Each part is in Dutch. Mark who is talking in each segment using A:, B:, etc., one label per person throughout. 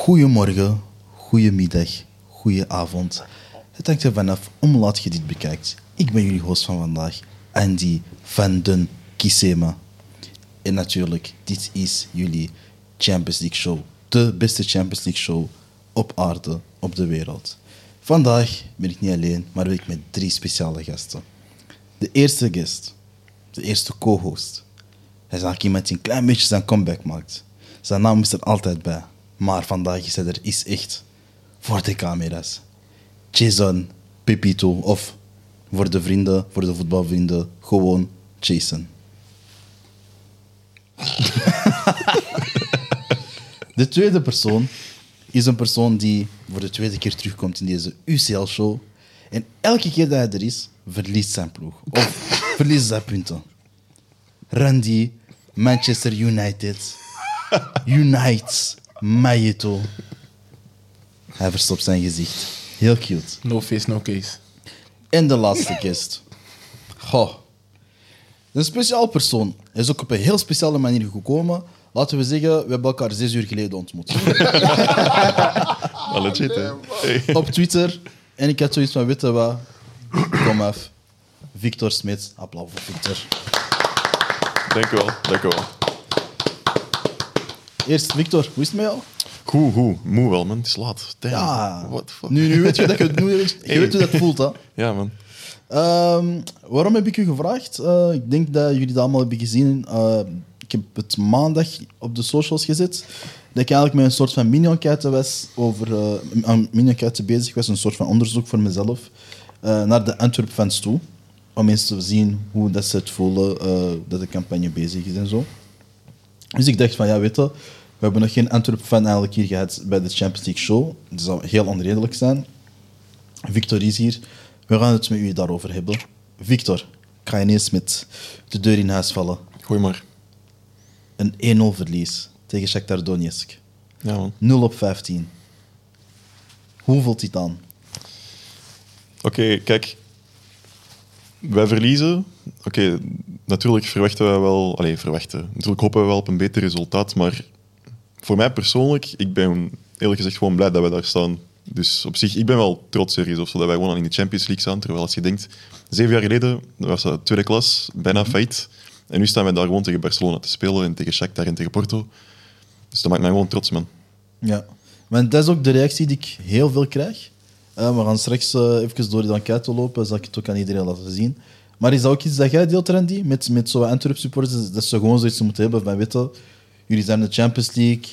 A: Goedemorgen, goedemiddag, goedenavond. Het hangt er vanaf om laat je dit bekijkt. Ik ben jullie host van vandaag, Andy van den Kisema. En natuurlijk, dit is jullie Champions League show. De beste Champions League show op aarde, op de wereld. Vandaag ben ik niet alleen, maar ben ik met drie speciale gasten. De eerste guest, de eerste co-host. Hij is eigenlijk iemand die een klein beetje zijn comeback maakt. Zijn naam is er altijd bij, maar vandaag is hij er is echt voor de camera's. Jason Pepito, of voor de vrienden, voor de voetbalvrienden, gewoon Jason. De tweede persoon is een persoon die voor de tweede keer terugkomt in deze UCL-show. En elke keer dat hij er is, verliest zijn ploeg. Of verliest zijn punten. Randy, Manchester United. Unites, Mayeto. Hij verstopt zijn gezicht. Heel cute.
B: No face, no case.
A: En de laatste guest. Goh. Een speciaal persoon. Hij is ook op een heel speciale manier gekomen. Laten we zeggen, we hebben elkaar zes uur geleden ontmoet. Oh,
C: Alle legit, hè?
A: op Twitter. En ik had zoiets van, weet je wat? Kom af. Victor Smits. Applaus voor Victor.
C: Dank u wel, dank u wel.
A: Eerst, Victor, hoe is het met jou?
C: Goed, goed. Moe wel, man. Het is laat. Damn.
A: Ja.
C: What the fuck?
A: Nu, nu weet je dat je het nu weet, je
C: Hey.
A: weet hoe dat voelt, hè.
C: Ja, man.
A: Ehm, waarom heb ik u gevraagd? Eh, ik denk dat jullie dat allemaal hebben gezien. Eh, ik heb het maandag op de socials gezet. Dat ik eigenlijk met een soort van mini-enquête was over... eh, aan mini-enquête bezig was, een soort van onderzoek voor mezelf. eh, naar de Antwerp-fans toe. Om eens te zien hoe dat ze het voelen eh, dat de campagne bezig is en zo. Dus ik dacht van, ja, weet je, we hebben nog geen Antwerp-fan eigenlijk hier gehad bij de Champions League show. Dat zou heel onredelijk zijn. Victor is hier. We gaan het met u daarover hebben. Victor, ik ga ineens met de deur in huis vallen.
C: Gooi maar.
A: Een 1-0 verlies tegen Shakhtar Donetsk.
C: Ja, man.
A: 0 op 15. Hoe voelt dit aan?
C: Oké, kijk. Wij verliezen. Oké, natuurlijk verwachten wij wel... Allee, verwachten. Natuurlijk hopen we wel op een beter resultaat, maar voor mij persoonlijk, ik ben eerlijk gezegd gewoon blij dat wij daar staan. Dus op zich, ik ben wel trots ergens of zo, dat wij gewoon al in de Champions League staan. Terwijl als je denkt, zeven jaar geleden was dat tweede klas, bijna failliet. En nu staan wij daar gewoon tegen Barcelona te spelen en tegen Shakhtar en tegen Porto. Dus dat maakt mij gewoon trots, man.
A: Ja, want dat is ook de reactie die ik heel veel krijg. Eh, we gaan straks eh, even door die enquête lopen, zal ik het ook aan iedereen laten zien. Maar is dat ook iets dat jij deelt, Randy? Met, met zo'n Antwerp supporters, dat ze gewoon zoiets moeten hebben van, weet je, jullie zijn in de Champions League,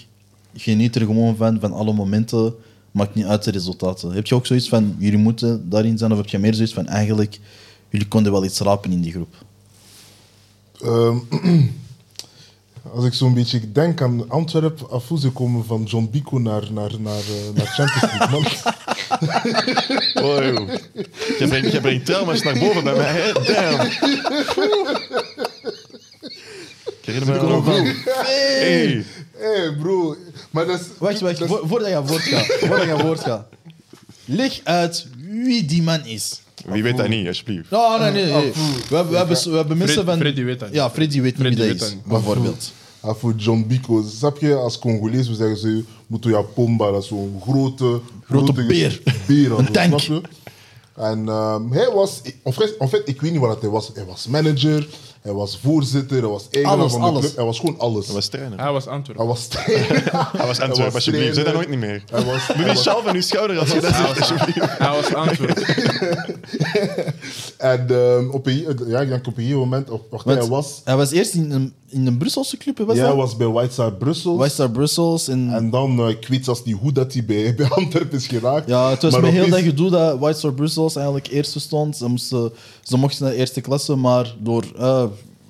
A: geniet er gewoon van, van alle momenten, maakt niet uit de resultaten. Heb je ook zoiets van, jullie moeten daarin zijn, of heb je meer zoiets van, eigenlijk, jullie konden wel iets rapen in die groep?
D: Ehm, als ik zo'n beetje denk aan Antwerpen, af hoe ze komen van John Bico naar, naar, naar, eh, naar Champions League. Man,
C: Wow. Jij brengt, jij brengt trauma's naar boven bij mij, hè? Damn. Ik herinner me nog wel. Hey.
D: hey bro, maar dat is.
A: Wacht, wacht,
D: dat is-
A: vo- voordat je aan woord gaat. Voordat je aan woord gaat. Leg uit wie die man is.
C: Wie weet dat niet, alsjeblieft.
A: Oh, nee, nee, nee. We, we, hebben, we hebben mensen
B: Fred-
A: van...
B: Freddy weet dat niet.
A: Ja, Freddy weet
B: Freddy
A: niet wie
B: weet
A: dat
B: dat
A: is,
B: niet.
A: bijvoorbeeld.
D: Ah, voor John Bico, snap je, als Congolees, we zeggen ze Mutoya Pomba, dat is zo'n grote,
A: Grote beer.
D: beer
A: Een
D: zo,
A: tank.
D: snap je? En ehm, hij was, en fait, en fait, ik weet niet wat hij was. Hij was manager, hij was voorzitter, hij was eigenaar
A: Alles,
D: van de
A: alles.
D: club, hij was gewoon alles.
C: Dat was trainen.
B: Hij was Antwerpen.
D: Hij was,
C: Dat was Antwerp, alsjeblieft. Zeg dat nooit niet meer.
D: hij was,
C: Doe
D: hij
C: die
D: was-
C: sjaal van uw schouder als je dat zegt, alsjeblieft.
B: Hij was Antwerpen.
D: En ehm, op, een, ja, ik denk op een gegeven moment, of, wacht,
A: Want
D: hij was,
A: Hij was eerst in een, in een Brusselse club, hè, was
D: ja, hij
A: dat?
D: was bij White Star Brussel.
A: West Star Brussels. En,
D: En dan, eh, ik weet zelfs niet hoe dat hij bij, bij Antwerpen is geraakt.
A: ja, het was
D: Maar
A: met heel dat
D: opeens-
A: gedoe dat White Star Brussels eigenlijk eerste stond. Ze, moesten, ze mochten naar de eerste klasse, maar door eh,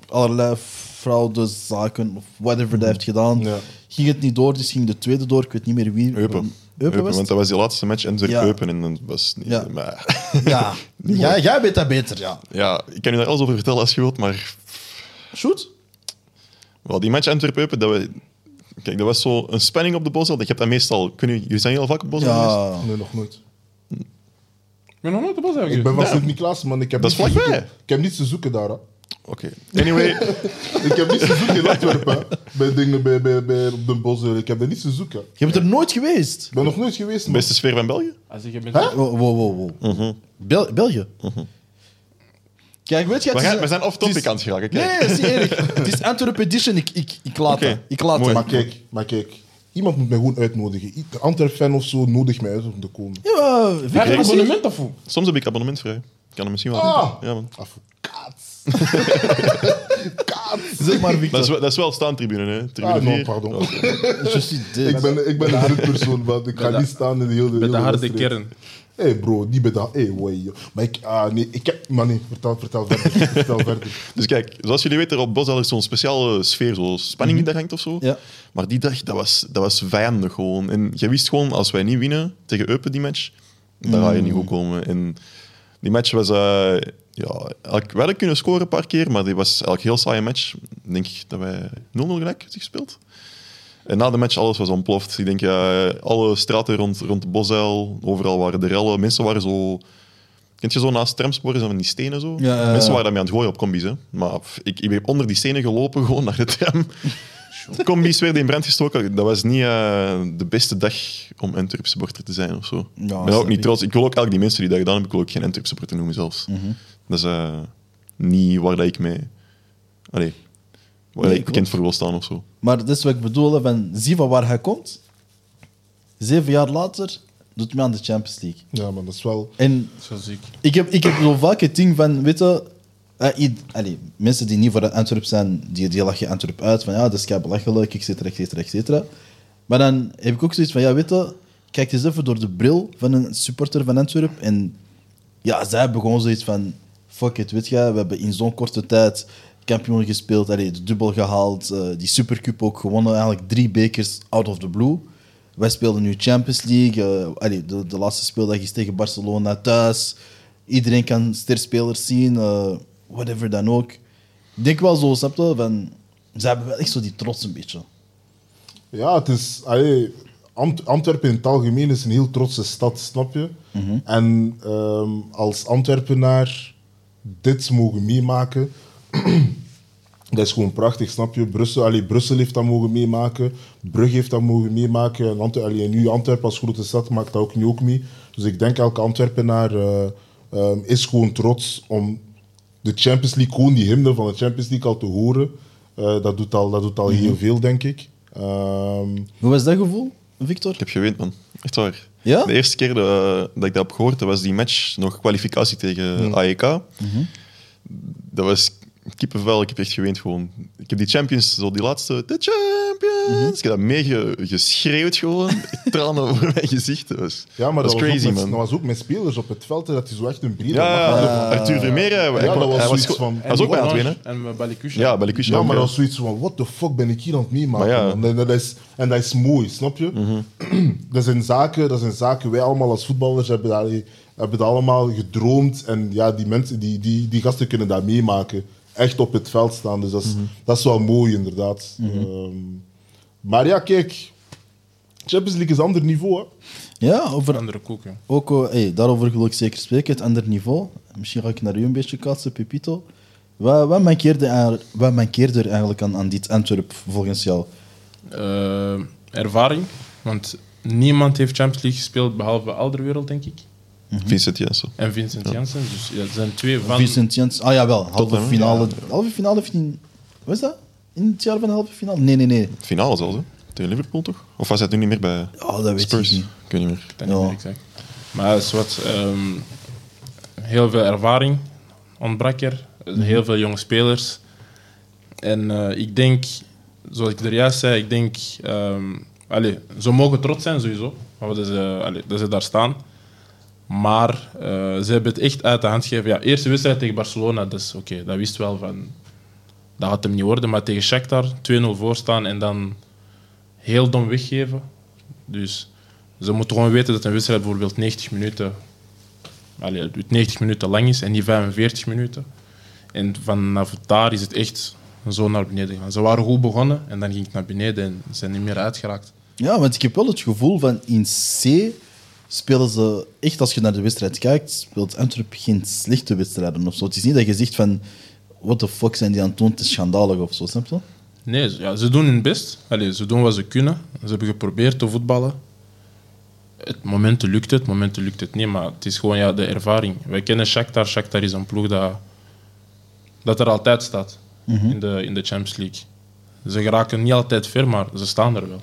A: allerlei fraudezaken of whatever dat heeft gedaan,
D: Ja.
A: ging het niet door. Dus ging de tweede door. Ik weet niet meer wie.
C: Eupen.
A: Eupen was
C: want dat was die laatste match en
A: Ja.
C: Eupen en dat was niet...
A: Ja.
C: Maar,
A: het? Ja. ja, jij weet dat beter, ja.
C: ja, ik kan u daar alles over vertellen als je wilt, maar
A: Shoot.
C: Wel, die match Antwerpen-Eupen, dat we... Kijk, dat was zo een spanning op de Bosel. Ik heb dat meestal... Ik weet niet, jullie zijn heel vaak op Bosel geweest?
A: Ja.
D: Nee, nog nooit.
B: Ik ben nog nooit op ons
D: Ik ben
B: eigenlijk.
D: van Sint-Niklaas, man. Ik heb
C: Dat is
D: niets te
C: vlakbij.
D: zoeken. Ik heb niets te zoeken daar. hè.
C: Oké. Anyway,
D: Ik heb niet te zoeken in Antwerpen. hè. Bij dingen, bij, bij, bij, op de bos. eh, Ik heb daar niet te zoeken.
A: Je bent er nooit geweest.
D: Ik ben nog nooit geweest. man.
C: beste sfeer van België.
B: Als je bent...
D: Hè?
A: Wow, wow, wow. wow.
C: Mhm.
A: Bel- België. Kijk, weet je... het
C: We, gaan-
A: is-
C: we zijn
A: het
C: off-topic
A: is-
C: aan het geraken.
A: Nee,
C: Kijk.
A: nee, dat is niet eerlijk. Het is Antwerp Edition. Ik, ik, ik laat
C: Oké,
A: het. Ik laat het.
C: mooi.
D: Maar kijk, maar kijk. Iemand moet mij gewoon uitnodigen. I- De Antwerp-fan of zo nodig mij uit om te komen.
A: Ja, maar, Vicky,
B: Heb je een
A: was hier-
B: abonnement of hoe?
C: Soms heb ik abonnementvrij. Ik kan hem misschien wel.
D: Ah!
C: Ja, man.
D: Advocaat.
A: Zeg maar, Victor.
C: Dat is, wel- dat is wel staantribune, hè? Tribune
D: Ah,
C: vier.
D: no, pardon.
A: Je suis dead.
D: Ik ben, ik ben een harde persoon, want ik ga
B: Met de-
D: niet staan in de hele
B: Met de
D: hele
B: harde
D: wedstrijd.
B: kern.
D: Hé hey bro, niet bij de... Hé, hey, wai, joh. Maar ik... Ah, nee, ik heb... Maar nee, vertel, vertel verder. vertel verder.
C: Dus kijk, zoals jullie weten, op Bosdal is zo'n speciale sfeer, zo'n spanning die daar hangt of zo.
A: Mhm. Ja.
C: Maar die dag, dat was, dat was vijandig gewoon. En je wist gewoon, als wij niet winnen tegen Eupen die match, dan ga je
A: Mm.
C: niet goed komen. En die match was... eh, ja, elk, we hadden kunnen scoren een paar keer, maar die was eigenlijk een heel saaie match. Ik denk dat wij 0-0 gelijk hebben gespeeld. En na de match, alles was ontploft. Ik denk, ja, alle straten rond, rond Bosdel, overal waren de rellen. Mensen waren zo... Kent je zo naast tramsporen, zo van die stenen zo?
A: Ja, ja, ja.
C: Mensen waren daarmee aan het gooien op combi's. Hè. Maar pff, ik, ik ben onder die stenen gelopen, gewoon naar de tram. De combi's werden in brand gestoken. Dat was niet eh, de beste dag om Antwerp supporter te zijn of zo.
A: Ja,
C: ik ben
A: snap
C: ook niet
A: ik.
C: trots. Ik wil ook eigenlijk die mensen die dat gedaan hebben, ik wil ook geen Antwerp supporter noemen zelfs.
A: Mhm.
C: Dat is eh, niet waar dat ik mee... Allee, waar
A: Nee,
C: ik
A: klopt.
C: bekend voor wil staan of zo.
A: Maar dat is wat ik bedoel, hè, van, zie van waar hij komt. Zeven jaar later doet mij aan de Champions League.
D: Ja, man, dat is wel...
A: En
B: Zo ziek.
A: ik heb, ik heb zo vaak het ding van, weet je... eh, i- allee, mensen die niet voor de Antwerp zijn, die, die lachen Antwerp uit. Van ja, dat is kei belachelijk, et cetera, et cetera, et cetera. Maar dan heb ik ook zoiets van, ja, weet je... Kijk eens even door de bril van een supporter van Antwerp. En ja, zij hebben gewoon zoiets van... Fuck it, weet je, we hebben in zo'n korte tijd kampioen gespeeld. Allee, de dubbel gehaald, eh, die supercup ook gewonnen. Eigenlijk drie bekers out of the blue. Wij speelden nu Champions League. eh, allee, de, de laatste speeldag is tegen Barcelona thuis. Iedereen kan sterspelers zien, eh, whatever dan ook. Ik denk wel zo, snap je, Van, ze hebben wel echt zo die trots een beetje.
D: Ja, het is... allee, Ant- Antwerpen in het algemeen is een heel trotse stad, snap je? En ehm, als Antwerpenaar dit mogen meemaken... dat is gewoon prachtig, snap je? Brussel, allee, Brussel heeft dat mogen meemaken. Brugge heeft dat mogen meemaken. En, Antwerpen, allee, en nu Antwerpen als grote stad maakt dat ook nu ook mee. Dus ik denk elke Antwerpenaar eh, ehm, is gewoon trots om de Champions League, gewoon die hymne van de Champions League al te horen. Eh, dat doet al, dat doet al heel
C: Mhm.
D: veel, denk ik. Ehm,
A: Hoe was dat gevoel, Victor?
C: Ik heb gewend, man. Echt waar.
A: Ja?
C: De eerste keer dat, dat ik dat heb gehoord, dat was die match, nog kwalificatie tegen AEK.
A: Mhm.
C: Dat was kippenvel, ik heb echt geweend gewoon. Ik heb die Champions, zo die laatste, de Champions,
A: Mhm.
C: ik heb dat meegeschreeuwd gewoon, tranen over mijn gezicht. Dat was,
D: ja, maar dat, was
C: crazy,
D: ook met,
C: man.
D: dat was ook met spelers op het veld, hè, dat hij zo echt een brede
C: ja,
D: macht
C: ja,
D: had.
A: Ah.
C: Arthur Vermeer, hij, hij
D: dat
C: kwam-
D: was
C: hij was,
D: zoiets
C: go-
D: van-
C: hij was ook bij aan het winnen.
B: En met Balikusha.
C: Ja, Balikusha.
D: Ja,
C: ook,
D: Nou, maar
C: ja.
D: dat is zoiets van, what the fuck ben ik hier aan het meemaken?
C: Maar ja. Mhm.
D: man? En dat, is, en dat is mooi, snap je? dat, zijn zaken, dat zijn zaken, wij allemaal als voetballers hebben daar, hebben daar allemaal gedroomd. En ja, die, mensen, die, die, die gasten kunnen dat meemaken. Echt op het veld staan, dus dat
C: Mhm.
D: is, dat is wel mooi inderdaad. Ehm, maar ja, kijk, Champions League is een ander niveau. Hè?
A: Ja, over,
B: Andere koeken.
A: ook, eh, hey, daarover wil ik zeker spreken, het andere niveau. Misschien ga ik naar u een beetje kaatsen, Pepito. Wat, wat, mankeerde, er- wat mankeerde er eigenlijk aan, aan dit Antwerp volgens jou?
B: Eh, ervaring. Want niemand heeft Champions League gespeeld behalve Alderwereld, denk ik.
C: Vincent Jensen.
B: En Vincent Janssen. Dus ja, dat zijn twee van...
A: Vincent Jens, ah jawel, halve
C: Tottenham,
A: finale. Halve finale heeft in. Wat is dat? In het jaar van de halve finale? Nee, nee, nee.
C: Finale zelfs, hè? Tegen Liverpool toch? Of was hij toen niet meer bij
A: Mhm. Oh, dat weet
C: Spurs?
A: ik niet.
C: Ik weet niet meer.
B: Ik weet niet
A: Ja.
B: meer exact. Maar het is wat, ehm, heel veel ervaring ontbrak er. Heel veel jonge spelers. En eh, ik denk, zoals ik er juist zei, ik denk... ehm allee, ze mogen trots zijn sowieso, maar dat, ze, allee, dat ze daar staan. Maar eh, ze hebben het echt uit de hand gegeven. Ja, eerste wedstrijd tegen Barcelona, dus oké, dat wist wel van... Dat had hem niet worden, maar tegen Shakhtar 2-0 voorstaan en dan heel dom weggeven. Dus ze moeten gewoon weten dat een wedstrijd bijvoorbeeld 90 minuten, allee, het 90 minuten lang is en niet 45 minuten. En vanaf daar is het echt zo naar beneden gegaan. Ze waren goed begonnen en dan ging het naar beneden en zijn niet meer uitgeraakt.
A: Ja, want ik heb wel het gevoel van in C spelen ze echt, als je naar de wedstrijd kijkt, speelt Antwerp geen slechte wedstrijden of zo. Het is niet dat je zegt van what the fuck zijn die aan het doen? Het is schandalig of zo, snap je?
B: Nee, ze- ja, ze doen hun best. Allee, ze doen wat ze kunnen. Ze hebben geprobeerd te voetballen. Het momenten lukt het, momenten lukt het niet. Maar het is gewoon ja, de ervaring. Wij kennen Shakhtar. Shakhtar is een ploeg dat, dat er altijd staat in, de, in de Champions League. Ze geraken niet altijd ver, maar ze staan er wel.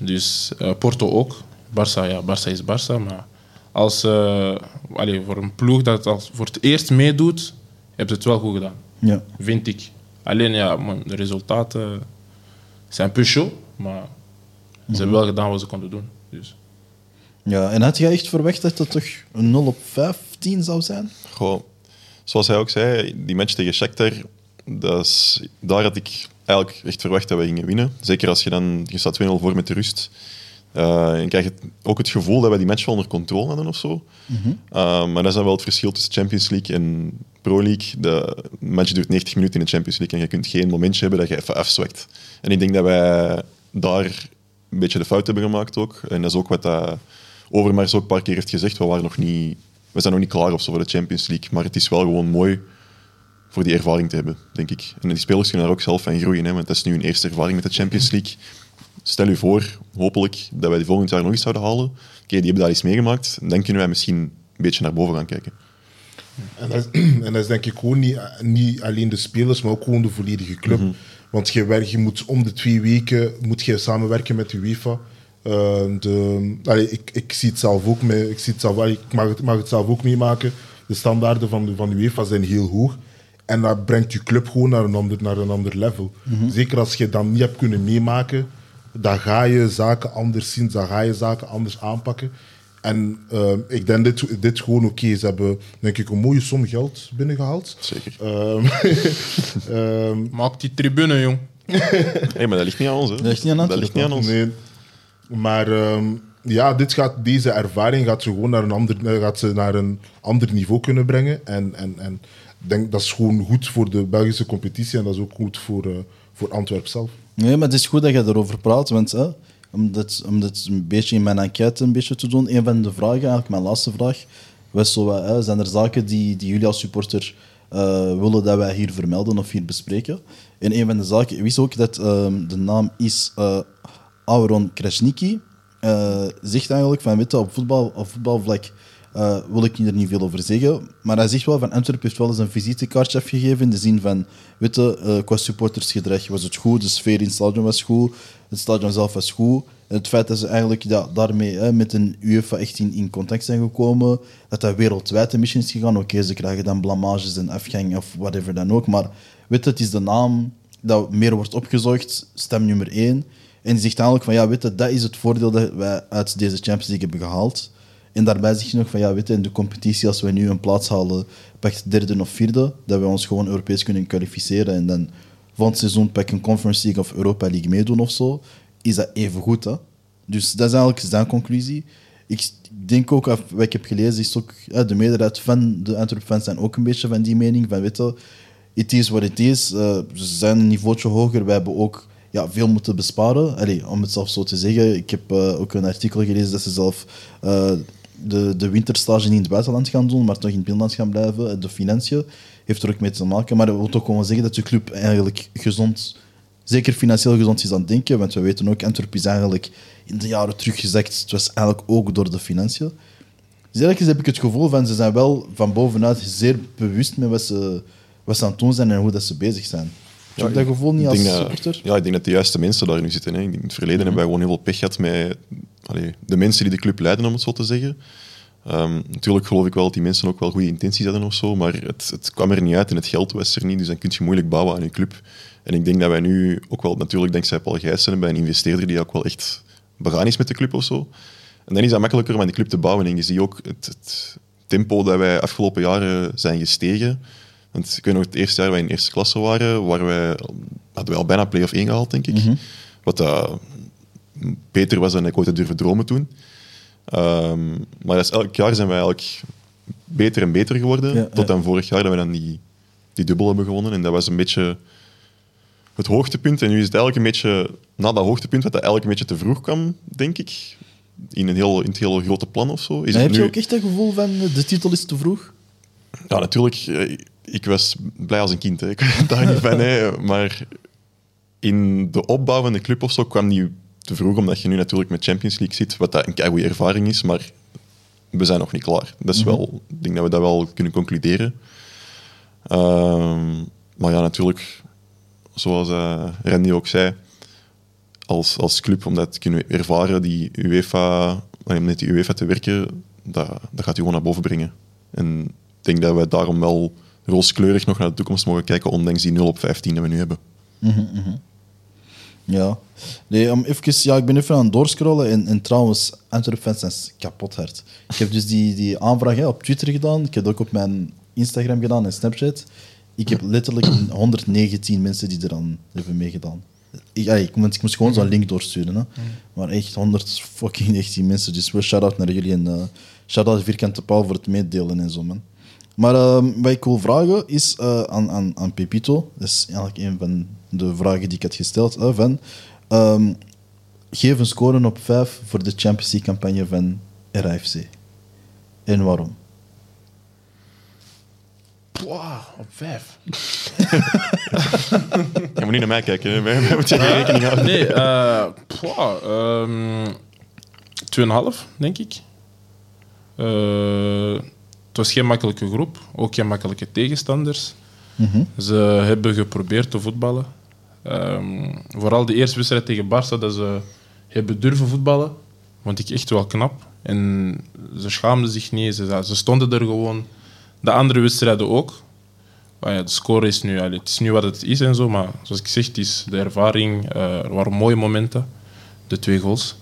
B: Dus eh, Porto ook. Barça, ja, Barça is Barça. Maar als, eh, allee, voor een ploeg dat als voor het eerst meedoet, hebben ze het wel goed gedaan
A: Ja.
B: vind ik. Alleen ja, man, de resultaten zijn een euh, peu show, maar ze hebben wel gedaan wat ze konden doen. Dus.
A: ja. En had jij echt verwacht dat dat toch een 0 op 15 zou zijn?
C: Goh, zoals hij ook zei, die match tegen Shakhtar, dat is, daar had ik eigenlijk echt verwacht dat we gingen winnen. Zeker als je dan, je staat 2-0 voor met de rust. Eh, en krijg je het- ook het gevoel dat wij die match wel onder controle hadden of zo. Eh, maar dat is dan wel het verschil tussen Champions League en Pro League. De match duurt 90 minuten in de Champions League en je kunt geen momentje hebben dat je even afzwakt. En ik denk dat wij daar een beetje de fout hebben gemaakt ook. En dat is ook wat dat Overmars ook een paar keer heeft gezegd. We, waren nog niet, we zijn nog niet klaar of zo voor de Champions League. Maar het is wel gewoon mooi voor die ervaring te hebben, denk ik. En die spelers kunnen daar ook zelf van groeien. Hè, want dat is nu hun eerste ervaring met de Champions League. Stel u voor, hopelijk, dat wij die volgend jaar nog eens zouden halen. Oké, die hebben daar iets meegemaakt. Dan kunnen wij misschien een beetje naar boven gaan kijken.
D: En dat, is, en dat is denk ik gewoon niet, niet alleen de spelers, maar ook gewoon de volledige club. Want je, werkt, je moet om de twee weken moet je samenwerken met de UEFA. Eh, de, allee, ik, ik zie het zelf ook mee, ik, zie het zelf, allee, ik mag, het, mag het zelf ook meemaken. De standaarden van de, van de UEFA zijn heel hoog. En dat brengt je club gewoon naar een ander, naar een ander level. Zeker als je dat niet hebt kunnen meemaken, dan ga je zaken anders zien, dan ga je zaken anders aanpakken. En ehm, ik denk dit, dit gewoon oké. Ze hebben denk ik een mooie som geld binnengehaald.
C: Zeker.
A: Eh,
D: Ehm, ehm,
B: Maak die tribune, jong.
C: Hé, maar dat ligt niet aan ons. Hè. Dat
A: ligt niet aan
C: Dat
A: Antwerpen.
C: ligt niet aan ons.
D: nee. Maar ehm, ja, dit gaat, deze ervaring gaat ze gewoon naar een ander, eh, gaat ze naar een ander niveau kunnen brengen. En, en, en ik denk dat is gewoon goed voor de Belgische competitie en dat is ook goed voor, eh, voor Antwerpen zelf.
A: Nee, maar het is goed dat je erover praat, want hè, om, dit, om dit een beetje in mijn enquête een beetje te doen, een van de vragen, eigenlijk mijn laatste vraag, was zo, wat, hè, zijn er zaken die, die jullie als supporter eh, willen dat wij hier vermelden of hier bespreken? En een van de zaken, ik wist ook dat ehm, de naam is eh Auron Krasniki, eh, zegt eigenlijk van, weet je, op, voetbal, op voetbalvlak eh, wil ik er niet veel over zeggen. Maar hij zegt wel van Antwerpen heeft wel eens een visitekaartje afgegeven. In de zin van, weet je, eh, qua supportersgedrag was het goed. De sfeer in het stadion was goed. Het stadion zelf was goed. En het feit dat ze eigenlijk ja, daarmee hè, met een UEFA echt in, in contact zijn gekomen. Dat dat wereldwijd een missie is gegaan. Oké, ze krijgen dan blamages en afgang of whatever dan ook. Maar weet je, het is de naam dat meer wordt opgezocht. Stem nummer één. En die zegt eigenlijk van, ja, weet je, dat is het voordeel dat wij uit deze Champions League hebben gehaald. En daarbij zeg je nog van ja, weet je, in de competitie, als wij nu een plaats halen, pakt derde of vierde, dat we ons gewoon Europees kunnen kwalificeren. En dan volgend seizoen pak een Conference League of Europa League meedoen of zo, is dat even goed. Hè? Dus dat is eigenlijk zijn conclusie. Ik denk ook, af- wat ik heb gelezen, is ook hè, de meerderheid van de Antwerp-fans zijn ook een beetje van die mening. Van weet je, het is wat het is. eh, ze zijn een niveautje hoger. Wij hebben ook ja, veel moeten besparen. Allee, om het zelf zo te zeggen. Ik heb eh, ook een artikel gelezen dat ze zelf eh, de, de winterstage niet in het buitenland gaan doen, maar toch in het binnenland gaan blijven. De financiën heeft er ook mee te maken. Maar dat wil toch gewoon zeggen dat je club eigenlijk gezond, zeker financieel gezond is aan het denken. Want we weten ook, Antwerpen is eigenlijk in de jaren teruggezakt. Het was eigenlijk ook door de financiën. Dus ergens heb ik het gevoel van ze zijn wel van bovenuit zeer bewust met wat ze, wat ze aan het doen zijn en hoe dat ze bezig zijn.
C: Ja,
A: ik heb dat gevoel niet
C: ik
A: als
C: denk dat-
A: supporter. Mhm.
C: Ja, ik denk dat de juiste mensen daar nu zitten. Hè. Ik denk, in het verleden hebben wij gewoon heel veel pech gehad met allee, de mensen die de club leiden, om het zo te zeggen. Ehm, natuurlijk geloof ik wel dat die mensen ook wel goede intenties hadden of zo, maar het, het kwam er niet uit en het geld was er niet, dus dan kun je moeilijk bouwen aan je club. En ik denk dat wij nu ook wel, natuurlijk dankzij Paul Gijssen, hebben wij een investeerder die ook wel echt begaan is met de club of zo. En dan is dat makkelijker om aan die club te bouwen. En je ziet ook het, het tempo dat wij afgelopen jaren zijn gestegen. Want ik weet nog, het eerste jaar dat wij in eerste klasse waren, waar wij, hadden wij al bijna play-off 1 gehaald, denk ik. Wat eh, beter was dan ik ooit had durven dromen toen. Ehm, maar dat is, elk jaar zijn wij eigenlijk beter en beter geworden.
A: Ja, ja.
C: tot dan vorig jaar dat we dan die, die dubbel hebben gewonnen. En dat was een beetje het hoogtepunt. En nu is het eigenlijk een beetje, na dat hoogtepunt, wat dat eigenlijk een beetje te vroeg kwam, denk ik. In, een heel, in het hele grote plan of zo. Is
A: Maar
C: het
A: heb je
C: nu-
A: ook echt dat gevoel van eh, de titel is te vroeg?
C: ja, natuurlijk. eh, ik was blij als een kind. Hè. Ik weet daar niet van. Hè. Maar in de opbouw van de club of zo kwam die te vroeg, omdat je nu natuurlijk met Champions League zit, wat dat een keigoede ervaring is, maar we zijn nog niet klaar. Dat is wel, ik denk dat we dat wel kunnen concluderen. Ehm, maar ja, natuurlijk, zoals eh, Randy ook zei, als, als club, om dat te kunnen ervaren, die UEFA, allee, om met die UEFA te werken, dat, dat gaat u gewoon naar boven brengen. En ik denk dat we daarom wel rooskleurig nog naar de toekomst mogen kijken, ondanks die 0 op 15 die we nu hebben.
A: Ja. Nee, om even, ja, ik ben even aan het doorscrollen. En, en trouwens, Antwerp fans zijn kapot hard. Ik heb dus die, die aanvraag hè, op Twitter gedaan. Ik heb het ook op mijn Instagram gedaan en Snapchat. Ik heb letterlijk 119 mensen die eraan hebben meegedaan. Ik, ja, ik, moest- ik moest gewoon zo'n link doorsturen. Hè. Maar echt 100 fucking 19 mensen. Dus wel shout-out naar jullie. En eh, shout-out Vierkante Paal voor het meedelen en zo, man. Maar ehm, wat ik wil vragen is eh, aan, aan, aan Pepito. Dat is eigenlijk een van de vragen die ik had gesteld. eh, van, ehm, geef een score op 5 voor de Champions League campagne van RFC. En waarom?
B: Wow, op vijf.
C: Je moet niet naar mij kijken, hè. wij, wij moeten geen rekening houden.
B: Nee, eh pwa, ehm, 2,5 denk ik. Eh, het was geen makkelijke groep, ook geen makkelijke tegenstanders. Ze hebben geprobeerd te voetballen. Ehm, vooral de eerste wedstrijd tegen Barça, dat ze hebben durven voetballen, vond ik echt wel knap. En ze schaamden zich niet, ze, ze stonden er gewoon. De andere wedstrijden ook. Maar Ah ja, de score is nu, allee, het is nu wat het is en zo, maar zoals ik zeg, het is de ervaring. eh, er waren mooie momenten, de twee goals.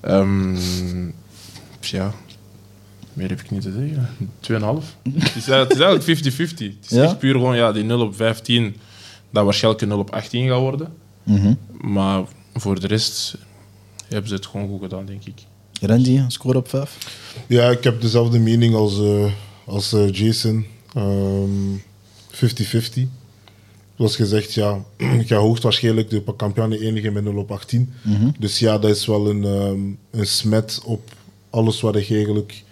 B: Ehm, ja, meer heb ik niet te zeggen. 2,5. het, is, het is eigenlijk 50-50. Het is
A: Ja?
B: echt puur gewoon ja, die 0 op 15, dat waarschijnlijk een 0 op 18 gaat worden.
A: Mhm.
B: Maar voor de rest hebben ze het gewoon goed gedaan, denk ik.
A: Randy, een score op 5?
D: Ja, ik heb dezelfde mening als, eh, als eh, Jason. Ehm, 50-50. Zoals gezegd, ja, ik ga hoogstwaarschijnlijk de kampioenen enige met 0 op 18. Dus ja, dat is wel een, ehm, een smet op alles wat je eigenlijk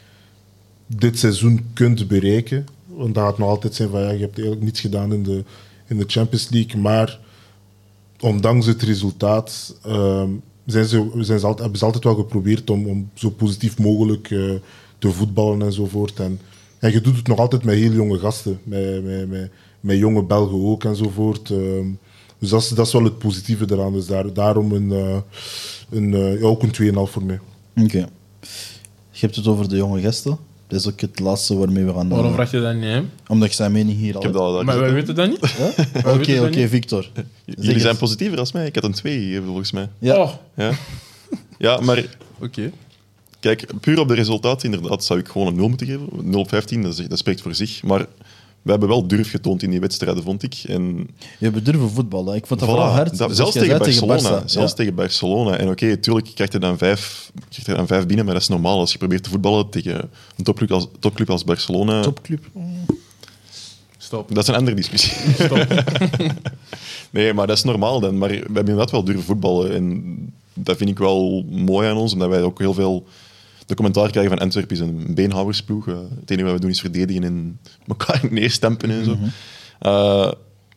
D: dit seizoen kunt bereiken. Want dat gaat nog altijd zijn van ja, je hebt eigenlijk niets gedaan in de, in de Champions League. Maar ondanks het resultaat ehm, zijn ze, zijn ze altijd, hebben ze altijd wel geprobeerd om, om zo positief mogelijk eh, te voetballen enzovoort. En, en je doet het nog altijd met heel jonge gasten, met, met, met, met jonge Belgen ook enzovoort. Ehm, dus dat is, dat is wel het positieve eraan. Dus daar, daarom een, eh, een, eh, ja, ook een 2,5 voor mij.
A: Oké. Je hebt het over de jonge gasten. Dat is ook het laatste waarmee we gaan... eh,
B: Waarom vraag je dat niet hem?
A: Omdat ik zijn mening hier al...
C: Ik heb dat al daar
B: Maar wij
C: gezet, hè.
B: weten dat niet.
A: Ja? Oké,
B: Waarom weet je dat
A: oké,
B: niet?
A: Victor. Zeg
C: Jullie
A: eens.
C: zijn positiever als mij. Ik had een 2 volgens mij.
A: Ja.
B: Oh,
C: Ja. ja, maar
B: oké.
C: kijk, puur op de resultaten inderdaad zou ik gewoon een 0 moeten geven. 0 op 15, dat, is- dat spreekt voor zich. Maar we hebben wel durf getoond in die wedstrijden, vond ik. En
A: Je hebt durven voetballen. Ik vond dat
C: Voilà,
A: vooral hard.
C: dat-
A: zoals
C: zelfs
A: jij
C: tegen
A: zei,
C: Barcelona.
A: Barça.
C: zelfs
A: Ja.
C: tegen Barcelona. En oké, tuurlijk krijg je, dan vijf, krijg je dan vijf binnen, maar dat is normaal. Als je probeert te voetballen tegen een topclub als, topclub als Barcelona,
A: Topclub.
B: Stop.
C: dat is een andere discussie. nee, maar dat is normaal dan. Maar we hebben inderdaad wel durven voetballen. En dat vind ik wel mooi aan ons, omdat wij ook heel veel... De commentaar krijgen van Antwerpen is een beenhouwersploeg. Eh, het enige wat we doen is verdedigen en elkaar neerstempen en zo. Eh,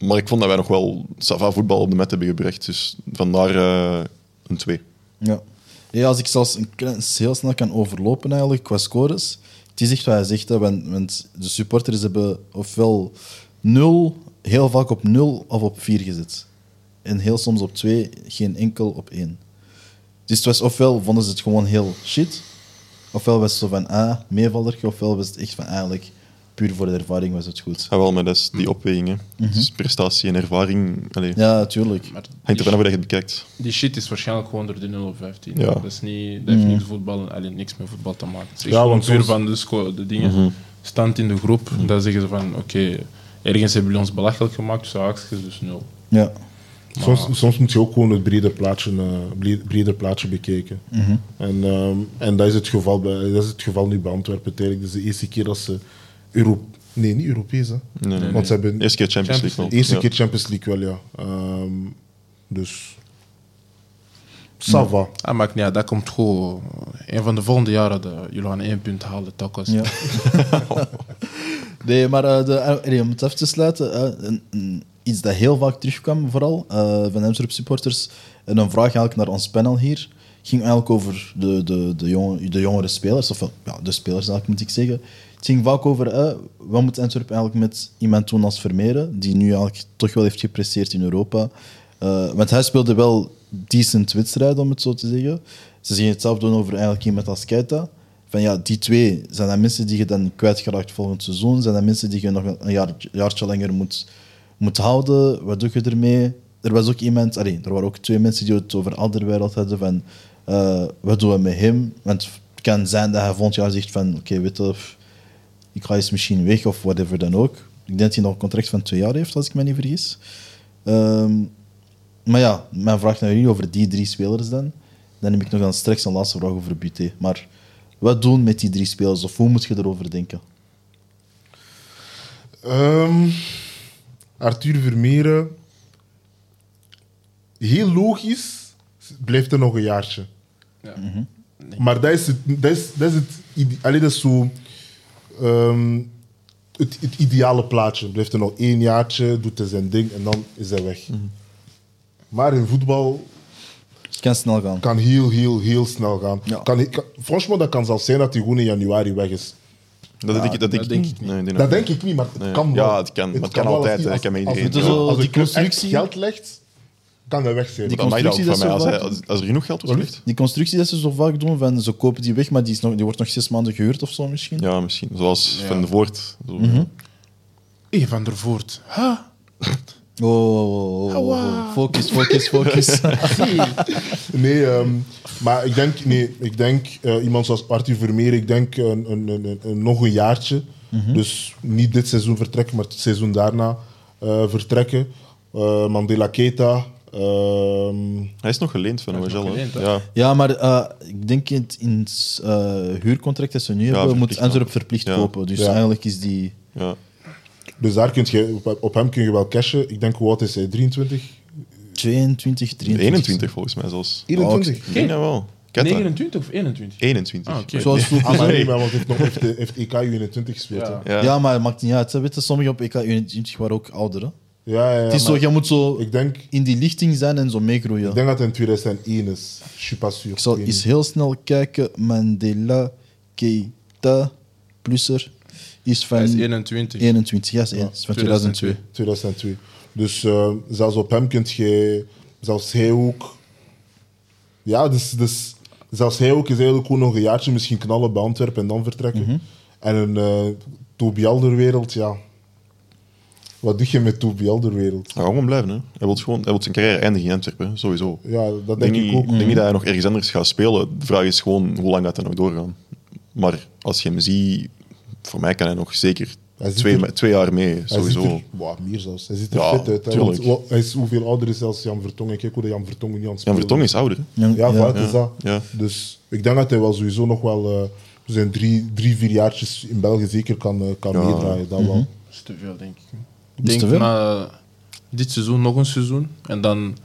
C: maar ik vond dat wij nog wel Sava voetbal op de mat hebben gebracht. Dus vandaar eh, een 2.
A: Ja. ja, als ik zelfs een klein, heel snel kan overlopen eigenlijk qua scores. Het is echt wat hij zegt, hè, want, want de supporters hebben ofwel 0, heel vaak op 0 of op 4 gezet. En heel soms op 2, geen enkel op 1. Dus het was ofwel vonden ze het gewoon heel shit, ofwel was het zo van ah, meevaller, ofwel was het echt van eigenlijk puur voor de ervaring was het goed.
C: Ah, wel, maar dat is die opweging. hè. Dus prestatie en ervaring. Allee,
A: Ja, tuurlijk.
B: Maar
C: Hangt ervan af hoe je het bekijkt.
B: Die shit is waarschijnlijk gewoon door de 0 op 15.
C: Ja.
B: Dat, is niet, dat heeft niks, voetbal, allee, niks met voetbal te maken. Het is
D: Ja,
B: ja, gewoon
D: want
B: puur
D: soms-
B: van de, sco- de dingen. Stand in de groep, dan zeggen ze van oké, ergens hebben jullie ons belachelijk gemaakt, dus haakjes, dus 0.
A: Ja.
D: Soms, soms moet je ook gewoon het breder plaatje, eh, bre- breder plaatje bekijken.
C: Mhm.
D: En, ehm, en dat, is het geval bij, dat is het geval nu bij Antwerpen. Eigenlijk. Dat is de eerste keer dat ze Euro Nee, niet Europees. Hè.
C: nee,
D: Want
C: nee.
D: ze hebben
C: Eerste keer Champions League. wel.
D: de eerste
C: Ja.
D: keer Champions League wel, ja. Ehm, dus.
C: Mm.
D: Ça va.
B: Ah, maakt niet uit, dat komt goed. Een van de volgende jaren, de, jullie gaan één punt halen, telkens.
A: Ja. Nee, maar eh, de, eh, nee, om het af te sluiten, eh, een- een- iets dat heel vaak terugkwam, vooral eh, van Amsterdam supporters, en een vraag eigenlijk naar ons panel hier, ging eigenlijk over de, de, de, jong, de jongere spelers, of wel, ja, de spelers eigenlijk moet ik zeggen. Het ging vaak over, eh, wat moet Antwerpen eigenlijk met iemand doen als Vermeeren, die nu eigenlijk toch wel heeft gepresteerd in Europa. Eh, want hij speelde wel decent wedstrijden, om het zo te zeggen. Ze zien hetzelfde doen over eigenlijk iemand als Keita van ja, die twee, zijn dat mensen die je dan kwijtgeraakt volgend seizoen? Zijn dat mensen die je nog een jaar, jaartje langer moet, moet houden? Wat doe je ermee? Er was ook iemand, allee, er waren ook twee mensen die het over Alderwereld hadden van eh, wat doen we met hem? Want het kan zijn dat hij volgend jaar zegt van oké, weet je, pff, ik ga eens misschien weg of whatever dan ook. Ik denk dat hij nog een contract van twee jaar heeft, als ik me niet vergis. Ehm, maar ja, mijn vraag naar jullie over die drie spelers dan. Dan heb ik nog dan straks een laatste vraag over Buté. Maar wat doen met die drie spelers of hoe moet je erover denken?
D: Ehm, Arthur Vermeeren. Heel logisch blijft er nog een jaartje.
B: Ja.
D: Maar dat is het. Dat is, dat is het ide- allee, dat is zo. ehm, het, het ideale plaatje. Blijft er nog één jaartje, doet hij zijn ding en dan is hij weg. Maar in voetbal
A: Het kan snel gaan.
D: kan heel, heel, heel snel gaan.
A: Ja.
D: Kan, kan, franchement, dat kan zelfs zijn dat hij gewoon in januari weg is.
C: Dat, denk, ik- dat denk
B: dat
C: ik
B: denk
C: niet.
B: ik niet.
C: Nee, ik denk
D: Dat
C: dat-
D: denk ik niet, maar het
C: Nee.
D: kan wel.
C: Ja, het kan, maar het kan
D: wel
C: altijd,
D: als-
C: hè.
D: als-
C: Dat kan bij
D: als-
C: iedereen.
D: Als,
A: Dus,
D: als,
A: eh,
D: als de
A: die
D: club echt
A: constructie-
D: geld legt, kan hij weg zijn.
A: Die-
C: dat mag dat ook
A: constructie
C: van mij.
A: dat
C: Als,
A: zo
C: hij-
A: vaak-
C: als- als er genoeg geld wordt gelegd.
A: Die constructie dat ze zo vaak doen, van ze kopen die weg, maar die, is nog, die wordt nog zes maanden gehuurd of zo misschien.
C: Ja, misschien. Zoals
B: Ja.
C: Van de Voort. Zo.
B: Hey, Van der Voort. Huh?
A: Oh, oh, oh, oh, oh. focus, focus, focus.
D: Nee, ehm, maar ik denk, nee, ik denk eh, iemand zoals Arthur Vermeer, ik denk een, een, een, een- een- nog een jaartje. Dus niet dit seizoen vertrekken, maar het seizoen daarna eh, vertrekken. Eh, Mandela Keita. ehm,
C: Hij is nog geleend van
B: Hij is nog
C: OHL. hè.
B: geleend, hè.
C: Ja.
A: ja, maar eh, ik denk in het in het, eh, huurcontract dat ze nu hebben, moet
C: verplicht
A: Antwerp
C: wel.
A: verplicht
C: Ja.
A: kopen. Dus
D: Ja.
A: eigenlijk is die...
C: Ja.
D: dus daar kun je, op, op hem kun je wel cashen. Ik denk, hoe oud is hij? 23?
A: 22, 23.
C: 21 volgens mij zelfs.
D: 21?
C: Ik denk dat wel. Ketta.
B: 29 of 21?
C: 21.
B: Ah, oké.
A: Zoals vroeger.
D: Ah, maar nee, maar want hij heeft nog heeft, heeft E EK 21 gespeeld. hè.
B: Ja.
C: Ja.
A: Ja, maar het maakt niet uit. hè. Weet je, sommigen op EK 21 waren ook ouder. Hè?
D: Ja, ja, ja,
A: het is zo,
D: maar
A: je moet zo
D: ik denk,
A: in die lichting zijn en zo meegroeien.
D: ik denk dat hij in 2001 is. Je suis pas sûr.
A: Ik zal
D: weet
A: eens
D: niet.
A: heel snel kijken. Mandela Keita Plusser is van
B: Hij is 21.
A: 21. Ja, is één. is van 2002.
D: 2002. Dus eh, zelfs op hem kunt je, zelfs hij ook. Ja, dus, dus zelfs hij ook is eigenlijk gewoon nog een jaartje misschien knallen bij Antwerpen en dan vertrekken.
A: Mhm.
D: En een eh Tobi Alderwereld, ja. Wat doe je met Tobi Alderwereld?
C: Hij gaat gewoon blijven. Hè. Hij, wil gewoon, hij wil zijn carrière eindigen in Antwerpen, hè. sowieso. Ik
D: Ja, dat
C: denk,
D: denk ik
C: niet,
D: ook.
C: ik denk niet dat hij nog ergens anders gaat spelen. De vraag is gewoon hoe lang dat hij nog doorgaat. Maar als je hem ziet, voor mij kan hij nog zeker
D: Hij zit
C: twee,
D: er-
C: me- twee jaar mee,
D: Hij ziet
C: sowieso.
D: er- wauw, meer zelfs. Hij ziet er
C: Ja,
D: fit uit. Hè, want,
C: tuurlijk.
D: wa- hij is hoeveel ouder is als Jan Vertongen. Kijk hoe dat Jan Vertongen niet aan het
C: Jan
D: spelen
C: Vertong is ouder. hè.
A: Ja,
D: Ja,
A: ja.
D: vooruit is dat.
C: ja.
D: Dus ik denk dat hij wel sowieso nog wel eh, zijn drie, drie, vier jaartjes in België zeker kan, eh, kan
C: Ja.
D: meedraaien. Dat wel.
B: Dat is te veel, denk ik.
A: is
B: Ik denk
A: te veel.
B: na dit seizoen nog een seizoen. En dan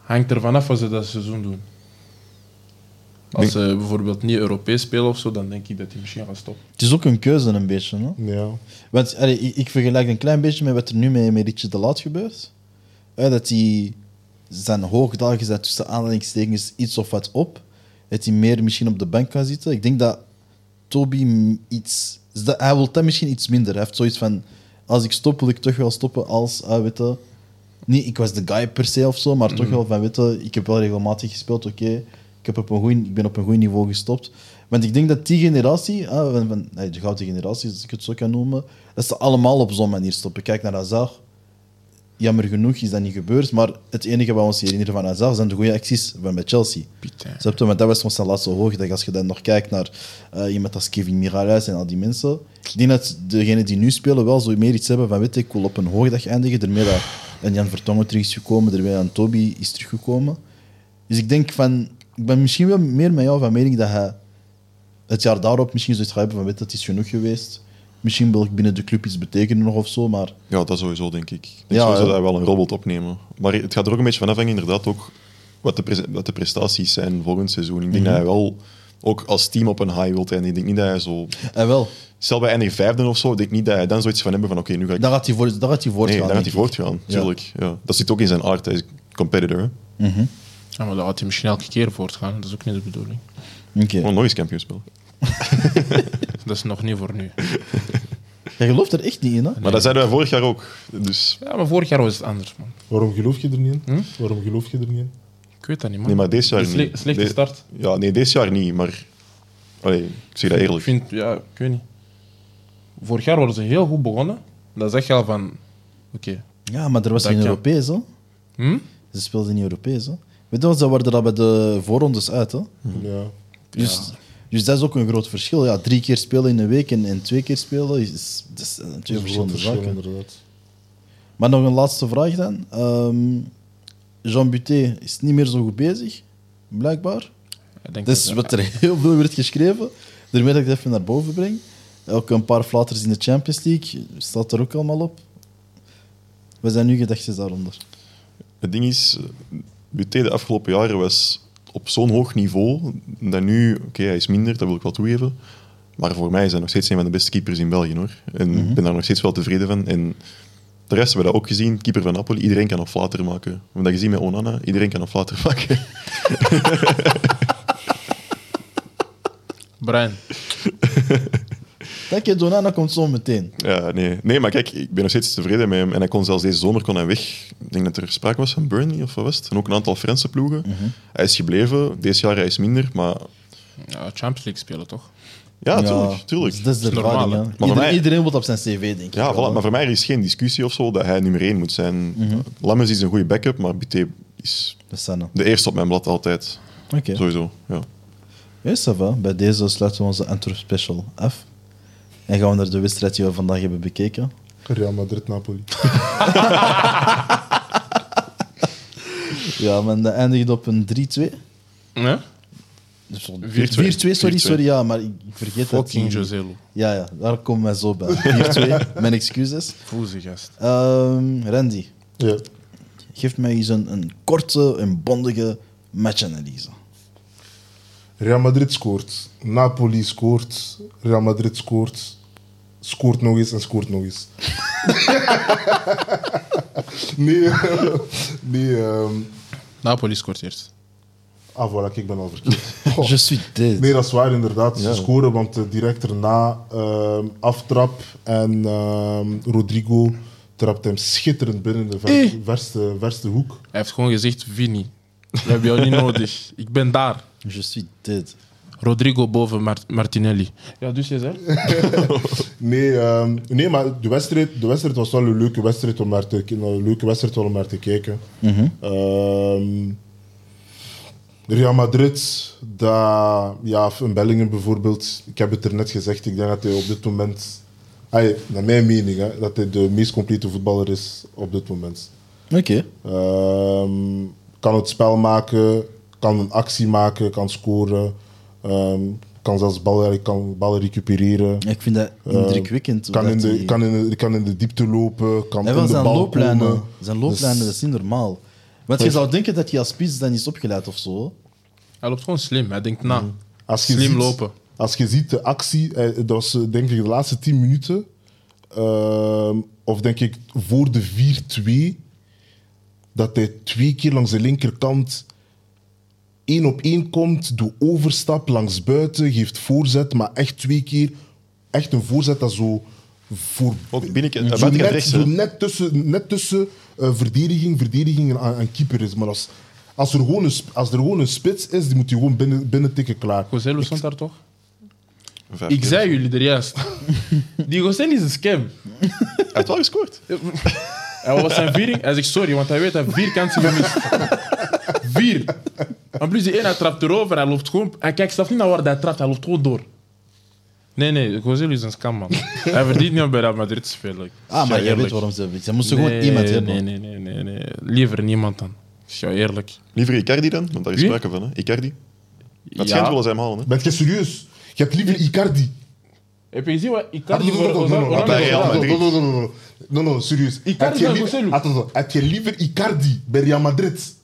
B: hangt er vanaf wat ze dat seizoen doen. Als ze bijvoorbeeld niet Europees spelen of zo, dan denk ik dat hij misschien gaat stoppen.
A: Het is ook een keuze, een beetje. Hè?
D: Ja.
A: Want allee, ik, ik vergelijk een klein beetje met wat er nu met, met Richie de Laat gebeurt. Hè, dat hij zijn hoogdagen zijn tussen aanhalingstekens iets of wat op. Dat hij meer misschien op de bank kan zitten. Ik denk dat Toby m- iets... is dat- Hij wil dat misschien iets minder. Hij heeft zoiets van... Als ik stop, wil ik toch wel stoppen als... ah, weet je, niet ik was de guy per se of zo, maar toch wel van weet je, ik heb wel regelmatig gespeeld, oké. Ik, heb op een goeie- ik ben op een goed niveau gestopt. Want ik denk dat die generatie, ah, van, van, nee, de gouden generatie, als ik het zo kan noemen, dat ze allemaal op zo'n manier stoppen. Kijk naar Azar. Jammer genoeg is dat niet gebeurd, maar het enige wat we ons herinneren van Azar zijn de goede acties van bij Chelsea.
B: Pieter.
A: Snap je? Want dat was ons zijn laatste hoogdag. Als je dan nog kijkt naar eh, iemand als Kevin Miralles en al die mensen. Ik denk dat degenen die nu spelen wel zo meer iets hebben van weet je, ik wil op een hoogdag eindigen. Daarmee dat een Jan Vertongen terug is gekomen, daarmee aan Toby is teruggekomen. Dus ik denk van, ik ben misschien wel meer met jou van mening dat hij het jaar daarop misschien zoiets gaat hebben van weet je, het is genoeg geweest. Misschien wil ik binnen de club iets betekenen nog of zo, maar
C: Ja, dat sowieso, denk ik. Ik
A: Ja,
C: denk sowieso
A: hè.
C: dat hij wel een robot opnemen. Maar het gaat er ook een beetje van afhangen, inderdaad, ook wat de, pres- wat de prestaties
A: Mhm.
C: zijn volgend seizoen. Ik denk dat hij wel ook als team op een high wilt eindigen. Ik denk niet dat hij zo
A: en wel.
C: Stel bij eindigen vijfde of zo, denk ik niet dat hij dan zoiets van hebben van oké, nu ga ik...
A: Daar gaat hij voor, daar gaat hij
C: nee,
A: voortgaan.
C: dan gaat hij
A: denk ik.
C: voortgaan,
A: Ja.
C: tuurlijk. Ja. Dat zit ook in zijn aard, hij is competitor. Hè?
B: Ja, maar dan had hij misschien elke keer voortgaan. Dat is ook niet de bedoeling.
A: Oké.
C: Gewoon nog eens kampioen spelen.
B: Dat is nog niet voor nu.
A: Jij gelooft er echt niet in, hè?
C: Maar dat zeiden wij vorig jaar ook. Dus,
B: Ja, maar vorig jaar was het anders, man.
D: Waarom geloof je er niet in? Waarom geloof je er niet in?
B: Ik weet dat niet, man.
C: nee, maar deze jaar
B: De sle-
C: niet.
B: Dus slechte
C: De-
B: start.
C: Ja, nee, deze jaar niet, maar... Allee, ik zeg dat
B: Ik
C: eerlijk.
B: vind, ja, ik weet niet. Vorig jaar waren ze heel goed begonnen. Dan zeg je al van, oké.
A: Ja, maar er was
B: Dat
A: geen
B: kan.
A: Europees, hè?
B: Hm?
A: Ze speelden niet Europees, hè? Weet je wat, ze waren er al bij de voorrondes uit, hè?
D: Ja.
A: Dus, dus dat is ook een groot verschil. Ja, drie keer spelen in een week en, en twee keer spelen, is, is, dat zijn twee
D: Het is gewoon
A: verschillende
D: verschil,
A: zaken.
D: inderdaad.
A: Maar nog een laatste vraag dan. Ehm, Jean Buté is niet meer zo goed bezig, blijkbaar.
B: Ik denk
A: Dat is
B: dat-
A: Dus wat er heel veel werd geschreven. Daarmee dat ik het even naar boven breng. Ook een paar flaters in de Champions League staat er ook allemaal op. Wat zijn uw gedachten daaronder?
C: Het ding is, WT de afgelopen jaren was op zo'n hoog niveau dat nu, oké, hij is minder, dat wil ik wel toegeven. Maar voor mij is hij nog steeds een van de beste keepers in België hoor. En ik ben daar nog steeds wel tevreden van. En de rest hebben we dat ook gezien. Keeper van Napoli, iedereen kan een flater maken. We hebben dat gezien met Onana, iedereen kan een flater maken.
B: Brian,
A: Dank je, Donana komt zo meteen.
C: ja, nee. nee, maar kijk, ik ben nog steeds tevreden met hem. En hij kon zelfs deze zomer kon hij weg. Ik denk dat er sprake was van Burnley of wat was het. En ook een aantal Franse ploegen. Hij is gebleven. Deze jaar hij is minder, maar
B: ja, Champions League spelen toch?
C: ja, tuurlijk. tuurlijk.
A: dus Dat is de
B: Dat is normaal,
A: ervaring.
B: hè.
A: hè.
B: Maar
C: voor
A: Iedereen,
C: mij-
A: iedereen wil op zijn cv, denk ik.
C: Ja,
A: wel,
C: voilà,
A: hè.
C: maar voor mij er is geen discussie of zo dat hij nummer één moet zijn. Lammens is een goede backup, maar Buté is
A: Dat zijn er.
C: de eerste op mijn blad altijd.
A: Oké.
C: Sowieso. Ja.
A: Ja, ça va. Bij deze sluiten we onze Antwerp Special af. En gaan we naar de wedstrijd die we vandaag hebben bekeken.
D: Real Madrid-Napoli.
A: Ja, maar dat eindigde op een 3-2.
B: Ja?
A: Dus 4-2,
C: 4-2.
A: sorry, sorry, ja, maar ik, ik vergeet dat.
B: Fucking
A: die-
B: José Lu.
A: Ja, ja, daar komen wij zo bij. 4-2, mijn excuses.
B: Voezie gast.
A: Ehm, Randy,
D: Ja.
A: geef mij eens een, een korte en bondige matchanalyse.
D: Real Madrid scoort. Napoli scoort. Real Madrid scoort. Scoort nog eens en scoort nog eens. nee, nee. ehm
B: Napoli scoort eerst.
D: ah, voilà, kijk, ik ben al verkeerd. Goh.
A: Je suis dead.
D: Nee, dat is waar inderdaad.
A: Ja.
D: Ze scoren, want eh, direct erna ehm, aftrap en ehm, Rodrigo trapt hem schitterend binnen in de ver-
B: Eh.
D: verste, verste hoek.
B: Hij heeft gewoon gezegd, Vini, we hebben jou niet nodig. Ik ben daar.
A: Je suis dead.
B: Rodrigo boven Mart- Martinelli. Ja, dus je zegt?
D: Nee, ehm, nee maar de wedstrijd, de wedstrijd was wel een leuke wedstrijd om naar te, een leuke wedstrijd wel om naar te kijken. Ehm, Real Madrid, dat, ja, in Bellingen bijvoorbeeld, ik heb het er net gezegd, ik denk dat hij op dit moment, ay, naar mijn mening, hè, dat hij de meest complete voetballer is op dit moment.
A: Oké.
D: Ehm, kan het spel maken, kan een actie maken, kan scoren, ehm, kan zelfs ballen, kan ballen recupereren. Ehm,
A: Ik vind dat indrukwekkend. hoe
D: Eh, Kan
A: dat
D: in, de,
A: die-
D: kan, in de, kan in de diepte lopen, kan
A: Hij
D: in
A: wel
D: de
A: zijn
D: bal
A: looplijnen.
D: komen.
A: Zijn looplijnen,
D: Dus-
A: dat is niet normaal. Want je zou denken dat hij als spits dan is opgeleid of zo. Ah,
B: Hij loopt gewoon slim. Hij denkt na.
D: Als je
B: Slim
D: ziet-
B: lopen.
D: Als je ziet de actie, eh, dat was eh, denk ik de laatste 10 minuten. ehm, of denk ik voor de 4-2. Dat hij twee keer langs de linkerkant één op één komt. Doe overstap langs buiten, geeft voorzet. Maar echt twee keer. Echt een voorzet dat zo voor,
C: Ook binnenkant,
D: zo
C: buitenkant
D: net,
C: rechts.
D: zo
C: hè.
D: net tussen, net tussen eh, verdediging, verdediging en, en keeper is. Maar als, als, er gewoon een, sp- als er gewoon een spits is, die moet je gewoon binnen, binnen tikken klaar.
B: José Lu stond daar toch?
C: Vijf
B: Ik
C: keer.
B: zei jullie er juist. Die José is een scam.
C: Hij heeft wel gescoord.
B: Hij was zijn viering. Hij zegt sorry, want hij weet dat hij vier kansen gemist. Vier. En plus die één, hij trapt erover. Hij loopt gewoon... Hij kijkt zelf niet naar waar hij trapt. Hij loopt gewoon door. Nee, nee. Gozel is een scam, man. Hij verdient niet om bij Real Madrid te spelen. Ik
A: Ah,
B: zeg
A: maar jij
B: eerlijk.
A: weet waarom ze hebben. Ze moesten gewoon iemand hebben.
B: Nee, nee, nee, nee, nee. Liever niemand dan. Ik zeg jou eerlijk.
C: Liever Icardi dan, want daar is
B: Wie?
C: sprake van. Hè. Icardi. Dat
B: Ja.
C: schijnt wel eens hem halen. Hè.
D: Ben je serieus? Je hebt liever Icardi.
B: Heb je gezien wat Icardi voor
D: No, no,
B: Ozan-
D: no,
C: Bij
B: Oranje
C: Real
B: gedaan?
C: Madrid.
D: no, no, no, serieus.
B: Icardi
D: Heb je
B: naar
D: liever-
B: Gozelu.
D: Attends, attends. Heb je liever Icardi bij Real Madrid?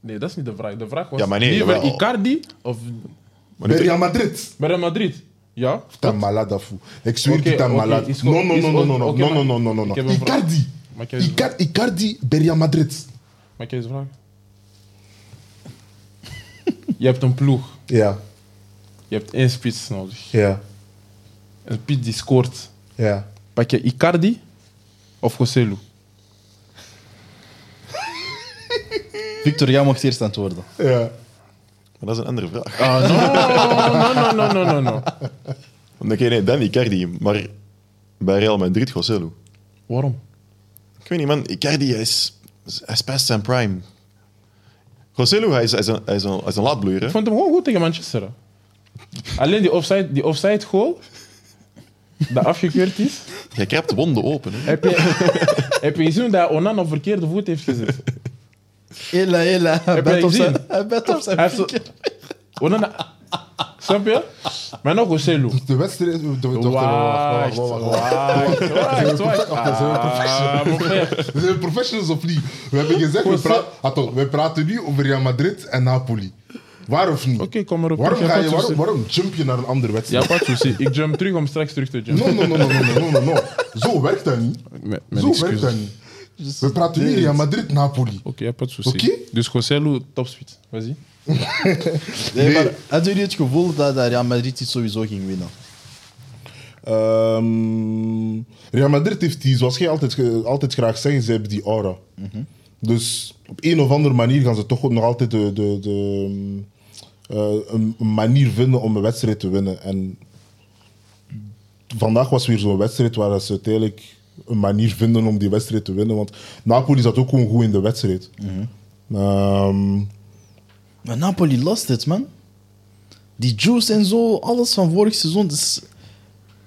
B: Nee, dat is niet de vraag. De vraag was
C: Ja, maar nee,
B: liever
C: jawel.
B: Icardi of
C: Maar
D: bij
C: nu-
D: Real Madrid?
B: bij Real Madrid. Ja?
D: T'as malade à fou. Ik zweer
B: Oké,
D: je, t'as
B: oké,
D: malade.
B: is goed,
D: Non, non,
B: is
D: non,
B: goed.
D: non, non, non,
B: Oké,
D: non,
B: maar-
D: non, non, non,
B: ik
D: non.
B: heb een vraag.
D: Icardi.
B: Mag jij eens-
D: Icardi, Icardi, Beria Madrid.
B: Mag ik je eens vragen? je hebt een ploeg.
D: Ja,
B: Je hebt één spits nodig.
D: ja,
B: Een spits die scoort.
D: ja.
B: Pak je Icardi of Goselu?
A: Victor, jij mocht eerst antwoorden.
D: Ja.
C: Maar dat is een andere vraag.
B: Oh, no, no, no, no, no.
C: Oké, nee, dan Icardi. Maar bij Real Madrid, Joselu.
B: Waarom?
C: Ik weet niet, man. Icardi hij is, hij is past zijn prime. Joselu, hij is, hij is, een, hij is, een, hij is een laadbloeier. hè.
B: Ik vond hem gewoon goed tegen Manchester. hè. Alleen die offside, die offside goal, dat afgekeurd is,
C: Jij krapt wonden open. Hè.
B: heb je, heb je gezien dat Onan op verkeerde voet heeft gezet.
A: Hela, hela. Hij
B: Heb
A: bent
B: jij
A: op zijn-
B: gezien?
A: hij bent op
B: Hij
A: zijn
B: heeft zo-
A: vinger.
B: Onan, snap je? Maar nog Goselu.
D: De wedstrijd... de- de- wacht,
B: Wacht, wacht,
D: wacht, wacht, wacht,
B: wacht,
D: wacht.
B: wacht, wacht.
D: Wacht,
B: Ah,
D: zijn we professionals?
B: mon frère.
D: Zijn we professionals of niet? We hebben gezegd, we, pra- Attends, we praten nu over Real Madrid en Napoli. Waar of niet?
B: Oké, kom maar op.
D: Waarom,
B: Ik heb
D: ga
B: wat
D: je, waarom,
B: tussen-
D: waarom jump je naar een
B: Ja,
D: andere wedstrijd?
B: pas de souci. Ik jump terug om straks terug te jumpen.
D: No, no, no, no, no, no, no, no, no. Zo werkt dat niet.
B: Met,
D: Zo werkt dat niet. We praten nu Real Madrid-Napoli.
B: Oké, ja, pas de souci.
D: Oké.
B: Dus Goselu, topspeed. Vas-y.
A: Nee,
D: Nee.
A: maar hadden jullie het gevoel dat dat Real Madrid dit sowieso ging winnen?
D: Ehm, Real Madrid heeft die, zoals jij altijd, ge- altijd graag zegt, ze hebben die aura. Dus op een of andere manier gaan ze toch ook nog altijd de, de, de, ehm, eh, een, een manier vinden om een wedstrijd te winnen. En vandaag was weer zo'n wedstrijd waar ze uiteindelijk een manier vinden om die wedstrijd te winnen. Want Napoli zat ook gewoon goed in de wedstrijd. Ehm,
A: Maar Napoli lost het, man. Die juice en zo, alles van vorig seizoen, dat is,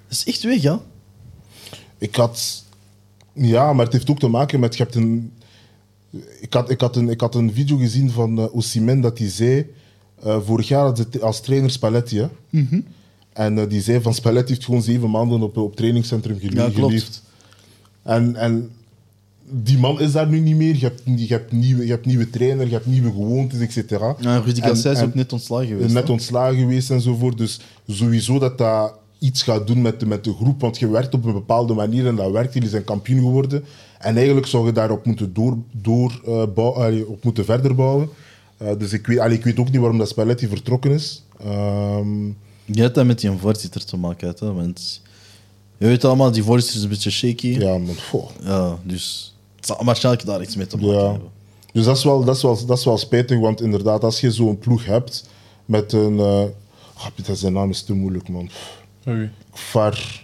A: dat is echt weg, ja.
D: Ik had. Ja, maar het heeft ook te maken met. Je hebt een, ik, had, ik, had een, ik had een video gezien van eh Osimhen dat hij zei. eh, vorig jaar had ze als trainer Spalletti. Hè?
A: Mhm.
D: En eh, die zei van Spalletti heeft gewoon zeven maanden op, op trainingscentrum gele-
A: Ja, klopt.
D: geleefd. En, en die man is daar nu niet meer. Je hebt, je hebt, nieuwe, je hebt nieuwe trainer, je hebt nieuwe gewoontes, et cetera.
A: ja Rudy
D: En-
A: Garcia is
D: en-
A: ook net ontslagen
D: en
A: geweest.
D: net
A: hè?
D: ontslagen geweest enzovoort. Dus sowieso dat dat iets gaat doen met de, met de groep. Want je werkt op een bepaalde manier en dat werkt. Jullie zijn kampioen geworden. En eigenlijk zou je daarop moeten, door, door, eh, bouw- allee, op moeten verder bouwen. Eh, dus ik weet, allee, ik weet ook niet waarom dat Spalletti vertrokken is. Ehm,
A: Je hebt dat met die voorzitter te maken, hè, want je weet allemaal, die voorzitter is een beetje shaky. Ja.
D: ja, maar, goh.
A: dus het zal waarschijnlijk daar iets mee te maken
D: Ja.
A: hebben.
D: Dus dat is, wel, dat, is wel, dat is wel spijtig, want inderdaad, als je zo'n ploeg hebt met een... eh, grapje, dat zijn naam is te moeilijk, man.
B: Oei.
D: Kvar...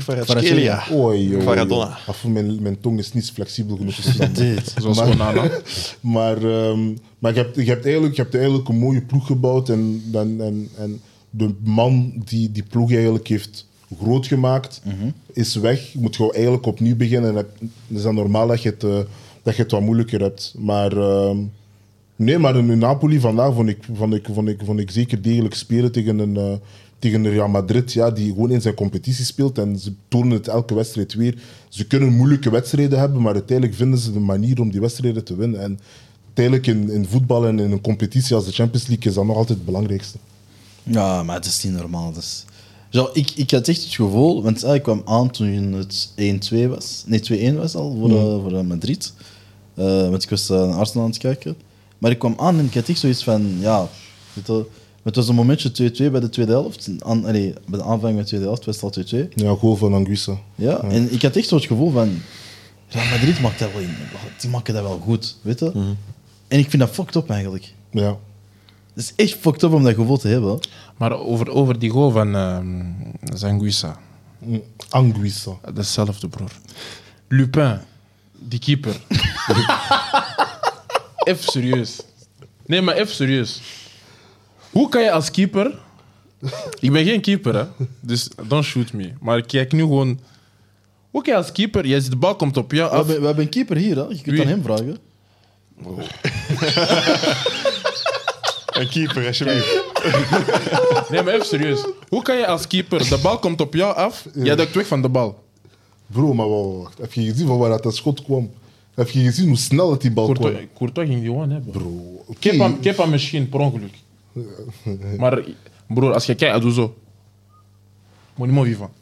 A: Kvaratskhelia.
C: Kvaratskhelia.
D: Oei, oei,
C: Maradona.
D: oei. Af, mijn, mijn tong is niet flexibel genoeg. om te
A: Dit.
B: Zoals
D: Maar-
B: Onana.
D: maar ehm, maar je, hebt, je, hebt eigenlijk, je hebt eigenlijk een mooie ploeg gebouwd. En, en, en, en de man die die ploeg eigenlijk heeft groot gemaakt, is weg. Je moet gewoon eigenlijk opnieuw beginnen. En het is dan normaal dat je het, eh, dat je het wat moeilijker hebt. Maar ehm, nee, maar in Napoli vandaag vond ik, vond ik, vond ik, vond ik zeker degelijk spelen tegen een, eh, tegen een Real Madrid. Ja, die gewoon in zijn competitie speelt. En ze tonen het elke wedstrijd weer. Ze kunnen moeilijke wedstrijden hebben, maar uiteindelijk vinden ze de manier om die wedstrijden te winnen. En uiteindelijk in, in voetbal en in een competitie als de Champions League is dat nog altijd het belangrijkste.
A: Ja, maar het is niet normaal. Dus. Zo, ik, ik had echt het gevoel, want eh, ik kwam aan toen het 1-2 was. Nee, 2-1 was al voor, eh, voor eh, Madrid. Eh, want ik was eh, naar Arsenal aan het kijken. Maar ik kwam aan en ik had echt zoiets van, ja... weet je, het was een momentje 2-2 bij de tweede helft. Aan, allee, bij de aanvang van de tweede helft was het al 2-2.
D: Ja, goal van Anguissa.
A: Ja, en ik had echt zo het gevoel van... Real Madrid maakt dat wel, in- die maken dat wel goed, weet je? En ik vind dat fucked up eigenlijk.
D: Ja.
A: Het is echt fucked up om dat gevoel te hebben.
B: Maar over, over die goal van ehm Zanguissa.
D: Mm, Anguissa.
B: Hetzelfde, broer. Lupin, die keeper. even serieus. Nee, maar even serieus. Hoe kan je als keeper... Ik ben geen keeper, hè. Dus don't shoot me. Maar ik kijk nu gewoon... Hoe kan je als keeper... Jij ziet de bal komt op
A: We
B: jou af.
A: hebben, we hebben een keeper hier, hè? je kunt
B: Wie?
A: aan hem vragen.
C: Een keeper, alsjeblieft.
B: Nee, maar even serieus. Hoe kan je als keeper... De bal komt op jou af. Jij duikt weg van de bal.
D: Bro, maar wacht, wacht, wacht. Heb je gezien van waar dat dat schot kwam? Heb je gezien hoe snel dat die bal kwam?
B: Courtois, Courtois ging die gewoon hebben.
D: Bro, oké.
B: Kepa, Kepa misschien, per ongeluk. Maar broer, als je kijkt, hij doet zo. Monimo vivant.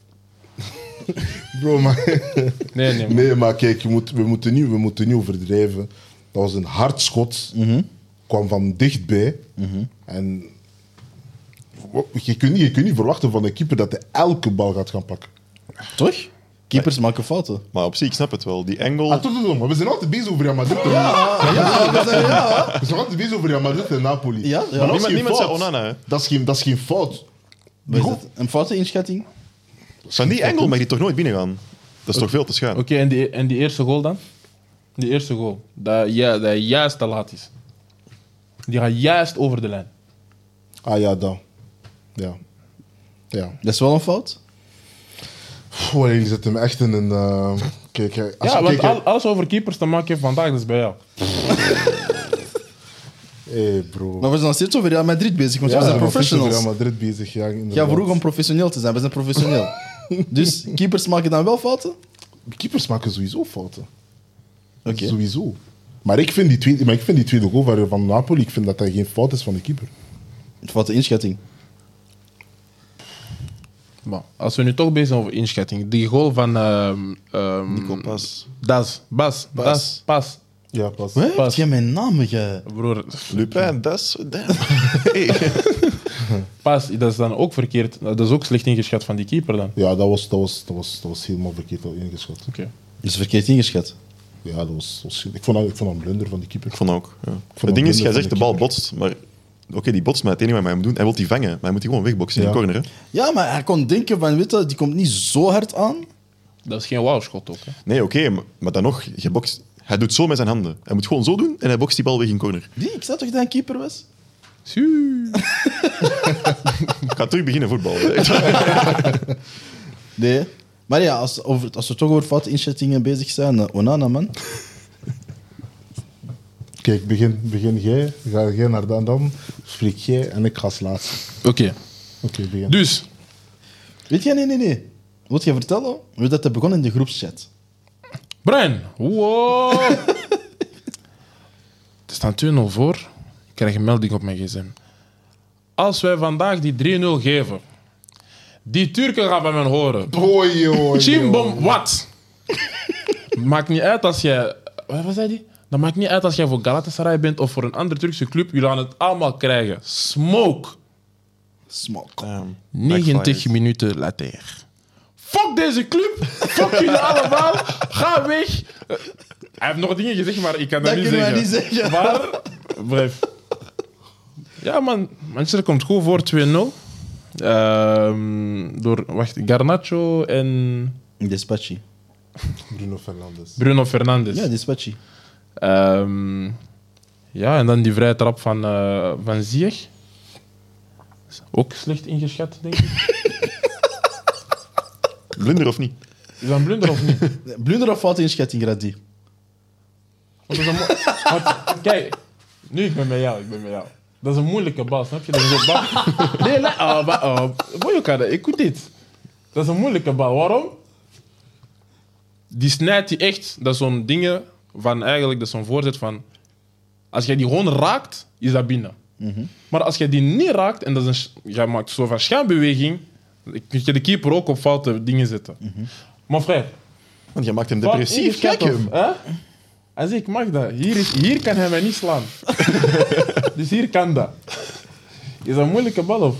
D: Bro, maar...
B: Nee, nee. man.
D: Nee, maar kijk, je moet, we, moeten niet, we moeten niet overdrijven. Dat was een hard schot. Kwam van dichtbij. En wa- je kunt, niet, je kunt niet verwachten van een keeper dat hij elke bal gaat gaan pakken.
A: Toch? Keepers maken fouten.
C: Maar op zich, ik snap het wel. Die angle...
D: Ah, toch, toch, toch, maar we zijn altijd bezig over Real Madrid. We zijn altijd bezig over Real Madrid en Napoli.
A: Ja, ja.
D: Maar dat
A: Niemand-
D: is geen
C: niemand
D: fout.
C: zei Onana, hè?
D: Dat is geen, dat is geen fout.
A: Wat is
D: Goed.
A: dat? Een foute inschatting?
C: Van die angle mag die toch nooit binnengaan? Dat is toch veel te schuin?
B: Oké, en, die, en die eerste goal dan? Die eerste goal. Dat, ja, dat juist te laat is. Die gaat juist over de lijn.
D: Ah ja, dan. Ja. Ja.
A: Dat is wel een fout.
D: Pff, allee, je zet hem echt in een... eh, Kijk, hè, als
B: ja,
D: je
B: want
D: kijkt... hè,
B: al, alles over keepers te maken heeft vandaag, dat is bij jou.
D: hey, bro.
A: Maar we zijn nog steeds over Real Madrid bezig, want Dus we zijn
D: maar het is over
A: professionals.
D: Real Madrid bezig, ja.
A: Ja,
D: inderdaad.
A: vroeg om professioneel te zijn. We zijn professioneel. dus keepers maken dan wel fouten?
D: Keepers maken sowieso fouten.
A: Oké.
D: Sowieso. Maar ik, vind die tweede, maar ik vind die tweede goal van- van Napoli, ik vind dat dat geen fout is van de keeper.
A: Foute inschatting.
B: Maar als we nu toch bezig zijn over inschatting. Die goal van... ehm ehm,
C: Nico Pas.
B: Das. Bas.
A: Bas.
B: Das. Pas.
D: Ja, pas.
A: Hè? Heb
B: Pas.
A: jij mijn naam ge...
B: Broer,
C: Lupin, dat is... damn. Hey.
B: pas. Dat is dan ook verkeerd. Dat is ook slecht ingeschat van die keeper dan.
D: Ja, dat was, dat, was, dat, was, dat was helemaal verkeerd al ingeschat.
B: Oké.
A: Is verkeerd ingeschat.
D: Ja, dat was, dat was- ik, vond dat, ik vond dat een blunder van die keeper.
C: Ik vond ook. Ja.
D: het
C: het ding is,
D: minder
C: jij
D: van de
C: zegt de bal
D: keeper.
C: botst, maar... Oké, die botst, maar het enige wat hij moet doen, hij wil die vangen. Maar hij moet die gewoon wegboksen in
D: Ja.
C: de corner. Hè.
A: Ja, maar hij kon denken van, weet je, die komt niet zo hard aan.
B: Dat is geen wow-schot ook. Hè.
C: Nee, oké, maar, maar dan nog, je bokst, hij doet zo met zijn handen. Hij moet gewoon zo doen en hij bokst die bal weg in corner.
A: Die, ik zei toch dat hij een keeper was?
B: Sjoe.
C: Ik ga terug beginnen voetballen. Echt waar.
A: Nee. Maar ja, als, over, als we toch over foute inschattingen bezig zijn, eh, Onana, man.
D: Kijk, begin, begin jij, ga jij naar dan, dan spreek jij en ik ga als laatste.
B: Oké.
D: Oké, begin.
B: Dus.
A: Weet jij, nee, nee, nee. Wil jij vertellen hoe dat hij begon in de groepschat?
B: Brian. Wow. er staan 2-0 voor. Ik krijg een melding op mijn gsm. Als wij vandaag die 3-0 geven, die Turken gaan van mij horen.
D: Oei, oei, oei.
B: Chimbom, wat? maakt niet uit als jij. Wat wat zei die? Dat maakt niet uit als jij voor Galatasaray bent of voor een andere Turkse club. Jullie gaan het allemaal krijgen. Smoke.
A: Smak.
C: Damn.
B: 90
C: Backfired.
B: minuten later. Fuck deze club. Fuck jullie allemaal. Ga weg. Eh, Hij heeft nog dingen gezegd, maar ik kan dat,
A: Dat
B: niet
A: kunnen
B: zeggen.
A: wij niet zeggen.
B: Maar, bref. Ja, man. Manchester komt goed voor 2-0. Ehm, door, wacht, Garnacho en
A: Despachi.
D: Bruno Fernandes.
B: Bruno Fernandes.
D: Dus-
A: Ja, Despachi.
B: Ehm, ja, en dan die vrije trap van, eh van Ziyech. Ook slecht ingeschat, denk ik.
C: Blunder of niet?
B: Is dat een blunder of niet?
A: Blunder of foute inschatting, Radie?
B: Want dat is een mo- want, kijk, nu ik ben met jou, ik ben met jou. Dat is een moeilijke bal, snap je? Dat is een bal. Nee, la, oh, maar, oh, voel je elkaar dat? Ik dit. Dat is een moeilijke bal. Waarom? Die snijdt die echt. Dat is zo'n dingen van eigenlijk, dat is zo'n voorzet van. Als jij die gewoon raakt, is dat binnen. Maar als jij die niet raakt en dat is een, sch- jij maakt zo van schaambeweging, kun je de keeper ook op foute dingen zetten. Maar frère,
C: Want je maakt hem
B: Wat,
C: depressief.
B: ingeschat
C: Kijk hem.
B: of- hè? Hij zei, ik mag dat. Hier, is, hier kan hij mij niet slaan. dus hier kan dat. Is dat een moeilijke bal of?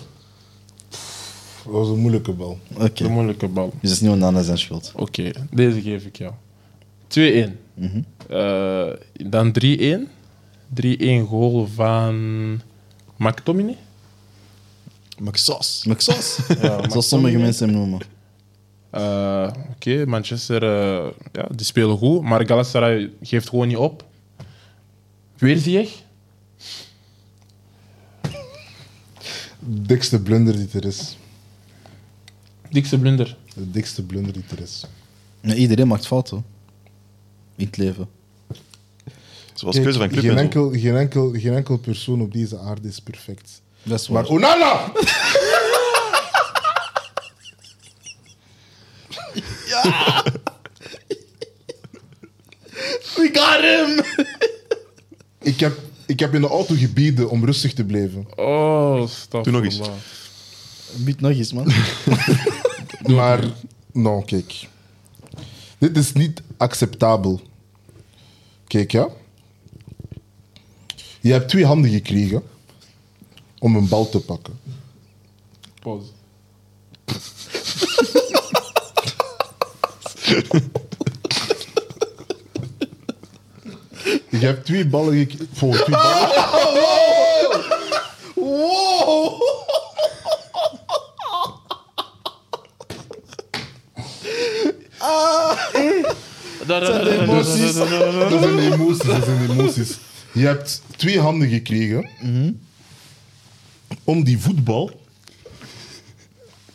D: Dat was een moeilijke bal.
A: Oké.
B: Een moeilijke bal.
A: Dus het is niet Onana zijn schuld.
B: Oké, deze geef ik jou. 2-1.
C: Mhm.
B: Eh, dan 3-1. 3-1 goal van McTominay.
C: Maxas.
A: McSauce. Zoals sommige
B: McTominay.
A: mensen hem noemen.
B: Eh, Oké, Manchester, eh, ja, die spelen goed. Maar Galatasaray geeft gewoon niet op. Weer zie je.
D: Dikste blunder die er is.
B: Dikste blunder.
D: De dikste blunder die er is.
A: Nee, iedereen maakt fouten. In het leven.
C: Zoals
D: Kijk,
C: keuze van club
D: geen,
C: en zo.
D: enkel, geen, enkel, geen enkel persoon op deze aarde is perfect.
A: Dat is
D: Maar Onana!
A: We got him!
D: Ik heb, ik heb in de auto gebeden om rustig te blijven.
B: Oh, stop.
C: Doe nog eens.
A: Bied nog eens, man.
D: Maar, nou, kijk. Dit is niet acceptabel. Kijk, ja. Je hebt twee handen gekregen om een bal te pakken.
B: Pause.
D: Je hebt twee ballen gekregen. Voor twee ballen.
B: Oh,
D: Dat zijn emoties, dat zijn emoties. Je hebt twee handen gekregen om die voetbal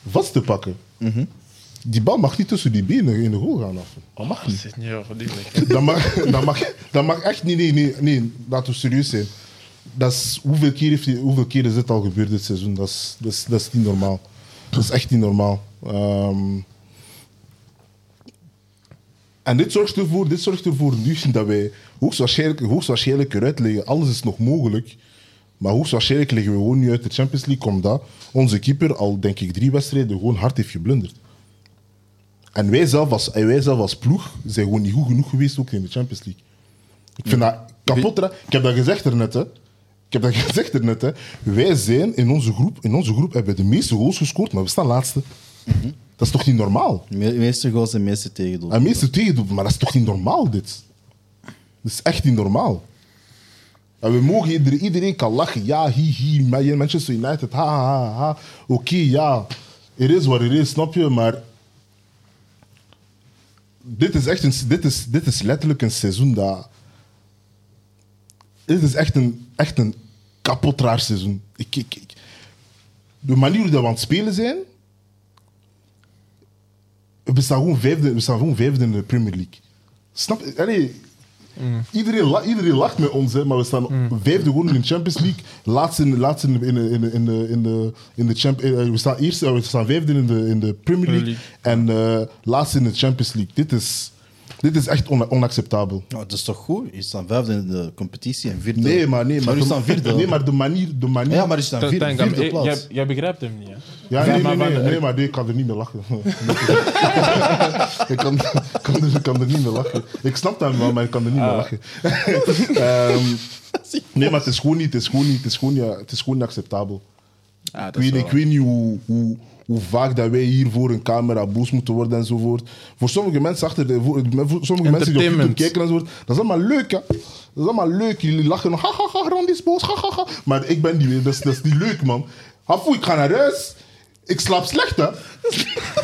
D: vast te pakken. Die bal mag niet tussen die benen in de goal gaan af.
B: Dat mag niet. Zit niet over die plek.
D: Dat mag, dat mag, dat mag echt niet. Nee, nee, nee, laten we serieus zijn. Dat is, hoeveel, keer heeft, hij- hoeveel keer is dit al gebeurd dit seizoen? Dat is, dat is, dat is niet normaal. Dat is echt niet normaal. Ehm, en dit zorgt, ervoor, dit zorgt ervoor nu dat wij hoogstwaarschijnlijk, hoogstwaarschijnlijk eruit liggen. Alles is nog mogelijk. Maar hoogstwaarschijnlijk liggen we gewoon nu uit de Champions League. Omdat onze keeper al, denk ik, drie wedstrijden gewoon hard heeft geblunderd. En wij zelf als, en wij zelf als ploeg zijn gewoon niet goed genoeg geweest ook in de Champions League. Ik vind dat kapot. ra- Ik heb dat gezegd daarnet, hè. Ik heb dat gezegd daarnet, hè. Wij zijn in onze groep, in onze groep hebben we de meeste goals gescoord, maar we staan laatste. Dat is toch niet normaal?
A: De me- meeste goals en de meeste tegendoel.
D: En meeste tegendoepen, maar dat is toch niet normaal, dit? Dat is echt niet normaal. En we mogen iedereen, iedereen kan lachen. Ja, hi, hi, Man- Manchester United, ha, ha, ha, ha. Oké, ja, het is wat het is, snap je? Maar dit is echt een, dit is, dit is letterlijk een seizoen dat. Dit is echt een, echt een kapot raar seizoen. Ik, ik, ik- de manier hoe dat we aan het spelen zijn. We staan gewoon vijfde, we staan gewoon vijfde in de Premier League. Snap je? Allee, Iedereen, la- iedereen lacht met ons, hè, maar we staan vijfde gewoon in de Champions League. Laatste in de, laatste in de, in de, in de, in de, in de, in de champ, eh, we, staan eerste, we staan vijfde in de, in de Premier League. En eh, laatste in de Champions League. Dit is, dit is echt ona- onacceptabel.
A: Nou, dat is toch goed? Je staat vijfde in de competitie en vierde.
D: Nee, maar, nee, maar,
A: je staat vierde.
D: nee, maar de manier. De manier
A: Ja, maar je staat vierde,
B: Tank,
A: vierde
B: eh,
A: plaats.
B: jij- Jij begrijpt hem niet, hè?
D: Ja, nee, nee,
B: maar
D: nee,
B: van-
D: nee, maar nee, ik kan er niet meer lachen. ik kan, kan, er, kan er niet meer lachen. Ik snap dat wel, maar ik kan er niet meer lachen. Ehm, nee, maar het is gewoon niet, het is gewoon niet, het is gewoon, ja, het is gewoon niet acceptabel.
E: Ah,
D: Ik weet, ik weet niet hoe, hoe, hoe vaak dat wij hier voor een camera boos moeten worden enzovoort. Voor sommige mensen achter de, voor, voor sommige mensen die op YouTube
B: Entertainment.
D: kijken enzovoort, dat is allemaal leuk, hè? Dat is allemaal leuk. Jullie lachen, ha ha ha, Randy is boos, ha ha ha. Maar ik ben die, dat is, dat is niet leuk, man. Hafoe, ik ga naar huis. Ik slaap slecht, hè?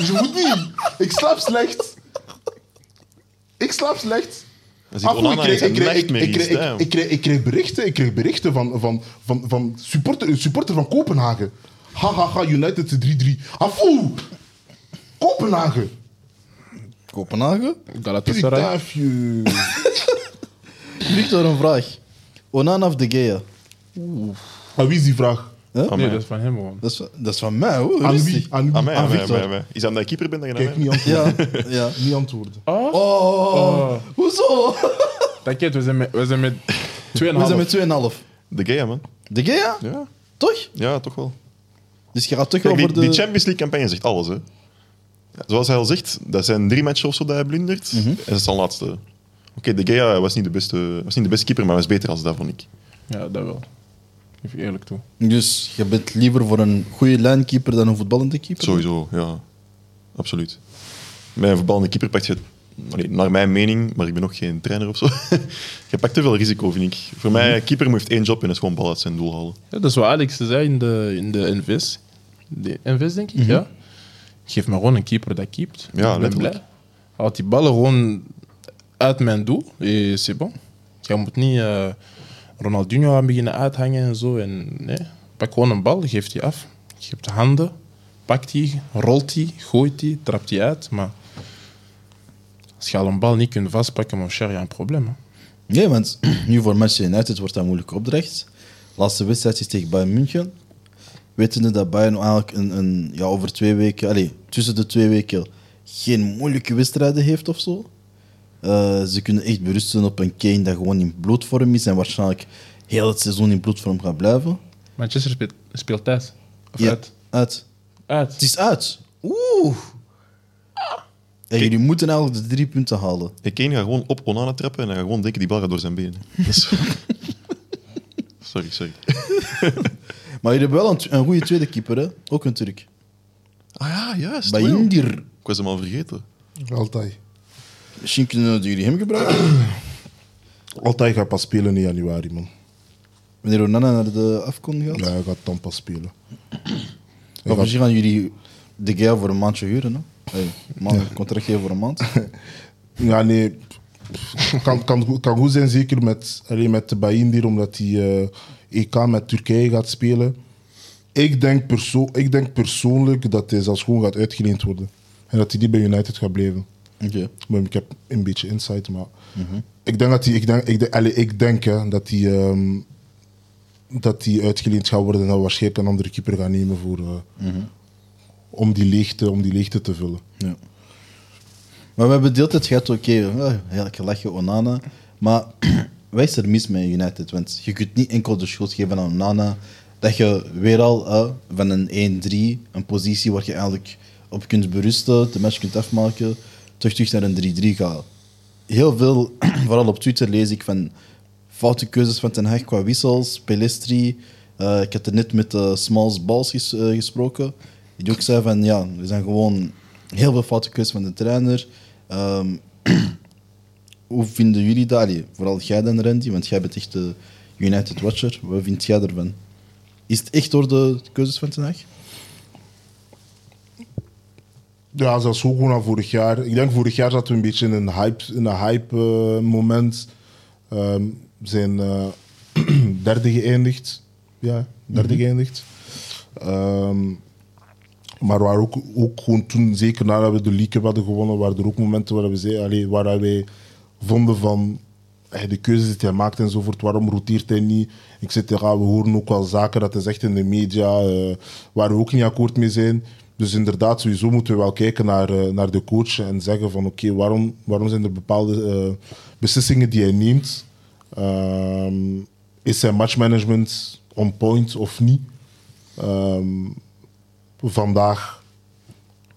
D: Je moet niet. Ik slaap slecht. Ik slaap slecht.
C: Dan ziet
D: Ah, broer,
C: Onana
D: ik kreeg-
C: in
D: ik
C: zijn
D: kreeg- ik-
C: echt meer
D: ik kreeg-
C: iets,
D: ik-
C: damn.
D: ik kreeg- Ik kreeg berichten, ik kreeg berichten van, van, van, van supporter, een supporter van Kopenhagen. Hahaha, ha, ha, United 3-3. Afoe! Kopenhagen!
A: Kopenhagen?
B: Galatasaray.
D: Purikdaafje.
A: Victor, een vraag. Onana of De Gea?
D: Aan wie is die vraag?
C: Aan
B: Nee,
C: mij.
B: dat is van hem gewoon.
A: Dat is, dat is van mij, hoor.
D: Aan
A: Rustig.
D: wie? Aan wie?
C: Aan mij, aan
A: aan
C: mij,
A: Ah,
C: aan
A: Victor.
C: mij, aan mij. Is dat omdat ik keeper ben? Dan je
D: Kijk,
C: aan mij?
D: niet antwoorden.
A: Ja, ja.
D: Niet antwoorden.
A: Oh,
B: Oh.
A: hoezo?
B: T'inquiète, we zijn met, we zijn met 2,5.
A: We zijn met 2,5.
C: De Gea, man.
A: De Gea?
C: Ja.
A: Toch?
C: ja, toch wel.
A: Dus je gaat toch wel
C: Kijk, die,
A: voor de...
C: die Champions League-campagne zegt alles. Hè. Ja, Zoals hij al zegt, dat zijn drie matchen of zo dat hij blundert.
A: Mhm.
C: En dat is zijn laatste. Oké, De Gea was niet, de beste, was niet de beste keeper, maar was beter als dat, vond ik.
B: Ja, dat wel. Even eerlijk toe.
A: Dus je bent liever voor een goede lijnkeeper dan een voetballende keeper?
C: Sowieso, ja. Absoluut. Met een voetballende keeper pak je, het- allee, naar mijn mening, maar ik ben nog geen trainer of zo, je pakt te veel risico, vind ik. Voor
A: Mhm.
C: mij, keeper heeft één job en is gewoon bal uit zijn doel halen.
B: Ja, dat is wat Alex zei in de, in de NVS. De NVS, denk ik, ja. Geef me gewoon een keeper dat keept.
C: Ja,
B: ik ben
C: letterlijk.
B: blij. Haalt die ballen gewoon uit mijn doel. En c'est bon. Jij moet niet eh, Ronaldinho aan beginnen uithangen en zo. En, nee. Pak gewoon een bal, geef die af. Geef de handen, pakt die, rolt die, gooit die, trapt die uit. Maar als je al een bal niet kunt vastpakken, mon cher, je hebt een probleem. Hè.
A: Nee, want nu voor Manchester United wordt dat een moeilijke opdracht. Laatste wedstrijd is tegen Bayern München. Wetende dat Bayern nou eigenlijk een, een, ja, over twee weken, allez, tussen de twee weken, geen moeilijke wedstrijden heeft of zo. Eh, ze kunnen echt berusten op een Kane dat gewoon in bloedvorm is en waarschijnlijk heel het seizoen in bloedvorm gaat blijven.
B: Manchester speelt, speelt thuis. Of
A: Ja,
B: uit.
A: uit.
B: Uit.
A: Het is uit. Oeh. En jullie moeten eigenlijk de drie punten halen.
C: Ik één ga gewoon op Onana trappen en hij gaat gewoon denken die bal gaat door zijn benen. Dat is- sorry, sorry.
A: Maar jullie hebben wel een, een goede tweede keeper, hè? Ook een Turk.
C: Ah ja, juist. wel.
A: Bayindir.
C: Ik was hem al vergeten.
D: Altijd.
A: Misschien kunnen jullie hem gebruiken.
D: Altijd gaat pas spelen in januari, man.
A: Wanneer Onana naar de afkon gaat.
D: Ja, hij gaat dan pas spelen.
A: Of misschien gaan jullie de guy voor een maandje huren, hè? Hey, man, contract geven voor een maand.
D: Ja, nee. Pff, Kan, kan, goed- kan goed zijn, zeker met, alleen met de Bayindir, omdat hij eh, EK met Turkije gaat spelen. Ik denk, perso ik denk persoonlijk dat hij zelfs gewoon gaat uitgeleend worden. En dat hij die bij United gaat blijven.
A: Oké.
D: Maar ik heb een beetje insight, maar... Ik denk dat hij... Ik denk, ik denk, allee, ik denk hè, dat hij... ehm, dat hij uitgeleend gaat worden en dat we waarschijnlijk een andere keeper gaat nemen voor... eh, om, die leegte, om die leegte te vullen.
A: Ja. Maar we hebben de hele tijd gehad, oké, eh, ja, heel gelachen, Onana. Maar wat is er mis met United? Want je kunt niet enkel de schuld geven aan Onana. Dat je weer al eh, van een 1-3, een positie waar je eigenlijk op kunt berusten, de match kunt afmaken, toch terug naar een 3-3 gaat. Heel veel, vooral op Twitter, lees ik van foute keuzes van Ten Hag qua wissels, Pelestri. Eh, ik had er net met eh, Smalls Bals ges- eh, gesproken. Die ook zei van ja, er zijn gewoon heel veel foute keuzes van de trainer. Ehm, hoe vinden jullie dat? Allee, Vooral jij dan, Randy, want jij bent echt de United Watcher. Wat vind jij ervan? Is het echt door de keuzes van Ten Hag?
D: Ja, zelfs ook gewoon aan vorig jaar. Ik denk vorig jaar zaten we een beetje in een hype, in een hype eh, moment. Ehm, we zijn eh, derde geëindigd. Ja, derde geëindigd. Ehm, maar waar ook, ook gewoon toen, zeker nadat we de League Cup hadden gewonnen, waren er ook momenten waar we zeiden, allee, waar wij vonden van hey, de keuzes die hij maakt enzovoort, waarom roteert hij niet? Ik zit er, ja, we horen ook wel zaken, dat is echt in de media, eh, waar we ook niet akkoord mee zijn. Dus inderdaad, sowieso moeten we wel kijken naar, eh, naar de coach en zeggen van oké, waarom, waarom zijn er bepaalde eh, beslissingen die hij neemt? Ehm, is zijn matchmanagement on point of niet? Ehm, vandaag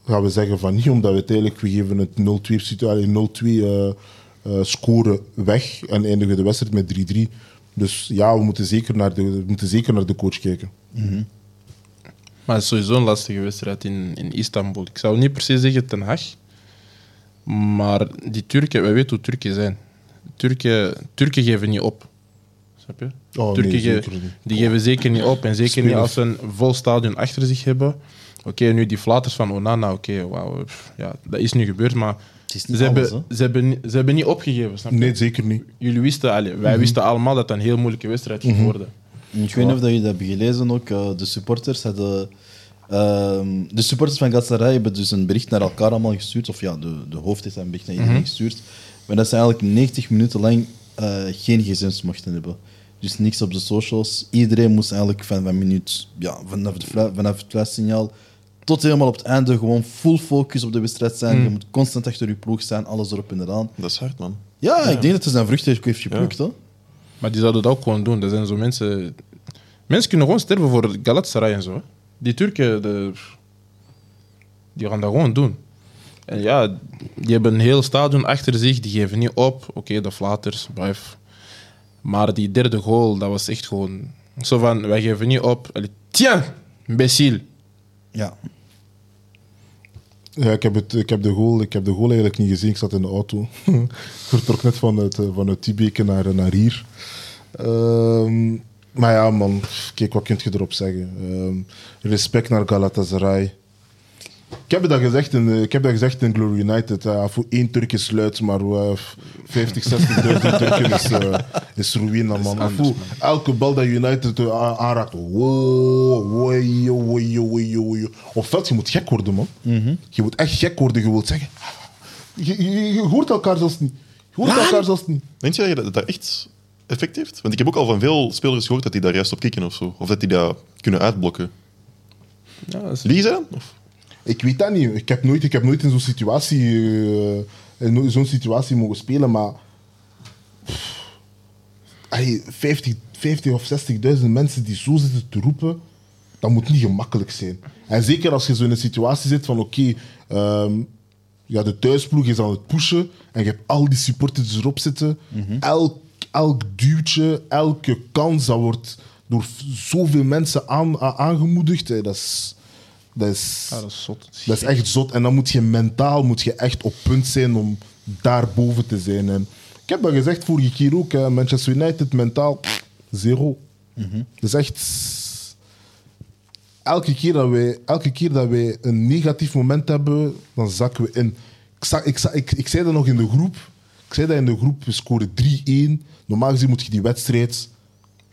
D: gaan we zeggen van niet, omdat we uiteindelijk we geven het 0-2 situatie- 0-2 eh, eh, scoren weg en eindigen de wedstrijd met 3-3. Dus ja, we moeten zeker naar de, we moeten zeker naar de coach kijken.
B: Maar het is sowieso een lastige wedstrijd in, in Istanbul. Ik zou niet per se zeggen Ten Haag. Maar die Turken, wij weten hoe Turken zijn. Turken, Turken geven niet op. Snap je?
D: Oh,
B: Turken
D: nee,
B: ge-
D: zeker niet.
B: die geven zeker niet op. En zeker niet
D: Spelers.
B: als ze een vol stadion achter zich hebben. Oké, nu die flaters van Onana, oké, wauw. pff, Ja, dat is nu gebeurd, maar
A: Het is
B: ze,
A: niet alles,
B: hebben, ze, hebben, ni- ze hebben niet opgegeven. Snap je?
D: Nee, Mhm. zeker niet.
B: Jullie wisten, allee, wij wisten allemaal dat het een heel moeilijke wedstrijd
D: Mhm.
B: ging worden.
A: Ik weet niet of dat jullie dat hebben gelezen ook. eh, de supporters hadden. ehm, de supporters van Galatasaray hebben dus een bericht naar elkaar allemaal gestuurd. Of ja, de, de hoofd heeft een bericht naar iedereen gestuurd. Maar dat ze eigenlijk 90 minuten lang eh, geen gezins mochten hebben. Dus niks op de socials. Iedereen moest eigenlijk van, van minuut, ja, vanaf, de, fla- vanaf het fluitsignaal tot helemaal op het einde gewoon full focus op de wedstrijd zijn. Je moet constant achter je ploeg staan, alles erop en eraan.
C: Dat is hard, man.
A: Ja, ik denk dat het zijn vruchten heeft geplukt. hoor.
B: Maar die zouden dat ook gewoon doen. Er zijn zo mensen. Mensen kunnen gewoon sterven voor Galatasaray en zo. hè. Die Turken, de- die gaan dat gewoon doen. En ja, die hebben een heel stadion achter zich, die geven niet op. Oké, de flaters, blijf. Maar die derde goal, dat was echt gewoon. Zo van: wij geven niet op. Allee, Tiens, imbécile.
A: Ja.
D: Ja, ik, heb het, ik, heb de goal, ik heb de goal eigenlijk niet gezien. Ik zat in de auto. ik vertrok net vanuit, eh, vanuit Tibeke naar, naar hier. Ehm, maar ja, man. Kijk, wat kun je erop zeggen? Ehm, respect naar Galatasaray. Ik heb dat gezegd in, eh, ik heb dat gezegd in Glory United. eh, voor één Turk is sluit, maar eh, 50, 60.000 Turken is, eh is ruïne, man. En voor elke bal dat United eh, a- aanraakt. Wow, woeie, woeie, woeie, woeie. Op veld, je moet gek worden, man. Je moet echt gek worden. Je wilt zeggen... "Ah, Je, je- je hoort elkaar zelfs niet. Je hoort elkaar zelfs niet.
C: Denk je dat dat dat echt effect heeft? Want ik heb ook al van veel spelers gehoord dat die daar juist op kicken of zo. Of dat die dat kunnen uitblokken.
B: Ja, dat is-
C: Liegen zij dan? Of?
D: Ik weet dat niet. Ik heb nooit, ik heb nooit in zo'n situatie, eh, in no- zo'n situatie mogen spelen, maar pff, allee, 50, 50 of 60.000 mensen die zo zitten te roepen, dat moet niet gemakkelijk zijn. En zeker als je zo in een situatie zit van oké, ehm, Ja, de thuisploeg is aan het pushen en je hebt al die supporters erop zitten.
B: Mhm.
D: Elk, elk duwtje, elke kans, dat wordt door f- zoveel mensen aan, a- aangemoedigd. hè. Dat is, dat, is,
B: Ja, dat is zot.
D: dat is echt zot. En dan moet je mentaal moet je echt op punt zijn om daarboven te zijn. En ik heb dat gezegd vorige keer ook. hè, Manchester United mentaal pff, zero. Dat is echt elke keer dat wij, elke keer dat wij een negatief moment hebben, dan zakken we in. Ik, za- ik, za- ik, ik zei dat nog in de groep. Ik zei dat in de groep, we scoren 3-1. Normaal gezien moet je die wedstrijd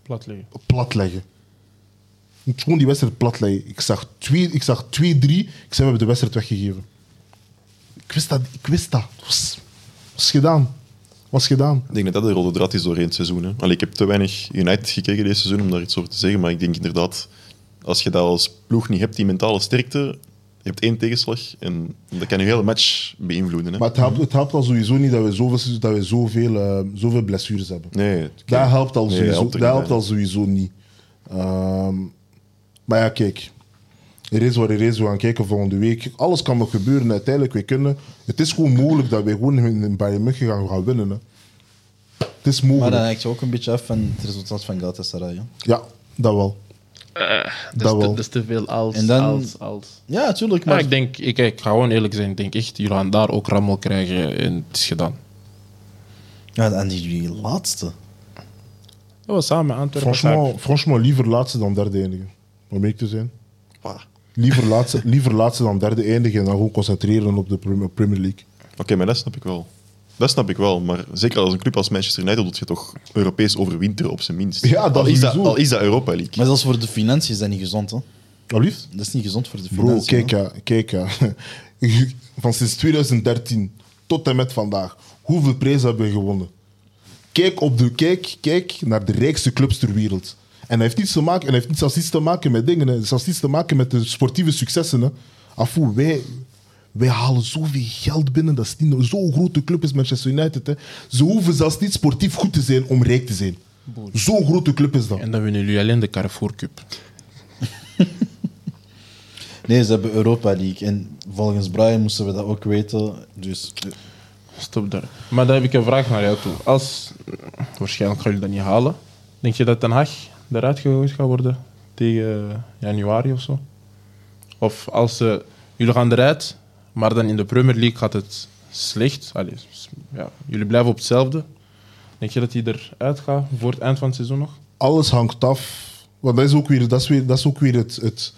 B: Plat liggen.
D: plat leggen. Je moet gewoon die wedstrijd plat leggen. Ik zag 2-3. Ik, zag 2-3. ik zei, we hebben de wedstrijd weggegeven. Ik wist dat. Ik wist dat. Het was, was gedaan. was gedaan.
C: Ik denk dat dat de rode draad is doorheen het seizoen. Hè. Allee, ik heb te weinig United gekeken deze seizoen om daar iets over te zeggen. Maar ik denk inderdaad, als je dat als ploeg niet hebt, die mentale sterkte, je hebt één tegenslag en dat kan je hele match beïnvloeden. Hè.
D: Maar het helpt, het helpt al sowieso niet dat we zoveel, dat we zoveel, eh, zoveel blessures hebben.
C: nee, het-
D: Dat helpt al
C: Nee,
D: sowieso,
C: helpt er
D: dat
C: niet
D: helpt
C: bij.
D: al sowieso niet. Ehm, maar ja, kijk. Er is wat er is. We gaan kijken volgende week. Alles kan nog gebeuren. Uiteindelijk, we kunnen... Het is gewoon mogelijk dat we gewoon in in Bayern München gaan, gaan winnen. Hè. Het
A: Maar
D: is
A: eh,
D: mogelijk.
A: dat hangt je ook een beetje af van het resultaat van Galatasaray. hè.
D: Ja, dat wel.
E: Dat is, te,
D: wel.
E: dat is te veel als,
A: En dan-
E: als, als.
A: Ja, natuurlijk.
B: Maar
A: Maar
B: ik denk, ik, ik ga gewoon eerlijk zijn, ik denk echt, jullie gaan daar ook rammel krijgen en het is gedaan.
A: ja, en die laatste.
B: Dat was samen met Antwerpen.
D: Franchement, franchement, liever laatste dan derde eindigen. Om eerlijk te zijn.
C: Bah.
D: Liever laatste, liever laatste dan derde eindigen en dan gewoon concentreren op de Prem- Premier League.
C: Oké, maar dat snap ik wel. Dat snap ik wel, maar zeker als een club als Manchester United doet je toch Europees overwinteren op zijn minst.
D: Ja, dat
C: al is dat,
D: sowieso.
C: al is dat Europa League.
A: Maar zelfs voor de financiën is dat niet gezond. Hè.
D: Allief?
A: Dat is niet gezond voor de
D: Bro,
A: financiën.
D: kijk
A: hè.
D: ja, kijk ja. Van sinds 2013 tot en met vandaag. Hoeveel prijzen hebben we gewonnen? Kijk, op de, kijk, kijk naar de rijkste clubs ter wereld. En hij heeft niets te maken, en hij heeft niets als iets te maken met dingen. hè. Het heeft niets te maken met de sportieve successen. Hè. Afoe, wij, wij halen zoveel geld binnen. Dat is niet no- zo'n grote club is Manchester United. Hè. Ze hoeven zelfs niet sportief goed te zijn om rijk te zijn. Zo'n grote club is dat.
B: En dan winnen jullie alleen de Carrefour Cup.
A: Nee, ze hebben Europa League. En volgens Brian moesten we dat ook weten. Dus eh,
B: Stop daar. Maar dan heb ik een vraag naar jou toe. Als, waarschijnlijk gaan jullie dat niet halen. Denk je dat Den Haag eruit gegooid gaat worden tegen eh, januari of zo? Of als ze, jullie gaan eruit, maar dan in de Premier League gaat het slecht. Allee, s- ja, jullie blijven op hetzelfde. Denk je dat die eruit gaat voor het eind van het seizoen nog?
D: alles hangt af. Want dat is ook weer, dat is weer, dat is ook weer het, het,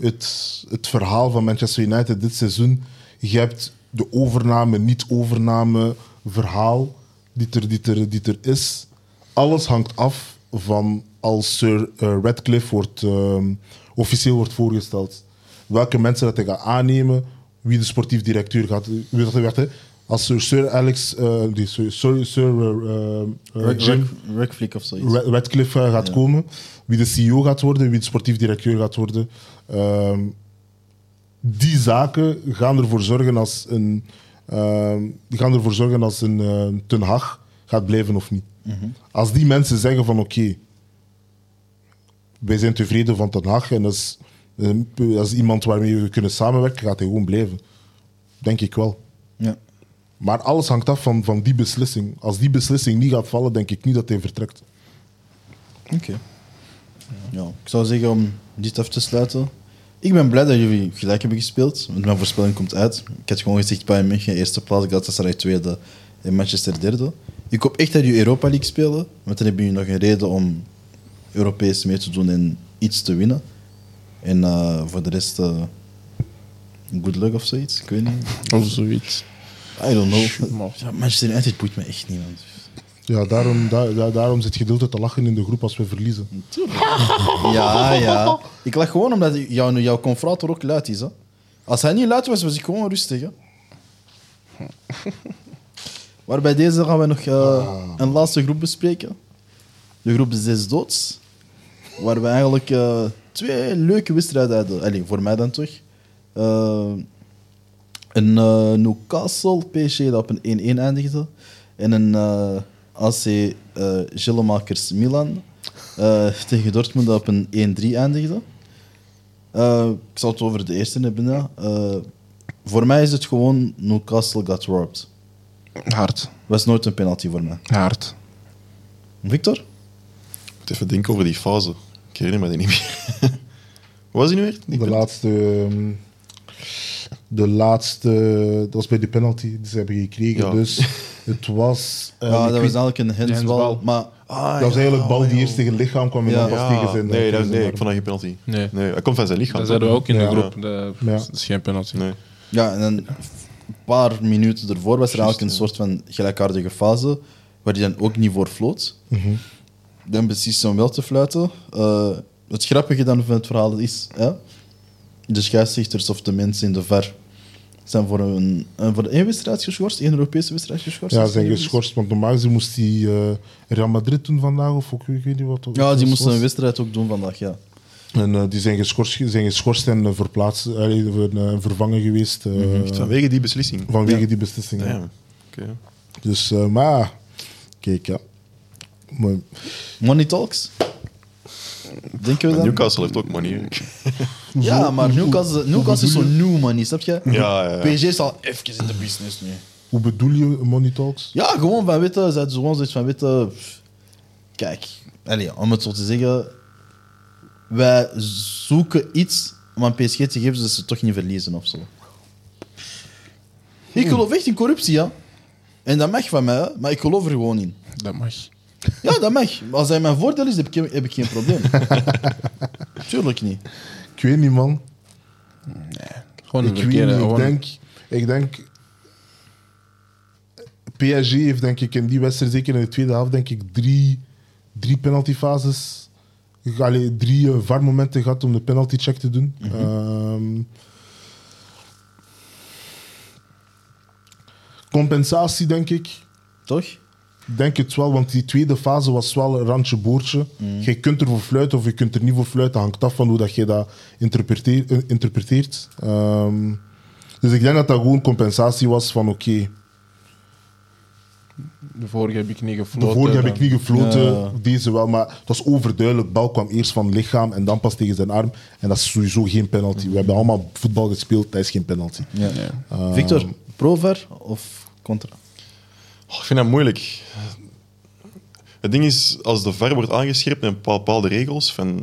D: het, het verhaal van Manchester United dit seizoen. Je hebt de overname, niet-overname verhaal die er, die, er, die er is. Alles hangt af van als Sir eh, Radcliffe wordt, ehm, officieel wordt voorgesteld. Welke mensen dat hij gaat aannemen, wie de sportief directeur gaat. Wie dat hij werd, hè? Als Sir, Sir Alex, eh, die, Sir, Sir, Sir eh, eh,
A: Rick-
D: Jim-
A: Rick- Rick Flick of zoiets.
D: Ra- Radcliffe eh, gaat komen, wie de CEO gaat worden, wie de sportief directeur gaat worden. Ehm, die zaken gaan ervoor zorgen als een, ehm, die gaan ervoor zorgen als een eh, Ten Hag gaat blijven of niet. Als die mensen zeggen van oké, wij zijn tevreden van Ten Hag en dat is, een- dat is iemand waarmee we kunnen samenwerken, gaat hij gewoon blijven. Denk ik wel.
A: Ja.
D: Maar alles hangt af van, van die beslissing. Als die beslissing niet gaat vallen, denk ik niet dat hij vertrekt.
A: Oké. Ja, ik zou zeggen om dit af te sluiten. Ik ben blij dat jullie gelijk hebben gespeeld, want mijn voorspelling komt uit. Ik had gewoon gezegd Bayern München eerste plaats, Galatasaray tweede en Manchester derde. Ik hoop echt dat jullie Europa League spelen, want dan hebben jullie nog een reden om Europees mee te doen en iets te winnen. En eh, voor de rest, eh, good luck of zoiets, ik weet niet.
B: Of zoiets.
A: I don't
B: Shoot,
A: know.
B: man.
A: Ja, Manchester United boeit me echt niet, man.
D: Ja, daarom, da- da- daarom zit je de hele tijd te lachen in de groep als we verliezen.
A: Ja, ja. Ik lach gewoon omdat jouw, jouw confrater ook luid is. Hè. Als hij niet luid was, was ik gewoon rustig. Hè. Maar bij deze gaan we nog eh, een laatste groep bespreken. De groep de zes doods. Waar we eigenlijk eh, twee leuke wedstrijden hadden. Allee, voor mij dan toch. Eh, een eh, Newcastle PSG dat op een 1-1 eindigde. En een eh, AC eh Gillemakers Milan eh, tegen Dortmund dat op een 1-3 eindigde. Eh, ik zal het over de eerste hebben. Ja. Eh, Voor mij is het gewoon Newcastle got robbed.
B: Hard.
A: Was nooit een penalty voor mij.
B: Hard.
A: Victor?
C: moet even denken over die fase. Ik herinner me die niet meer. Wat was die nu weer? Die
D: De
C: punt?
D: laatste, ehm, de laatste, dat was bij de penalty die ze hebben gekregen.
C: Ja.
D: Dus het was. ehm,
A: ja,
D: ik
A: dat was
D: weet-
A: eigenlijk een handsbal.
B: handsbal.
A: Maar
C: Ah,
D: dat was
C: ja,
D: eigenlijk bal die
C: ja.
D: eerst tegen het lichaam kwam en
A: Ja.
D: dan pas
C: Ja,
D: tegen zijn.
C: nee, dat,
D: tegen zijn
C: nee, ik
D: arm.
C: vond dat geen penalty.
B: Nee.
C: Nee, hij komt van zijn lichaam.
B: Dat zeiden we ook in de
D: Ja.
B: groep. De,
D: Ja.
B: Dat is geen penalty.
C: Nee.
A: ja, en dan een paar minuten ervoor was er eigenlijk een soort van gelijkaardige fase. Waar hij dan ook niet voor floot.
D: Mhm.
A: Dan beslist hij om wel te fluiten. Eh, het grappige dan van het verhaal is... Hè, de scheidsrechters of de mensen in de VAR zijn voor een, eh, voor één wedstrijd geschorst, één Europese wedstrijd geschorst.
D: Ja,
A: als
D: ze
A: ik
D: zijn
A: me niet vergis.
D: geschorst, want normaal gezien moest die eh, Real Madrid doen vandaag of ook, ik weet niet wat.
A: Ja, die moesten
D: was.
A: een wedstrijd ook doen vandaag, ja.
D: En eh, die zijn geschorst, zijn geschorst en eh, verplaatst, eh, ver- eh, vervangen geweest eh,
C: Mhm, Echt vanwege die beslissing.
D: vanwege die beslissingen.
C: Ja. Oké.
D: Dus, eh, maar, kijk, ja. Maar,
A: Money talks. Denken we dat?
C: Maar Newcastle heeft ook manier.
A: Ja, maar Newcastle, Newcastle is zo new money, snap je?
C: Ja, ja, ja.
A: PSG is al even in de business nu.
D: hoe bedoel je money talks?
A: Ja, gewoon van witte, ze hadden gewoon zoiets van witte. pff, Kijk, allee, om het zo te zeggen, wij zoeken iets om aan PSG te geven zodat ze toch niet verliezen of zo. Ik geloof echt in corruptie, ja. En dat mag van mij, hè, maar ik geloof er gewoon in.
B: Dat mag.
A: Ja, dat mag. Als hij mijn voordeel is, heb ik, heb ik geen probleem. Tuurlijk niet.
D: Ik weet niet, man.
B: Gewoon een
D: Ik, weet niet,
B: verkeerde.
D: ik,
B: Gewoon,
D: denk, ik denk. PSG heeft, denk ik, in die wedstrijd, zeker in de tweede helft, denk ik, drie, drie penaltyfases. Allee, drie eh, VAR-momenten gehad om de penalty-check te doen. Ehm, compensatie, denk ik.
A: Toch?
D: Denk het wel, want die tweede fase was wel een randje boordje. Je kunt ervoor fluiten of je kunt er niet voor fluiten. Hangt af van hoe dat je dat interpreteer- eh, interpreteert. Ehm, dus ik denk dat dat gewoon compensatie was van oké,
B: de vorige heb ik niet gefloten.
D: de vorige heb ik niet gefloten,
A: Ja.
D: deze wel. Maar het was overduidelijk, bal kwam eerst van het lichaam en dan pas tegen zijn arm. En dat is sowieso geen penalty. We hebben allemaal voetbal gespeeld, dat is geen penalty.
A: Ja. Ehm, Victor, prover of contra?
C: Oh, ik vind dat moeilijk. Het ding is, als de VAR wordt aangescherpt met bepaalde regels, van,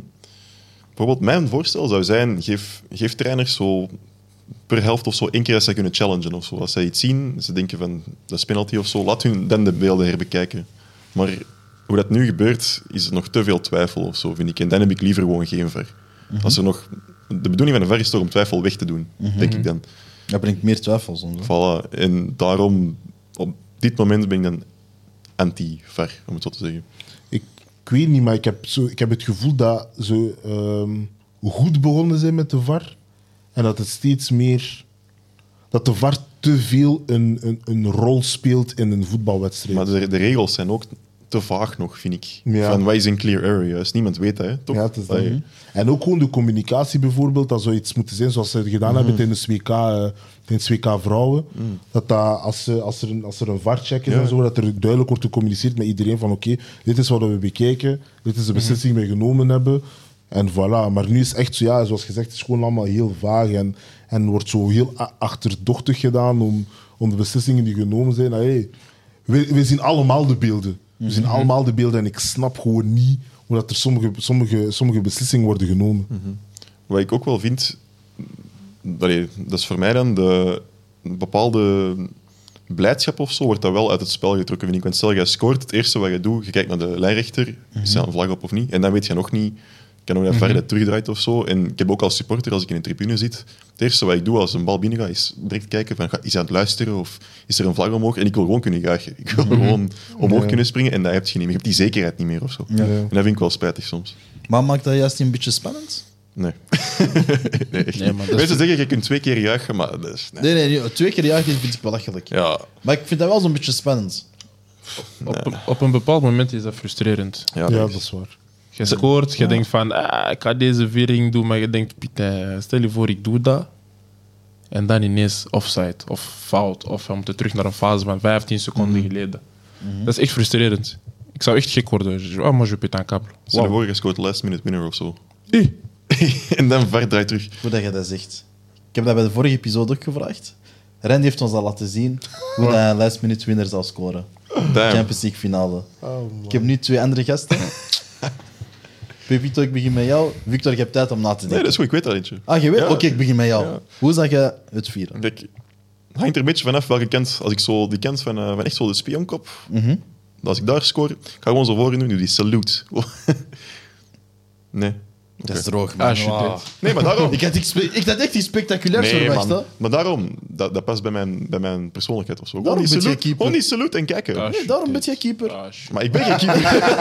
C: bijvoorbeeld mijn voorstel zou zijn, geef, geef trainers zo per helft of zo één keer dat zij kunnen challengen of zo. Als zij iets zien, ze denken van, dat is penalty of zo, laat hun dan de beelden herbekijken. Maar hoe dat nu gebeurt, is er nog te veel twijfel of zo, vind ik. En dan heb ik liever gewoon geen VAR. Als er nog... De bedoeling van de VAR is toch om twijfel weg te doen, denk ik dan.
A: Dat brengt meer twijfel soms. hè.
C: Voilà. En daarom, op dit moment ben ik dan anti-ver, om het zo te zeggen.
D: ik, ik weet niet, maar ik heb, zo, ik heb het gevoel dat ze ehm, goed begonnen zijn met de VAR. En dat het steeds meer. Dat de VAR te veel een, een, een rol speelt in een voetbalwedstrijd.
C: Maar de, de regels zijn ook te vaag nog, vind ik.
D: Ja.
C: Van, wat is een clear area? Dus niemand weet dat, hè? toch?
D: Ja, het is dat.
C: Allee,
D: En ook gewoon de communicatie bijvoorbeeld, dat zou iets moeten zijn zoals ze het gedaan
C: Mhm.
D: hebben tijdens WK, eh, tijdens WK vrouwen. Dat, dat als, ze- als, er een, als er een VAR-check is
C: Ja.
D: en zo, dat er duidelijk wordt gecommuniceerd met iedereen van oké, dit is wat we bekijken, dit is de
C: Mhm.
D: beslissing die we genomen hebben. En voilà, maar nu is echt zo, ja, zoals gezegd, het is gewoon allemaal heel vaag en, en wordt zo heel a- achterdochtig gedaan om, om de beslissingen die genomen zijn. Nou, hey, we, we zien allemaal de beelden. We zien allemaal de beelden en ik snap gewoon niet hoe dat er sommige, sommige, sommige beslissingen worden genomen.
C: Wat ik ook wel vind, allee, dat is voor mij dan de een bepaalde blijdschap of zo, wordt dat wel uit het spel getrokken, vind ik. Want stel, jij scoort, het eerste wat je doet, je kijkt naar de lijnrechter, is
D: Mhm.
C: er een vlag op of niet, en dan weet je nog niet, kan nog dat verder terugdraait of zo. En ik heb ook als supporter, als ik in de tribune zit, het eerste wat ik doe als een bal binnen gaat, is direct kijken van, ga- is hij aan het luisteren of is er een vlag omhoog? En ik wil gewoon kunnen juichen. Ik wil gewoon omhoog
D: Mhm. Ja.
C: kunnen springen en dat heb je niet meer. Je hebt die zekerheid niet meer of zo.
D: Ja.
C: En dat vind ik wel spijtig soms.
A: Maar maakt dat juist niet een beetje spannend?
C: Nee. nee, echt
B: Nee,
C: niet.
B: maar dat is-
C: Mensen zeggen, je kunt twee keer juichen, maar dat is... nee.
A: Nee, nee, nee, twee keer jagen vind ik belachelijk.
C: Ja,
A: Maar ik vind dat wel zo'n beetje spannend.
B: Op, een- op een bepaald moment is dat frustrerend.
C: ja,
D: ja,
C: dat
D: dat
C: is-
D: is waar.
B: Je scoort, je denkt van, ah, ik ga deze viering doen, maar je denkt, putain, stel je voor, ik doe dat. En dan ineens offside of fout, of we moeten terug naar een fase van 15 seconden geleden. Dat is echt frustrerend. Ik zou echt gek worden. Je- Oh, maar je putain kabel.
C: Stel je
B: Wow.
C: voor, je scoort last minute winner of zo.
B: Ih.
C: en dan ver draait terug.
A: Hoe dat je dat zegt. Ik heb dat bij de vorige episode ook gevraagd. Randy heeft ons al laten zien hoe hij een last minute winner zou scoren.
C: Oh. Damn.
A: Champions League finale. ik heb nu twee andere gasten. Pepito, ik begin met jou. Victor, je hebt tijd om na te denken.
C: Nee, dat is goed. Ik weet dat eentje.
A: Ah, je weet?
C: Ja.
A: Oké, ik begin met jou.
C: Ja.
A: Hoe zag je het vieren?
C: Kijk, het hangt er een beetje vanaf welke kant. Als ik zo die kant van, eh, van echt zo de spionkop,
A: Mhm.
C: als ik daar scoor, ik ga gewoon zo voor doen, doe die salute. nee.
A: Dat is droog,
B: Ah,
A: man.
B: Alsjeblieft.
C: Nee, maar daarom.
A: Ik had, iets spe- ik had echt iets spectaculairs
C: nee,
A: verwacht.
C: man.
A: hè.
C: Maar daarom, dat, dat past bij mijn, bij mijn persoonlijkheid of zo. Gewoon
A: Daarom
C: die,
A: ben jij
C: salute,
A: keeper.
C: gewoon die salute en kijken.
A: Nee, daarom ben jij keeper.
C: Ah.
B: Alsjeblieft.
C: Maar ik ben geen keeper.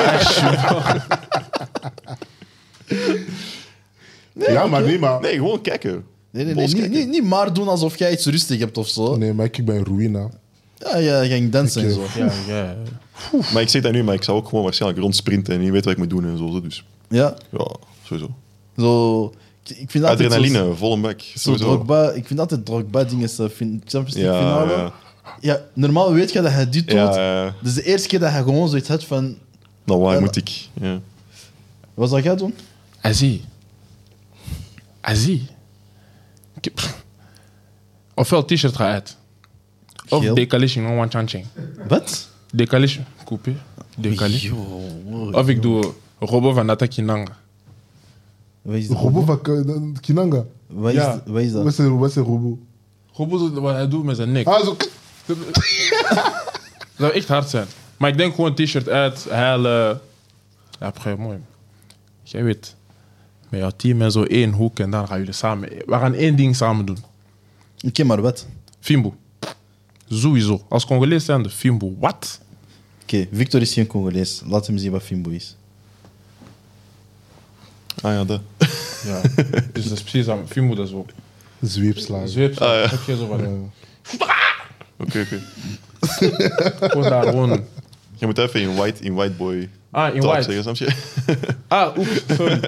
D: ja, maar nee, maar...
C: Nee, gewoon kijken.
A: Nee, nee, nee,
C: Boos
A: niet,
C: kijken.
A: niet, niet maar doen alsof jij iets rustig hebt of zo.
D: Nee, maar ik ben een ruïna.
A: Ja, ja, je ging dansen en zo.
B: Ja, ja.
C: Maar ik zeg dat nu, maar ik zou ook gewoon waarschijnlijk rondsprinten en niet weten wat ik moet doen en zo. Dus
A: Ja,
C: ja, sowieso.
A: zo. Ik ik vind altijd
C: Adrenaline, volle bek.
A: Zo, zo
C: Sowieso.
A: Drogba, ik vind altijd Drogba dingen, eh, fin- Champions League
C: Ja,
A: finale. Ja.
C: ja.
A: normaal weet je dat hij dit doet.
C: Ja, ja, ja.
A: Dus de eerste keer dat hij gewoon zoiets had van...
C: nou waar
A: Ja,
C: moet ik? Ja.
A: Wat zou jij doen?
B: Azie. Azie. Ik heb... Ofwel t-shirt gaat uit. Of
A: Geel.
B: decalation, no one chanting.
A: Wat?
B: Decalation, coupé. Decalation.
A: Yo,
B: Of ik doe Robo van Natakinanga.
A: Wat is
D: De
A: dat?
D: Robo van K- Kinanga.
A: Wat is,
B: Ja.
A: wat is dat?
D: Wat is een- wat is een Robo?
B: Robo, doet wat hij doet met zijn nek.
D: Ah, zo...
B: zou echt hard zijn. Maar ik denk gewoon t-shirt uit, huilen. Ja, après, mooi. Jij weet, met jouw team en zo één hoek en dan gaan jullie samen. We gaan één ding samen doen.
A: Oké, maar wat?
B: Fimbo. Sowieso. Als Congolees zijn de Fimbo. Wat?
A: Oké, Victor is geen Congolees. Laat hem zien wat Fimbo is.
C: Ah ja, dat.
B: Ja. dus dat is precies aan Fimbo, dat is ook.
D: Zweepslagen.
B: Zweep,
C: Ah, ja.
B: heb je zo van. eh,
C: Oké, oké.
B: Gewoon daar gewoon.
C: Je moet even in white, in white boy
B: Ah, in
C: talk
B: white.
C: zeggen, snap je?
B: Ah, oeps, sorry.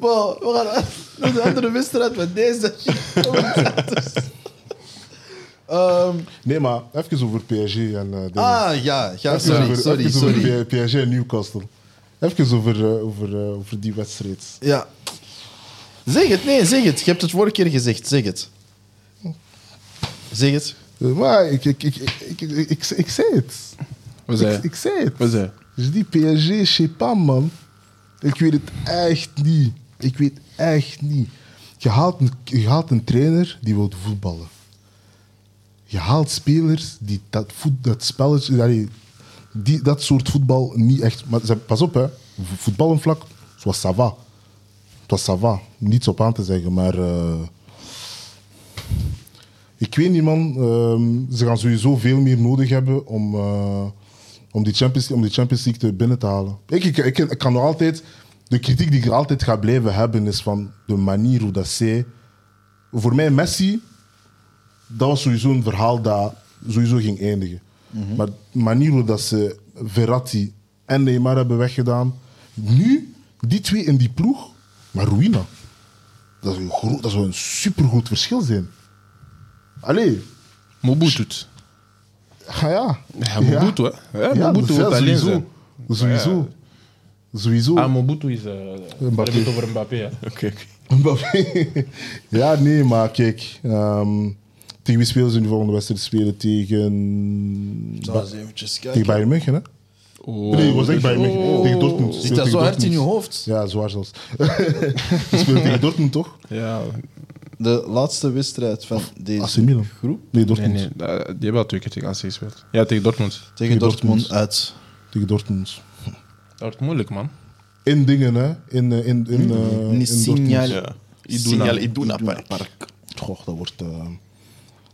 A: Wow, we gaan uit naar de andere wedstrijd met deze. Ehm,
D: Nee, maar even over PSG en... eh, dingen.
A: ah, ja. ja sorry,
D: over,
A: sorry,
D: even
A: sorry.
D: over P- PSG en Newcastle. Even over, eh, over, eh, over die wedstrijd.
A: Ja. Zeg het, nee, zeg het. Je hebt het vorige keer gezegd. Zeg het. Zeg het.
D: Eh, Maar ik, ik, ik, ik, ik, ik, ik, ik zei het.
B: Wat zei
D: Ik,
B: je?
D: ik zei het.
B: Wat zei je?
D: Dus die PSG, je sais pas, man. Ik weet het echt niet. Ik weet echt niet. Je haalt een, je haalt een trainer die wil voetballen. Je haalt spelers die dat, voet, dat spelletje, allee, die dat soort voetbal niet echt. Maar ze- pas op, hè. Vo- Voetbal een vlak, zoals Sava. Het was ça va. Niets op aan te zeggen, maar. eh, ik weet niet, man. Ehm, ze gaan sowieso veel meer nodig hebben om, eh, om, die, Champions, om die Champions League te binnen te halen. Ik, ik, ik, ik kan nog altijd. De kritiek die ik er altijd ga blijven hebben is van de manier hoe dat zij. Voor mij, Messi, dat was sowieso een verhaal dat sowieso ging eindigen. Maar de manier hoe dat ze Verratti en Neymar hebben weggedaan. Nu, die twee in die ploeg, maar Ruina. Dat zou een, gro- dat zou een supergroot verschil zijn. Allee,
B: Mobutu.
D: ja, Ah, ja.
B: Ja, Mobutu, hè? Ja, Mobutu
D: dat
B: wordt
D: is
B: alleen
D: sowieso.
B: zijn.
D: Sowieso. Sowieso.
B: Ah, Mobutu is. eh we hebben het over Mbappé. Hè.
C: Oké, oké.
D: Mbappé. ja, nee, maar kijk. ehm, tegen wie spelen ze nu volgende wedstrijd? Ze Spelen tegen.
A: eventjes
D: Tegen Bayern München, hè?
B: Oh.
D: Nee, het was echt Bayern München. Tegen Dortmund. Ze
A: Zit dat
D: spelen tegen
A: zo hard in
D: Dortmund.
A: je hoofd?
D: Ja, zwaar zelfs. Ze spelen tegen Dortmund, toch?
B: Ja,
A: De laatste wedstrijd van deze
D: AC Milan.
A: groep
D: Nee,
B: nee,
D: Dortmund.
B: nee. da- eh, Die hebben al twee keer tegen AC gespeeld. Ja, tegen Dortmund.
A: tegen Dortmund,
D: Dortmund.
A: uit.
D: Tegen Dortmund.
B: Dat wordt moeilijk, man.
D: In dingen, hè? In, eh, in, in, eh, in
A: Een signaal.
C: Ja.
D: Dortmund.
B: Iduna.
C: Signal Iduna Park.
D: Goh, dat wordt. eh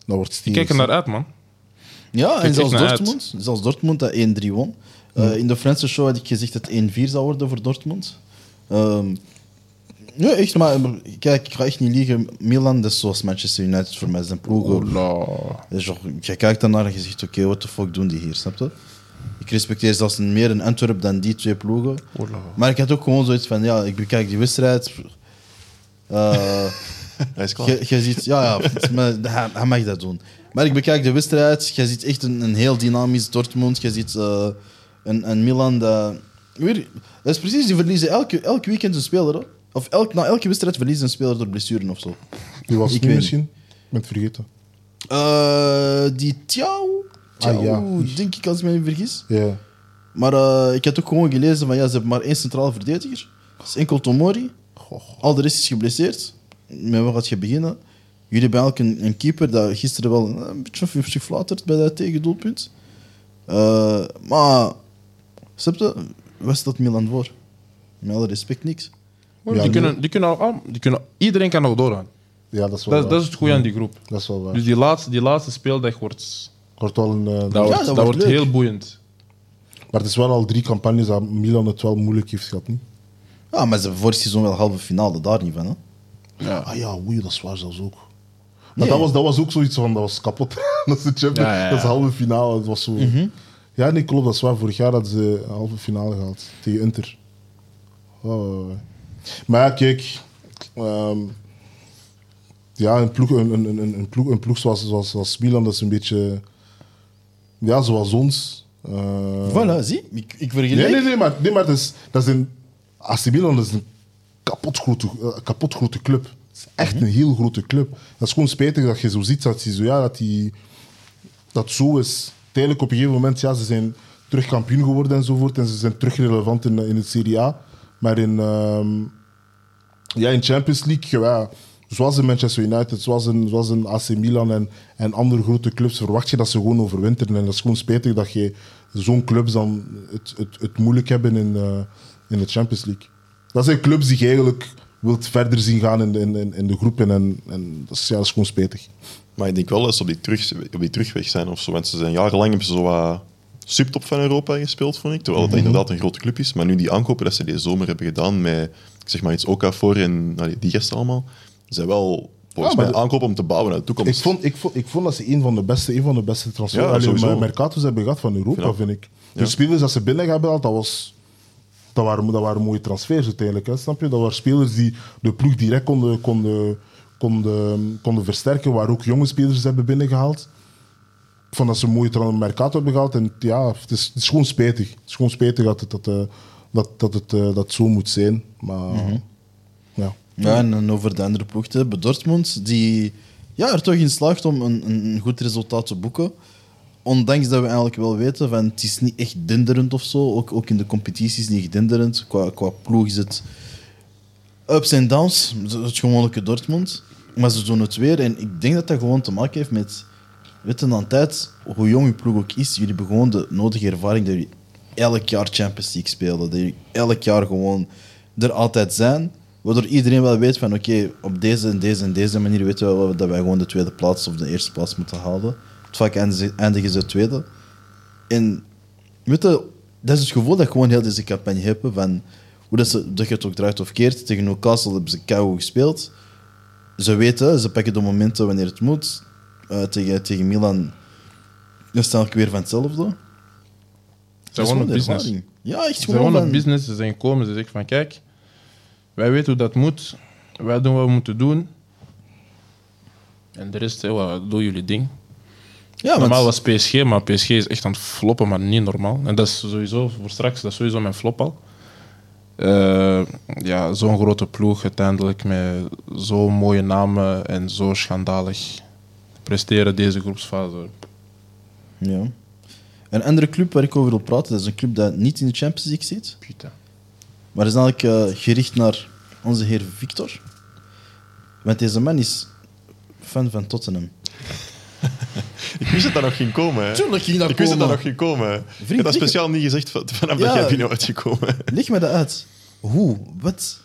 D: dat wordt
B: Ik
D: steeds.
B: kijk er naar uit, man.
A: Ja, en
B: Kijk
A: zelfs
B: echt naar
A: Dortmund, zelfs Dortmund dat 1-3 won. Eh, in de Franse show had ik gezegd dat het 1-4 zou worden voor Dortmund. Ehm, nee, echt, maar maar kijk, ik ga echt niet liegen. Milan, dat is zoals Manchester United voor mij zijn ploeg. hoor.
B: Ola.
A: Dat is toch- Je kijkt daarnaar en je zegt, oké, what the fuck doen die hier, snap je? Ik respecteer zelfs een- meer een Antwerp dan die twee ploegen.
B: Ola.
A: Maar ik had ook gewoon zoiets van, ja, ik bekijk die wedstrijd. Eh,
C: Hij is klaar.
A: Je, je ziet, ja, ja het is maar hij, hij mag dat doen. Maar ik bekijk de wedstrijd. Je ziet echt een, een heel dynamisch Dortmund. Je ziet eh, een, een Milan dat Weer, dat is precies, die verliezen elke, elk weekend een speler. Hoor. Of elk, na elke wedstrijd verliezen een speler door blessuren of zo.
D: Die was
A: Ik
D: nu
A: weet
D: misschien? Ik ben het vergeten.
A: Eh, die Tiao,
D: Ah,
A: Tiao
D: ja.
A: denk ik, als ik me niet vergis.
D: Ja.
A: Maar eh, ik had ook gewoon gelezen van ja, ze hebben maar één centrale verdediger. Dat is enkel Tomori. Al de rest is geblesseerd. Met wat gaat je beginnen? Jullie hebben eigenlijk een, een keeper dat gisteren wel eh, een, een beetje heeft geflauterd bij dat tegendoelpunt. Eh, maar, snap je, was dat Milan voor? Met alle respect, niks.
D: Ja,
B: die,
D: nu-
B: kunnen, die, kunnen al, die kunnen, iedereen kan nog doorgaan.
D: ja, dat is wel
B: Dat,
D: waar.
B: dat is het goede aan die groep.
D: Dat is wel waar.
B: Dus die laatste, die laatste speeldag wordt,
D: Wordt wel een, eh,
B: dat wordt,
A: dat
B: dat
A: wordt
B: wordt
A: leuk.
B: heel boeiend.
D: Maar het is wel al drie campagnes dat Milan het wel moeilijk heeft gehad, niet?
A: Ja, Ah, maar ze hebben vorig seizoen wel halve finale, daar niet van. Hè?
D: Ah ja, oei, dat is waar zelfs ook. Maar dat, was, dat was ook zoiets van, dat was kapot. dat is de Champions,
B: Ja, ja, Mhm. ja.
D: dat is de halve finale. Het was zo... Ja, nee, klopt, dat is waar. Vorig jaar hadden ze een halve finale gehaald tegen Inter. Oh. Maar ja, kijk... ehm, ja, een ploeg, een, een, een, een ploeg, een ploeg zoals, zoals, zoals Milan, dat is een beetje... Ja, zoals ons. Eh,
A: Voilà, zie, ik, ik vergelijk.
D: Nee, nee, nee, maar, nee, maar dat is, dat is een, AC Milan is een kapot grote, eh, kapot grote club. Het is echt een heel grote club. Dat is gewoon spijtig dat je zo ziet dat, die zo, ja, dat, die, dat zo is. Tijdelijk op een gegeven moment, ja, ze zijn terug kampioen geworden enzovoort. En ze zijn terug relevant in, in het Serie A. Maar in, ehm, ja, in Champions League, ja, zoals in Manchester United, zoals in, zoals in AC Milan en, en andere grote clubs, verwacht je dat ze gewoon overwinteren. En dat is gewoon spijtig dat je zo'n clubs dan het, het, het moeilijk hebben in, eh, in de Champions League. Dat zijn clubs die je eigenlijk wilt verder zien gaan in de, in, in- in de groepen. En, en dat, is, ja, dat is gewoon spijtig.
C: Maar ik denk wel dat ze op die, terug, op die terugweg zijn of zo. Want ze zijn jarenlang hebben ze zo wat subtop van Europa gespeeld, vond ik. Terwijl
A: Mhm.
C: het inderdaad een grote club is. Maar nu die aankopen dat ze deze zomer hebben gedaan met, ik zeg maar iets Oka voor en allee, die gasten allemaal, zijn wel volgens
A: Ah,
D: maar
C: mij
D: de-
C: aankopen om te bouwen naar de
D: Ik
C: toekomst.
D: vond, ik, vond, ik vond dat ze een van de beste, een van de beste transfer
C: Ja,
D: allee,
C: sowieso.
D: maar mercatos hebben gehad van Europa,
C: Ja.
D: vind ik. De
C: Ja.
D: spelers dat ze binnen hebben gehaald, dat, was, dat, waren, dat waren mooie transfers uiteindelijk. Hè, snap je? Dat waren spelers die de ploeg direct konden, konden, konden, konden versterken, waar ook jonge spelers hebben binnengehaald. Ik vond dat ze een mooie tra- mercato hebben gehaald. En ja, het is, het is gewoon spijtig. Het is gewoon spijtig dat het, dat, eh, dat, dat het eh, dat zo moet zijn. Maar
C: Mhm.
D: ja.
A: Ja, en dan over de andere ploeg te hebben. Dortmund, die ja, er toch in slaagt om een, een een goed resultaat te boeken. Ondanks dat we eigenlijk wel weten van het is niet echt denderend of zo. Ook, ook in de competitie is het niet echt denderend. Qua, qua ploeg is het ups en downs. Het gewone Dortmund. Maar ze doen het weer. En ik denk dat dat gewoon te maken heeft met. Weet je, aan tijd, hoe jong je ploeg ook is, jullie hebben gewoon de nodige ervaring dat jullie elk jaar Champions League spelen. Dat jullie elk jaar gewoon er altijd zijn. Waardoor iedereen wel weet van oké, op deze en deze en deze manier weten we wel dat wij gewoon de tweede plaats of de eerste plaats moeten halen. Het vaak eindigen ze- eindigen ze tweede. En weet je, dat is het gevoel dat ik gewoon heel deze campagne hebben van hoe dat ze dat je het ook draait of keert. Tegen Newcastle hebben ze kou gespeeld. Ze weten, ze pakken de momenten wanneer het moet. Eh, tegen, tegen Milan is het eigenlijk weer van hetzelfde. Dat is
B: gewoon een
A: de
B: business.
A: ervaring. Ja, echt
B: Ze zijn gewoon een
A: van-
B: business, ze zijn komen, ze zeggen van kijk, wij weten hoe dat moet, wij doen wat we moeten doen. En de rest, hé, wat, doen jullie ding.
A: Ja, want-
B: normaal was PSG, maar PSG is echt aan het floppen, maar niet normaal. En dat is sowieso voor straks, dat is sowieso mijn flop al. Eh, ja, zo'n grote ploeg uiteindelijk met zo'n mooie namen en zo schandalig presteren deze groepsfase.
A: Ja. Een andere club waar ik over wil praten, dat is een club dat niet in de Champions League zit,
B: Putain.
A: maar is eigenlijk eh, gericht naar onze heer Victor. Want deze man is fan van Tottenham.
C: Ik wist dat dat nog ging komen. Hè.
A: Tuurlijk ging dat
C: ik wist dat dat
A: komen.
C: nog ging komen. hè. ik heb
A: ik-
C: dat speciaal niet gezegd van- vanaf
A: Ja.
C: dat jij binnen bent gekomen.
A: Leg me dat uit. Hoe? Wat?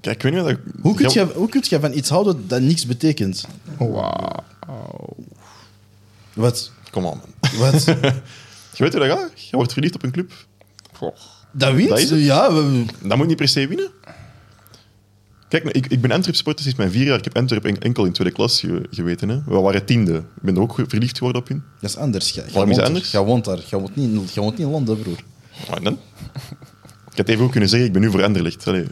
C: Kijk, ik weet niet wat ik...
A: Hoe kun,
C: Ja,
A: je, hoe kun je van iets houden dat niks betekent? Wat?
C: Kom aan, man.
A: Wat?
C: Je weet hoe dat gaat? Je wordt verliefd op een club.
A: Dat wint?
C: Dat is het.
A: ja, we-
C: Dat moet niet per se winnen. Kijk, ik, ik ben Antwerp supporter sinds mijn vier jaar. Ik heb Antwerp en- enkel in tweede klas ge- geweten. Hè. We waren tiende. Ik ben er ook ge- verliefd geworden op hun.
A: dat is anders. Jij jij
C: Waarom is
A: woont
C: het
A: er.
C: anders?
A: Jij woont daar. Jij woont niet, in- jij woont niet in Londen, broer.
C: Ah, en dan? Ik had even ook kunnen zeggen, ik ben nu voor Anderlecht. Allee.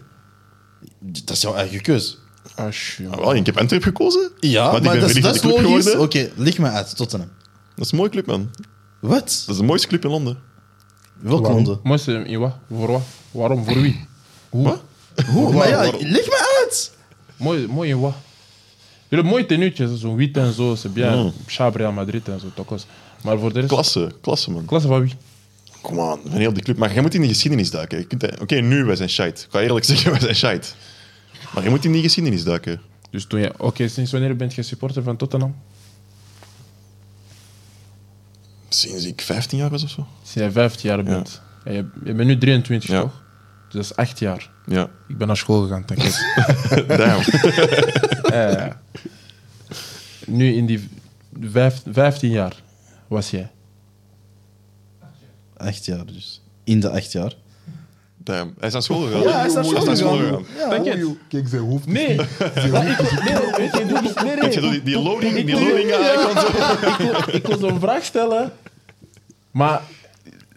A: Dat is jouw eigen keus.
C: Ah, wel, ik heb Antwerp gekozen.
A: Ja,
C: Want
A: maar,
C: ik ben
A: dat, is-
C: verliefd
A: dat
C: op
A: is
C: de club
A: logisch. Oké,
C: geworden.
A: leg me uit, Tottenham.
C: Dat is een mooie club, man.
A: Wat?
C: Dat is de mooiste club in Londen.
A: Welke
D: Waarom?
A: landen?
B: Mooiste in wat? Voor wat? Waarom? Voor wie? Hoe?
A: Hoe? Maar ja,
C: waarom?
A: leg me uit!
B: Mooi, mooi in wat? Jullie mooie tenuutjes, zo'n wit en zo, c'est bien.
C: Mm.
B: Chab, Real Madrid en zo, tokos. Maar voor de rest...
C: Klasse, klasse man.
B: Klasse van wie?
C: Kom aan, van heel die club. Maar je moet in de geschiedenis duiken. Je kunt- Oké, nu, wij zijn shite. Ik ga eerlijk zeggen, wij zijn shite. Maar je moet in die geschiedenis duiken.
B: Dus toen je... Oké, sinds wanneer bent je supporter van Tottenham?
C: Sinds ik 15 jaar was of zo.
B: Sinds jij 15 jaar bent. En je, je bent nu 23,
C: Ja.
B: toch? Dus dat is 8 jaar.
C: Ja,
B: Ik ben naar school gegaan, denk ik.
C: damn.
B: Eh, nu in die vijf, 15 jaar was jij.
A: Acht jaar dus. In de acht jaar.
C: damn. Hij is naar school gegaan.
D: Ja, hij is naar school
C: gegaan.
D: Ja, hoe- Kijk, zijn hoofd. is-
B: Nee, weet je, doe niet- nee, nee.
C: Weet je, die, die loading, die loading aan.
B: Ik wil zo'n vraag stellen, maar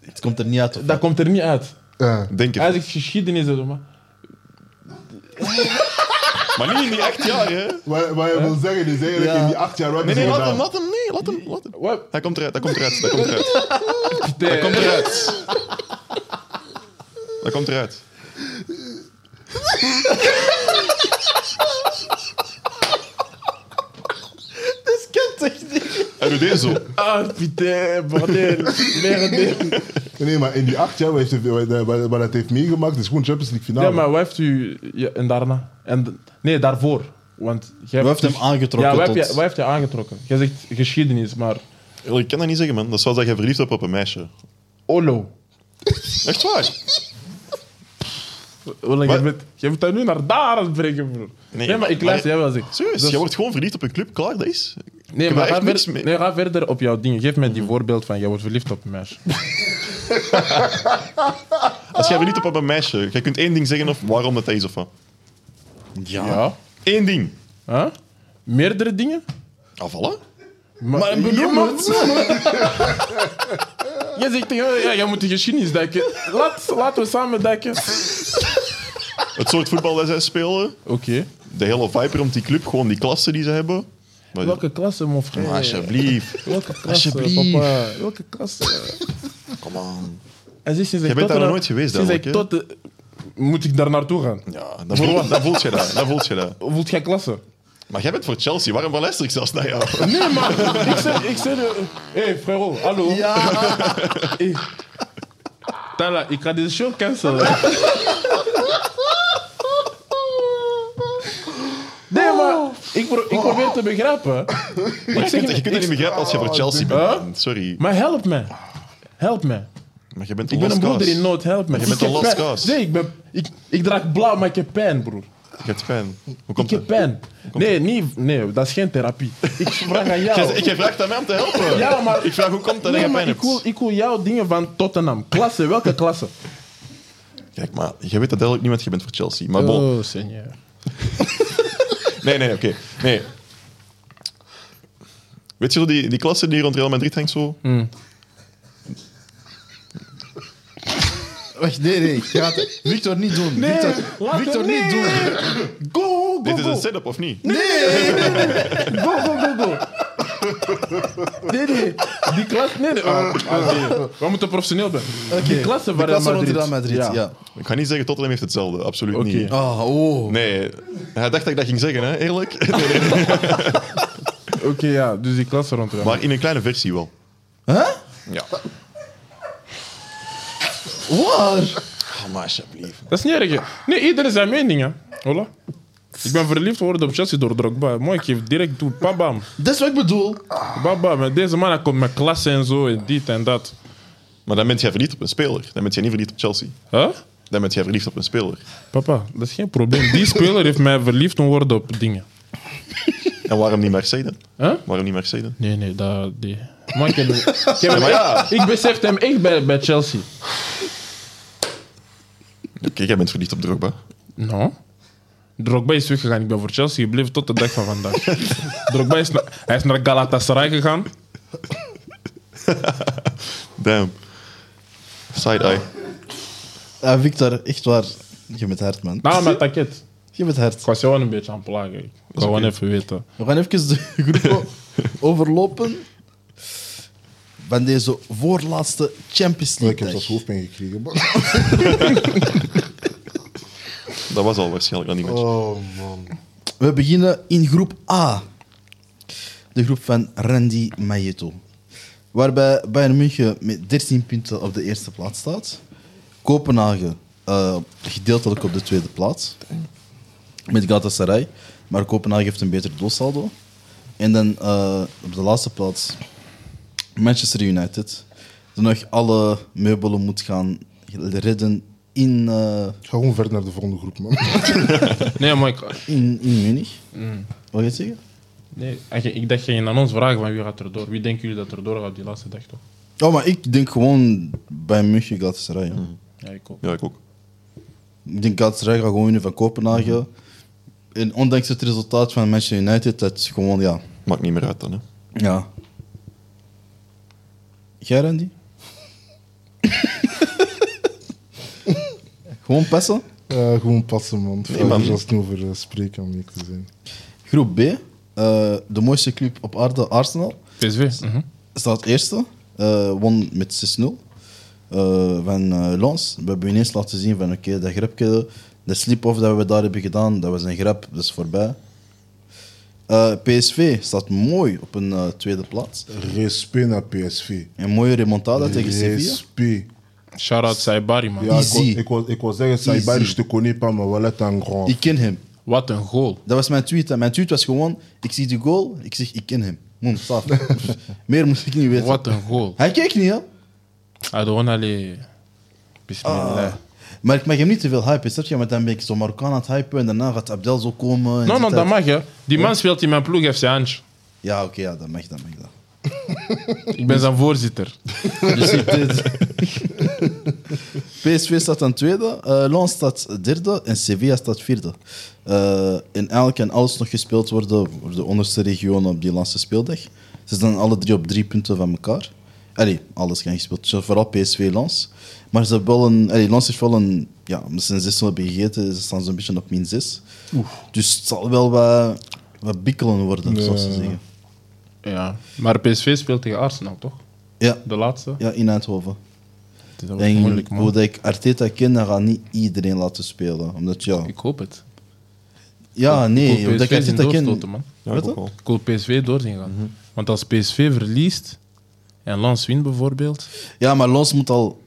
A: Het komt er niet uit. of
B: dat komt er niet uit.
D: Ja.
C: Denk het.
B: Eigenlijk geschiedenis, is het, maar
C: Maar niet in die acht jaar, hè.
D: Wat, wat je wil zeggen is eigenlijk in die acht jaar... wat
C: Nee,
D: is
C: nee,
D: er
C: laat hem,
D: gedaan?
C: laat hem, nee, laat hem, laat hem.
B: Wat?
C: Hij komt eruit, hij komt eruit, hij komt eruit. Hij komt eruit. Hij komt eruit.
A: Dat kan toch niet?
C: Hij doet deze zo.
B: Ah, putain, bordel. Merde.
D: Nee, maar in die acht jaar wat, heeft, wat, wat, wat het heeft meegemaakt is gewoon Champions League finale.
B: Ja, maar wat heeft u... ja, en daarna? En, nee, daarvoor. Want jij dus-
A: Wat heeft hem aangetrokken
B: Ja, wat
A: tot-
B: heb, je, wat heeft je aangetrokken? Jij zegt geschiedenis, maar...
C: Ik kan dat niet zeggen, man. Dat is zoals dat je verliefd hebt op een meisje.
B: Olo.
C: Echt waar?
B: Ola,
C: Wat?
B: jij, bent, jij moet dat nu naar daar aan het brengen, broer.
C: Nee,
B: Nee, maar ik
C: maar-
B: luister, jij wel zegt.
C: Serieus,
B: Dus-
C: je wordt gewoon verliefd op een club, klaar, dat is.
B: Nee,
C: heb
B: maar
C: daar
B: ga,
C: echt niks
B: ver-
C: mee.
B: nee, ga verder op jouw ding. Geef mij die voorbeeld van, jij wordt verliefd op een meisje.
C: Als
D: Ah.
C: jij verliefd bent op een meisje, jij kunt één ding zeggen of waarom dat dat is of wat.
A: Ja.
B: Ja.
C: Eén ding.
B: Huh? Meerdere dingen?
D: Ah,
C: Afvallen?
B: Maar, maar benoem het Jij zegt tegen mij, ja, jij moet de geschiedenis duiken. Laat, laten we samen duiken. Oké.
C: Het soort voetbal dat zij spelen, de hele vibe rond die club, gewoon die klasse die ze hebben. Maar,
B: Welke klasse, mon frère?
C: maar alsjeblieft,
B: Welke klasse,
A: Alsjeblieft.
B: papa? Welke klasse?
C: kom aan.
B: En sinds ik
C: Jij bent daar nog
B: Tottenham-
C: nooit geweest,
B: sinds ik
C: duidelijk,
B: tot, Moet ik daar naartoe gaan?
C: Ja, dat voelt, dat voelt je dat, dat voelt je dat.
B: Voelt jij klasse?
C: Maar jij bent voor Chelsea, waarom luister ik zelfs naar jou?
B: Nee, maar ik zei... Ik zei de- hey, frérot, Eh, hallo.
A: Ja.
B: Hey. Tala, ik ga deze show cancelen. Nee, maar ik, pro- ik probeer te begrijpen.
C: Maar Oh. je, kunt, je
B: niet-
C: kunt het niet begrijpen als je voor Chelsea bent. Sorry,
B: Maar help me. Help me.
C: maar je bent
B: Ik ben een
C: lost
B: broeder
C: cause.
B: in nood, help me.
C: Je bent
B: Ik
C: een
B: heb pijn.
C: lost cause.
B: Nee, ik, ben, ik, ik draag blauw, maar ik heb pijn, broer.
C: Je hebt pijn. Hoe
B: Ik
C: komt
B: heb
C: dat?
B: pijn. Nee, niet, nee, dat is geen therapie. Ik vraag aan jou.
C: Jij, jij vraagt aan mij om te helpen.
B: Ja, maar-
C: Ik vraag hoe komt
B: Nee,
C: dat dat je
B: maar
C: pijn
B: ik wil,
C: hebt?
B: ik wil jouw dingen van Tottenham. Klasse, welke klasse?
C: Kijk, maar je weet dat duidelijk niet, want je bent voor Chelsea. Maar Oh,
B: Oh.
C: bon,
A: Oh,
B: senor.
C: Nee, nee, oké. Nee. Weet je zo, die, die klasse die rond Real Madrid hangt zo?
B: Mm.
A: Wacht, nee, nee. Je gaat het- Victor niet doen.
B: Nee,
A: Victor,
B: laat
A: Victor
B: hem-
A: niet doen.
B: Go, go,
C: Dit is
B: go.
C: een setup, of niet?
B: Go, go, go, go. Nee, nee. Die klas... Nee, nee. Ah, ah, nee. We moeten professioneel zijn. Die klasse van
A: De
B: Real
A: klasse rond
B: Madrid.
A: Real Madrid, ja.
C: Ik ga niet zeggen, Tottenham heeft hetzelfde. Absoluut
B: Oké.
C: niet.
A: Ah, oh.
C: Nee, hij dacht dat ik dat ging zeggen, hè? eerlijk. Nee, nee.
B: Oké, ja. Dus die klasse rond Real
C: Maar in een kleine versie wel.
A: Huh?
C: Ja.
A: Waar?
C: maar alsjeblieft.
B: Dat is niet erg. hè. Nee, iedereen zijn mening, hè. Hola. Ik ben verliefd geworden op Chelsea door Drogba. Mooi, ik geef direct toe. Bam, bam.
A: Dat is wat ik bedoel.
B: Bam, bam. En deze man hij komt met klasse en zo, en dit en dat.
C: Maar dan ben jij verliefd op een speler. Dan ben jij niet verliefd op Chelsea.
B: Huh?
C: Dan ben jij verliefd op een speler.
B: Papa, dat is geen probleem. Die speler heeft mij verliefd doen worden op dingen.
C: En waarom niet Marseille dan?
B: Huh?
C: Waarom niet Marseille dan?
B: Nee, nee, dat... Die. Maar ik, heb, ik, heb hem
C: maar ja.
B: echt- ik besef hem echt bij, bij Chelsea.
C: Oké, jij bent verliefd op Drogba.
B: No. Nou? Drogba is weggegaan. Ik ben voor Chelsea gebleven tot de dag van vandaag. Drogba is, na- hij is naar Galatasaray gegaan.
C: Damn. Side-eye.
A: Ah, Victor, echt waar. Je bent hard, man.
B: Nou, maar taket.
A: Je bent hard.
B: Ik was jou wel een beetje aan het plagen. Ik wil gewoon even weten.
A: We gaan even de groep o- overlopen. van deze voorlaatste Champions
D: Ik
A: League.
D: heb dat
A: dag.
D: hoofdpijn gekregen.
C: Dat was al waarschijnlijk dan niet match.
D: Oh man.
A: We beginnen in groep A. De groep van Randy Maieto. Waarbij Bayern München met 13 punten op de eerste plaats staat. Kopenhagen eh, gedeeltelijk op de tweede plaats. Met Galatasaray. Maar Kopenhagen heeft een beter doelsaldo. En dan eh, op de laatste plaats Manchester United. Die nog alle meubelen moet gaan redden in, eh,
D: Ik ga gewoon verder naar de volgende groep, man.
B: Nee, maar ik,
A: in, in Munich. Wat ga je zeggen?
B: nee, als je- ik dacht, ging je aan ons vragen van wie gaat er door? Wie denken jullie dat er door gaat die laatste dag toch?
A: Oh, maar ik denk gewoon bij München Galatasaray. hè.
B: Ja, ik ook.
C: Ja, ik ook.
A: Ik denk Galatasaray gaat gewoon winnen van Kopenhagen. En ondanks het resultaat van Manchester United, dat is gewoon, ja.
C: Maakt niet meer uit dan. Hè.
A: ja. Jij, Randy? gewoon passen.
D: Eh, gewoon passen, man.
C: Nee, man.
D: Ik was niet over eh, spreken om niet te zijn.
A: Groep B, eh, de mooiste club op aarde, Arsenal,
B: PSV? Mhm.
A: staat eerste. eh won met 6-0 eh, van eh Lons. We hebben ineens laten zien van oké, dat grapje, de slip-off dat we daar hebben gedaan, dat was een grap, dat is voorbij. Eh, PSV staat mooi op een eh, tweede plaats.
D: Respect naar PSV.
A: Een mooie remontada tegen Sevilla.
D: Respect.
B: Shout-out Saibari, man.
D: Ja, ik
A: Easy.
D: wou- ik wou- ik wou zeggen, Saibari, je te connais pas, maar wel een grand.
A: Ik ken hem.
B: Wat een goal.
A: Dat was mijn tweet. hè. Mijn tweet was gewoon, ik zie die goal, ik zeg ik ken hem. Moem, saaf. Meer moest ik niet weten.
B: Wat een goal.
A: Hij keek niet, hè?
B: Hij gewoon alleen...
A: Ah.
B: Bismillah.
A: Maar ik mag hem niet te veel hypen, snap je? Want dan ben ik zo Marokkaan aan het hypen en daarna gaat Abdel zo komen. en
B: Nee,
A: dit,
B: nee, dat
A: dat.
B: mag, hè. Die man speelt in mijn ploeg FC Ange.
A: Ja, oké, ja, dat mag, dat mag. Dat.
B: Ik ben zijn voorzitter.
A: Dus ik deed- PSV staat dan tweede, eh Lens staat derde en Sevilla staat vierde. Eh, en eigenlijk kan alles nog gespeeld worden voor de onderste regionen op die laatste speeldag. Ze staan alle drie op drie punten van elkaar. Allee, alles kan gespeeld worden, vooral PSV Lens. Maar ze hebben wel een... Allee, Lens heeft wel een... Ja, omdat ze een 6 hebben gegeten, ze staan zo'n beetje op min 6. Dus het zal wel wat, wat bikkelen worden,
D: Nee.
A: zoals ze zeggen.
B: Ja. Maar PSV speelt tegen Arsenal, toch?
A: Ja,
B: De laatste?
A: ja in Eindhoven.
B: Het is ook
A: En
B: moeilijk, man.
A: hoe dat ik Arteta ken, dan ga ik niet iedereen laten spelen. Omdat ja,
B: Ik hoop het.
A: ja
B: Ik
A: nee,
B: hoop
A: omdat ik
B: PSV zien
A: Arteta
B: doorstoten,
A: ken.
B: man.
C: Ja,
A: Wat
C: ik
A: dan?
C: ook wel.
B: Ik wil PSV doorzien gaan.
A: Mhm.
B: Want als PSV verliest en Lens wint bijvoorbeeld,
A: Ja, maar Lons moet al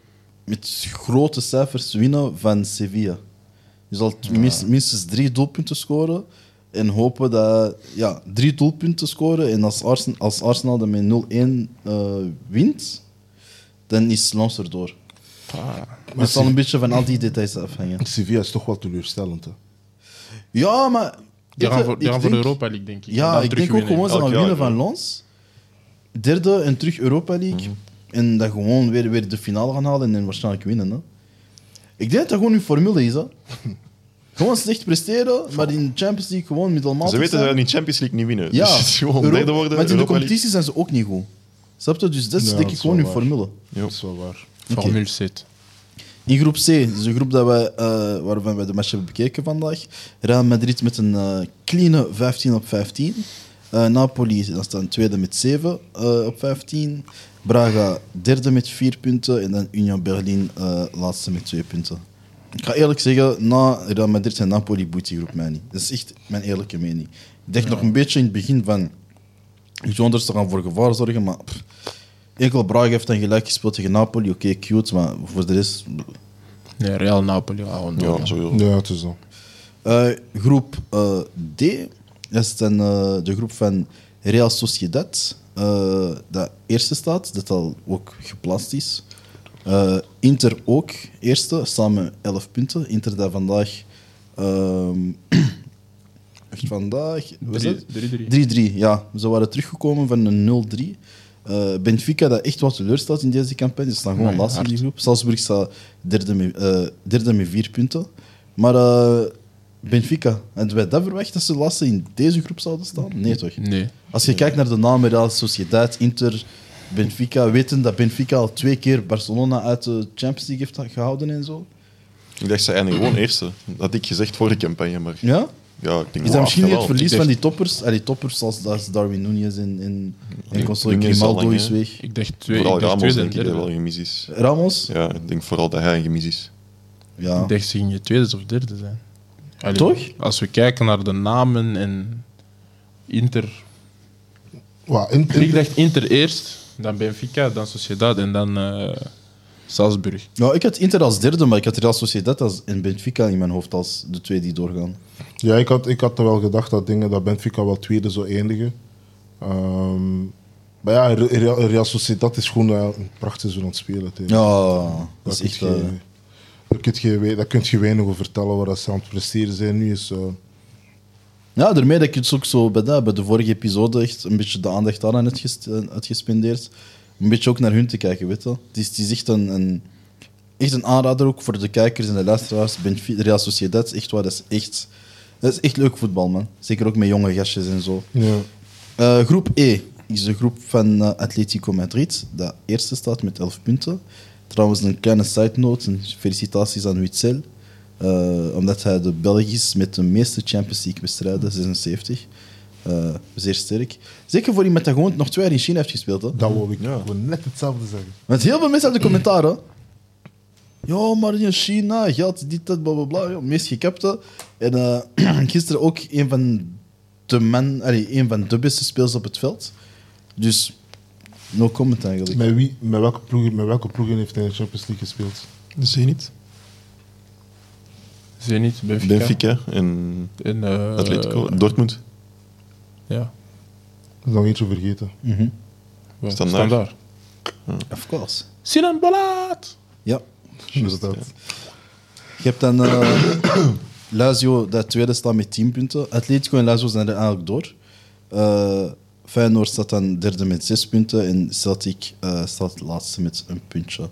A: met grote cijfers winnen van Sevilla. Je zal t- minst- minstens drie doelpunten scoren en hopen dat ja, drie doelpunten scoren. En als Arsenal, als Arsenal dan met 0-1 eh, wint, dan is Lons erdoor.
B: Ah.
A: Maar het zal een beetje van al die details afhangen.
D: Sevilla is toch wel teleurstellend, hè.
A: Ja, maar.
B: die gaan
A: Weet je,
B: voor, die
A: ik
B: gaan voor
A: denk-
B: Europa League, denk ik. En
A: Ja,
B: dan
A: ik
B: terug
A: denk ook
B: winnen.
A: gewoon ze gaan
C: elk jaar,
A: winnen van
C: ja. Mhm.
A: Lons. Derde en terug Europa League. En dat gewoon weer, weer de finale gaan halen en dan waarschijnlijk winnen. Hè. Ik denk dat dat gewoon hun formule is. Hè. gewoon slecht presteren, maar in de Champions League gewoon middelmatig
C: Ze weten dat
A: zijn.
C: ze in de Champions League niet winnen.
A: Ja,
C: Dus het is gewoon
A: Euro-
C: derde worden.
A: Want in de
C: Europa League.
A: competitie zijn ze ook niet goed. Snap je? Dus dat is
D: Ja,
A: denk
D: dat
A: ik
D: is
A: gewoon
D: wel
A: hun
D: waar.
A: formule.
D: Dat is wel waar.
A: Oké.
B: Formule zit.
A: In groep C, dus de groep dat wij, eh, waarvan wij de match hebben bekeken vandaag. Real Madrid met een eh clean 15 op 15. Eh, Napoli dat staat tweede met 7 eh, op 15. Braga derde met 4 punten. En dan Union Berlin eh, laatste met 2 punten. Ik ga eerlijk zeggen, na Real Madrid en Napoli boeit die groep mij niet. Dat is echt mijn eerlijke mening. Ik dacht nog een beetje in het begin van... Iets anders te gaan voor gevaar zorgen, maar... pff, enkel Braga heeft dan gelijk gespeeld tegen Napoli. Oké, cute, maar voor de rest...
B: Nee, Real Napoli. ah, gewoon door,
C: Ja,
B: ja.
C: sowieso.
D: Ja, het is zo.
A: Eh, groep eh, D dat is dan, eh, de groep van Real Sociedad. eh, dat eerste staat, dat al ook geplaatst is. Eh, Inter ook eerste, samen 11 punten. Inter dat vandaag... ehm, echt vandaag... was
B: Drie-
A: het?
B: drie- drie.
A: 3-3, ja. Ze waren teruggekomen van een 0-3. Eh, Benfica, dat echt wat teleurstelt in deze campagne, ze staan gewoon
B: Nee,
A: laatst in
B: hard.
A: die groep. Salzburg staat derde met, eh, derde met vier punten. Maar eh, Benfica, hadden wij dat verwacht dat ze laatste in deze groep zouden staan? Nee, toch?
B: Nee.
A: Als je kijkt naar de namen Real Sociedad, Inter, Benfica, weten dat Benfica al twee keer Barcelona uit de Champions League heeft gehouden en zo.
C: Ik dacht, ze eindigen gewoon eerste. Dat had ik gezegd voor de campagne, maar
A: Ja?
C: ja, ik denk,
A: Is
C: wow,
A: dat misschien niet het
C: jawel.
A: verlies
C: Ik
A: van
C: dacht-
A: die toppers? Allee, toppers zoals dat is Darwin Nunez en, en, en Consuelo
C: Nunez is al
A: Grimaldo
C: lang,
A: is
C: hè?
A: weg.
B: Ik dacht twee,
C: Vooral
B: ik dacht
C: Ramos
B: tweede en
C: denk ik dat
B: derde.
C: wel gemis is.
A: Ramos?
C: Ja, ik denk vooral dat hij gemis is.
A: Ja.
B: Ik dacht ze gingen tweede of derde zijn. Allee,
A: Toch?
B: Als we kijken naar de namen en Inter.
D: Wat, in, in-
B: Ik dacht Inter eerst, dan Benfica, dan Sociedad en dan eh Salzburg.
A: Nou, ik had Inter als derde, maar ik had Real Sociedad als, en Benfica in mijn hoofd als de twee die doorgaan.
D: Ja, ik had, ik had er wel gedacht dat dingen dat Benfica wel tweede zou eindigen. Ehm, maar ja, Re- Real, Real Sociedad is gewoon eh, een prachtig zo aan het spelen. tegen.
A: Ja, dat is
D: kun
A: echt...
D: je-
A: eh,
D: daar kun je, wei- daar kun je weinig over vertellen waar dat ze aan het presteren zijn. Nu is eh,
A: Ja, daarmee dat ik het ook zo bij, dat, bij de vorige episode echt een beetje de aandacht daaraan heb gest- eh, had gespendeerd. Een beetje ook naar hun te kijken, weet je. wel. Het is, het is echt, een, een, echt een aanrader ook voor de kijkers en de luisteraars. Benfica, Real Sociedad, echt waar, dat is echt, dat is echt leuk voetbal, man. Zeker ook met jonge gastjes en zo.
D: ja,
A: Eh, groep E is de groep van eh, Atletico Madrid, dat eerste staat met 11 punten. Trouwens, een kleine side note, en felicitaties aan Witzel, eh, omdat hij de Belg is met de meeste Champions League wedstrijden, 76. Eh, zeer sterk. Zeker voor iemand dat gewoon nog twee jaar in China heeft gespeeld. Hè?
D: dat wou ik gewoon net hetzelfde zeggen.
A: Want heel veel mensen hebben de commentaren. Ja, maar in China geld, dit, dat, bla bla bla. Ja, meest gekapte. En eh, gisteren ook een van de man, allee, een van de beste spelers op het veld. Dus no comment eigenlijk.
D: Met, wie, met, welke ploegen, met welke ploegen heeft hij in de Champions League gespeeld?
C: Zenit.
B: Zenit, Benfica.
C: Benfica en
B: En, eh,
C: Atletico. Dortmund.
B: Ja,
D: Dat is nog eentje vergeten.
B: wel,
C: Standaard.
B: standaard.
A: Of course.
B: Sinan Balaat!
A: Ja.
D: Juist dat.
A: Je hebt dan eh, Lazio, dat tweede staat met 10 punten. Atletico en Lazio zijn er eigenlijk door. Eh, Feyenoord staat dan derde met 6 punten. En Celtic eh, staat laatste met een puntje.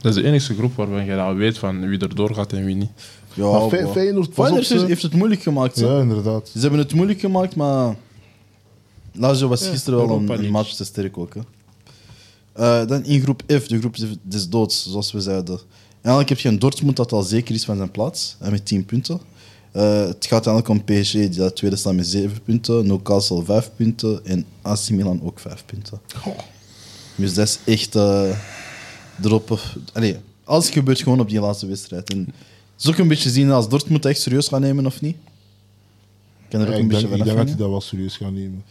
B: Dat is de enige groep waarvan je dan weet van wie er doorgaat en wie niet.
A: Ja,
D: Maar Fe-
A: boah.
D: Feyenoord, pas
A: Feyenoord
D: op, ze-
A: heeft het moeilijk gemaakt. hè.
D: Ja, inderdaad.
A: Ze hebben het moeilijk gemaakt, maar Lazio was gisteren wel
B: Europa
A: een, een
B: League.
A: match te sterk ook. Hè. Eh, dan in groep F, de groep des doods, zoals we zeiden. En eigenlijk heb je een Dortmund dat al zeker is van zijn plaats, en met 10 punten. Eh, het gaat eigenlijk om PSG, die dat tweede staat met 7 punten, Newcastle 5 punten en AC Milan ook 5 punten. Dus dat is echt eh droppen. Allee, alles gebeurt gewoon op die laatste wedstrijd. En het is ook een beetje zien als Dortmund echt serieus gaan nemen of niet. Ik kan er
D: Ja,
A: ook een
D: ik
A: beetje
D: denk, ik
A: van
D: denk
A: afhangen.
D: dat hij dat wel serieus gaat nemen.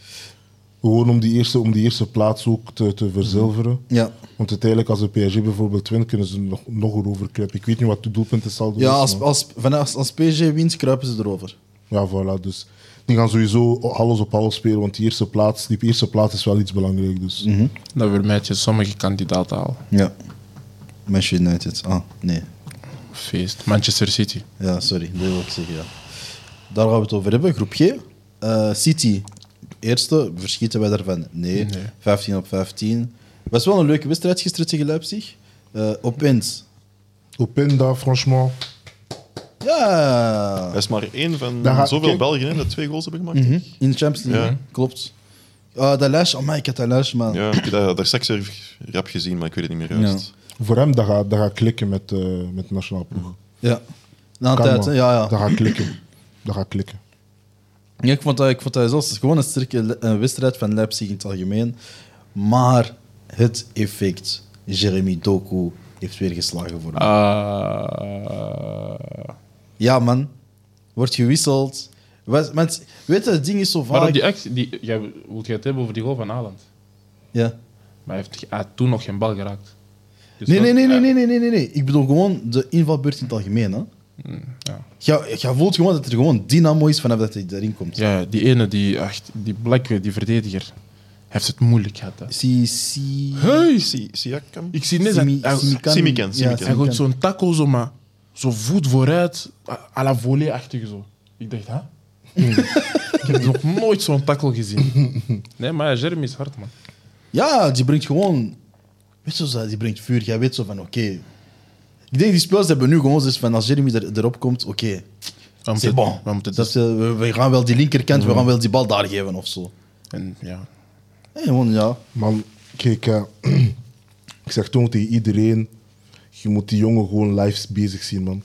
D: Gewoon om die eerste, om die eerste plaats ook te, te verzilveren.
A: Ja.
D: Want uiteindelijk, als de PSG bijvoorbeeld wint, kunnen ze nog, nog erover kruipen. Ik weet niet wat de doelpunten zal doen.
A: Ja, als, als, vanaf- als, als PSG wint, kruipen ze erover.
D: ja, voilà. Dus die gaan sowieso alles op alles spelen, want die eerste plaats, die eerste plaats is wel iets belangrijk. Dus.
A: Mhm.
B: Dan vermijd je sommige kandidaten al.
A: Ja. Manchester United. Ah, nee.
B: Feest. Manchester City.
A: Ja, sorry. Dat wil ik zeggen, ja. Daar gaan we het over hebben. Groep G. Eh, City. Eerste. Verschieten wij daarvan? Nee.
B: Nee.
A: 15 op 15. Was wel een leuke wedstrijd gisteren tegen Leipzig. Eh opeens.
D: Openda, franchement.
A: Ja.
C: Hij is maar één van
D: Daar gaat-
C: zoveel
D: kijk.
C: Belgen hè, dat twee goals hebben gemaakt.
B: Hm?
A: In de Champions League.
C: Ja.
A: hè? Klopt. Ah, dat lijstje. Amai, ik had dat lijstje, maar...
C: Ja, ik heb dat, daar seks rap gezien, maar ik weet het niet meer juist.
D: Voor hem, dat gaat, dat gaat klikken met, eh, met de nationale ploeg.
A: Ja. Na een
D: Kan
A: tijd,
D: wel.
A: hè? Ja, ja.
D: Dat gaat klikken. Dat gaat klikken.
A: Ja, ik vond dat, ik vond dat zelfs gewoon een sterke le- eh, wedstrijd van Leipzig in het algemeen. Maar het effect, Jeremy Doku heeft weer geslagen voor hem.
B: Ah.
A: Ja, man. Wordt gewisseld. Was- want- weet je, het ding is zo vaak...
B: maar op die actie, die, jij wilt jij het hebben over die goal van Haaland?
A: ja.
B: Maar hij heeft hij had toen nog geen bal geraakt. Dus
A: nee,
B: dat-
A: nee, nee, nee,
B: eh,
A: nee, nee, nee, nee, nee. Ik bedoel gewoon de invalbeurt in het algemeen. Hè.
B: Hm, ja.
A: Ja, je voelt gewoon dat er gewoon dynamo is vanaf dat hij erin komt.
B: Ja, die ene, die, ach, die blakke, die verdediger, hij heeft het moeilijk gehad. Hè.
A: Zie, zie...
B: Hey,
C: Si- Siakam?
B: ik zie net dat
A: Simi-
B: hij,
A: Simikan-
C: Simikan,
A: Ja,
C: Simikan.
B: hij gooit zo'n tackle zo, maar zo voet vooruit, à- à la volley-achtig zo. Ik dacht, hè? ik heb nog nooit zo'n tackle gezien. Nee, maar ja, Jeremy is hard, man.
A: Ja, die brengt gewoon... Weet je, zo, die brengt vuur. Jij weet zo van, oké... Ik denk, die spelers hebben nu gewoon zoiets van... Als Jeremy er, erop komt, oké...
B: We
A: c'est
B: moeten-
A: bon.
B: we moeten
A: Dat, eh, we, we gaan wel die linkerkant, we gaan wel die bal daar geven of zo.
B: En, ja.
A: Nee, gewoon, ja.
D: Man, kijk, eh, ik zeg toen tegen iedereen: je moet die jongen gewoon live bezig zien, man.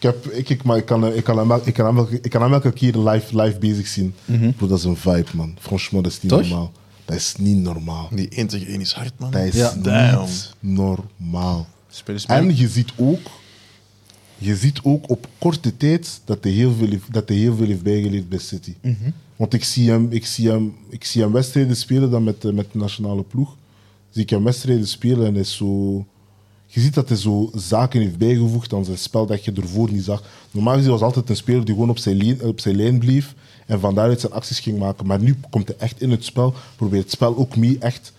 D: heb, ik, ik, maar ik kan, eh, ik, kan hem, el- ik, kan hem, elke- ik kan hem elke keer live, live bezig zien. Bro, dat is een vibe, man. Franchement, dat is niet
A: Toch?
D: normaal. Dat is niet normaal.
C: Die 1 tegen 1 is hard, man.
D: Dat is
A: Ja.
C: Damn.
D: niet normaal.
B: Spelers mee.
D: En je ziet ook, je ziet ook op korte tijd dat hij heel veel heeft, dat hij heel veel heeft bijgeleerd bij City. Want ik zie, hem, ik, zie hem, ik zie hem wedstrijden spelen dan met, eh, met de nationale ploeg. Zie ik hem wedstrijden spelen en hij is zo. Je ziet dat hij zo zaken heeft bijgevoegd aan zijn spel dat je ervoor niet zag. Normaal gezien was hij altijd een speler die gewoon op zijn, lijn, op zijn lijn bleef en van daaruit zijn acties ging maken. Maar nu komt hij echt in het spel, probeert het spel ook mee echt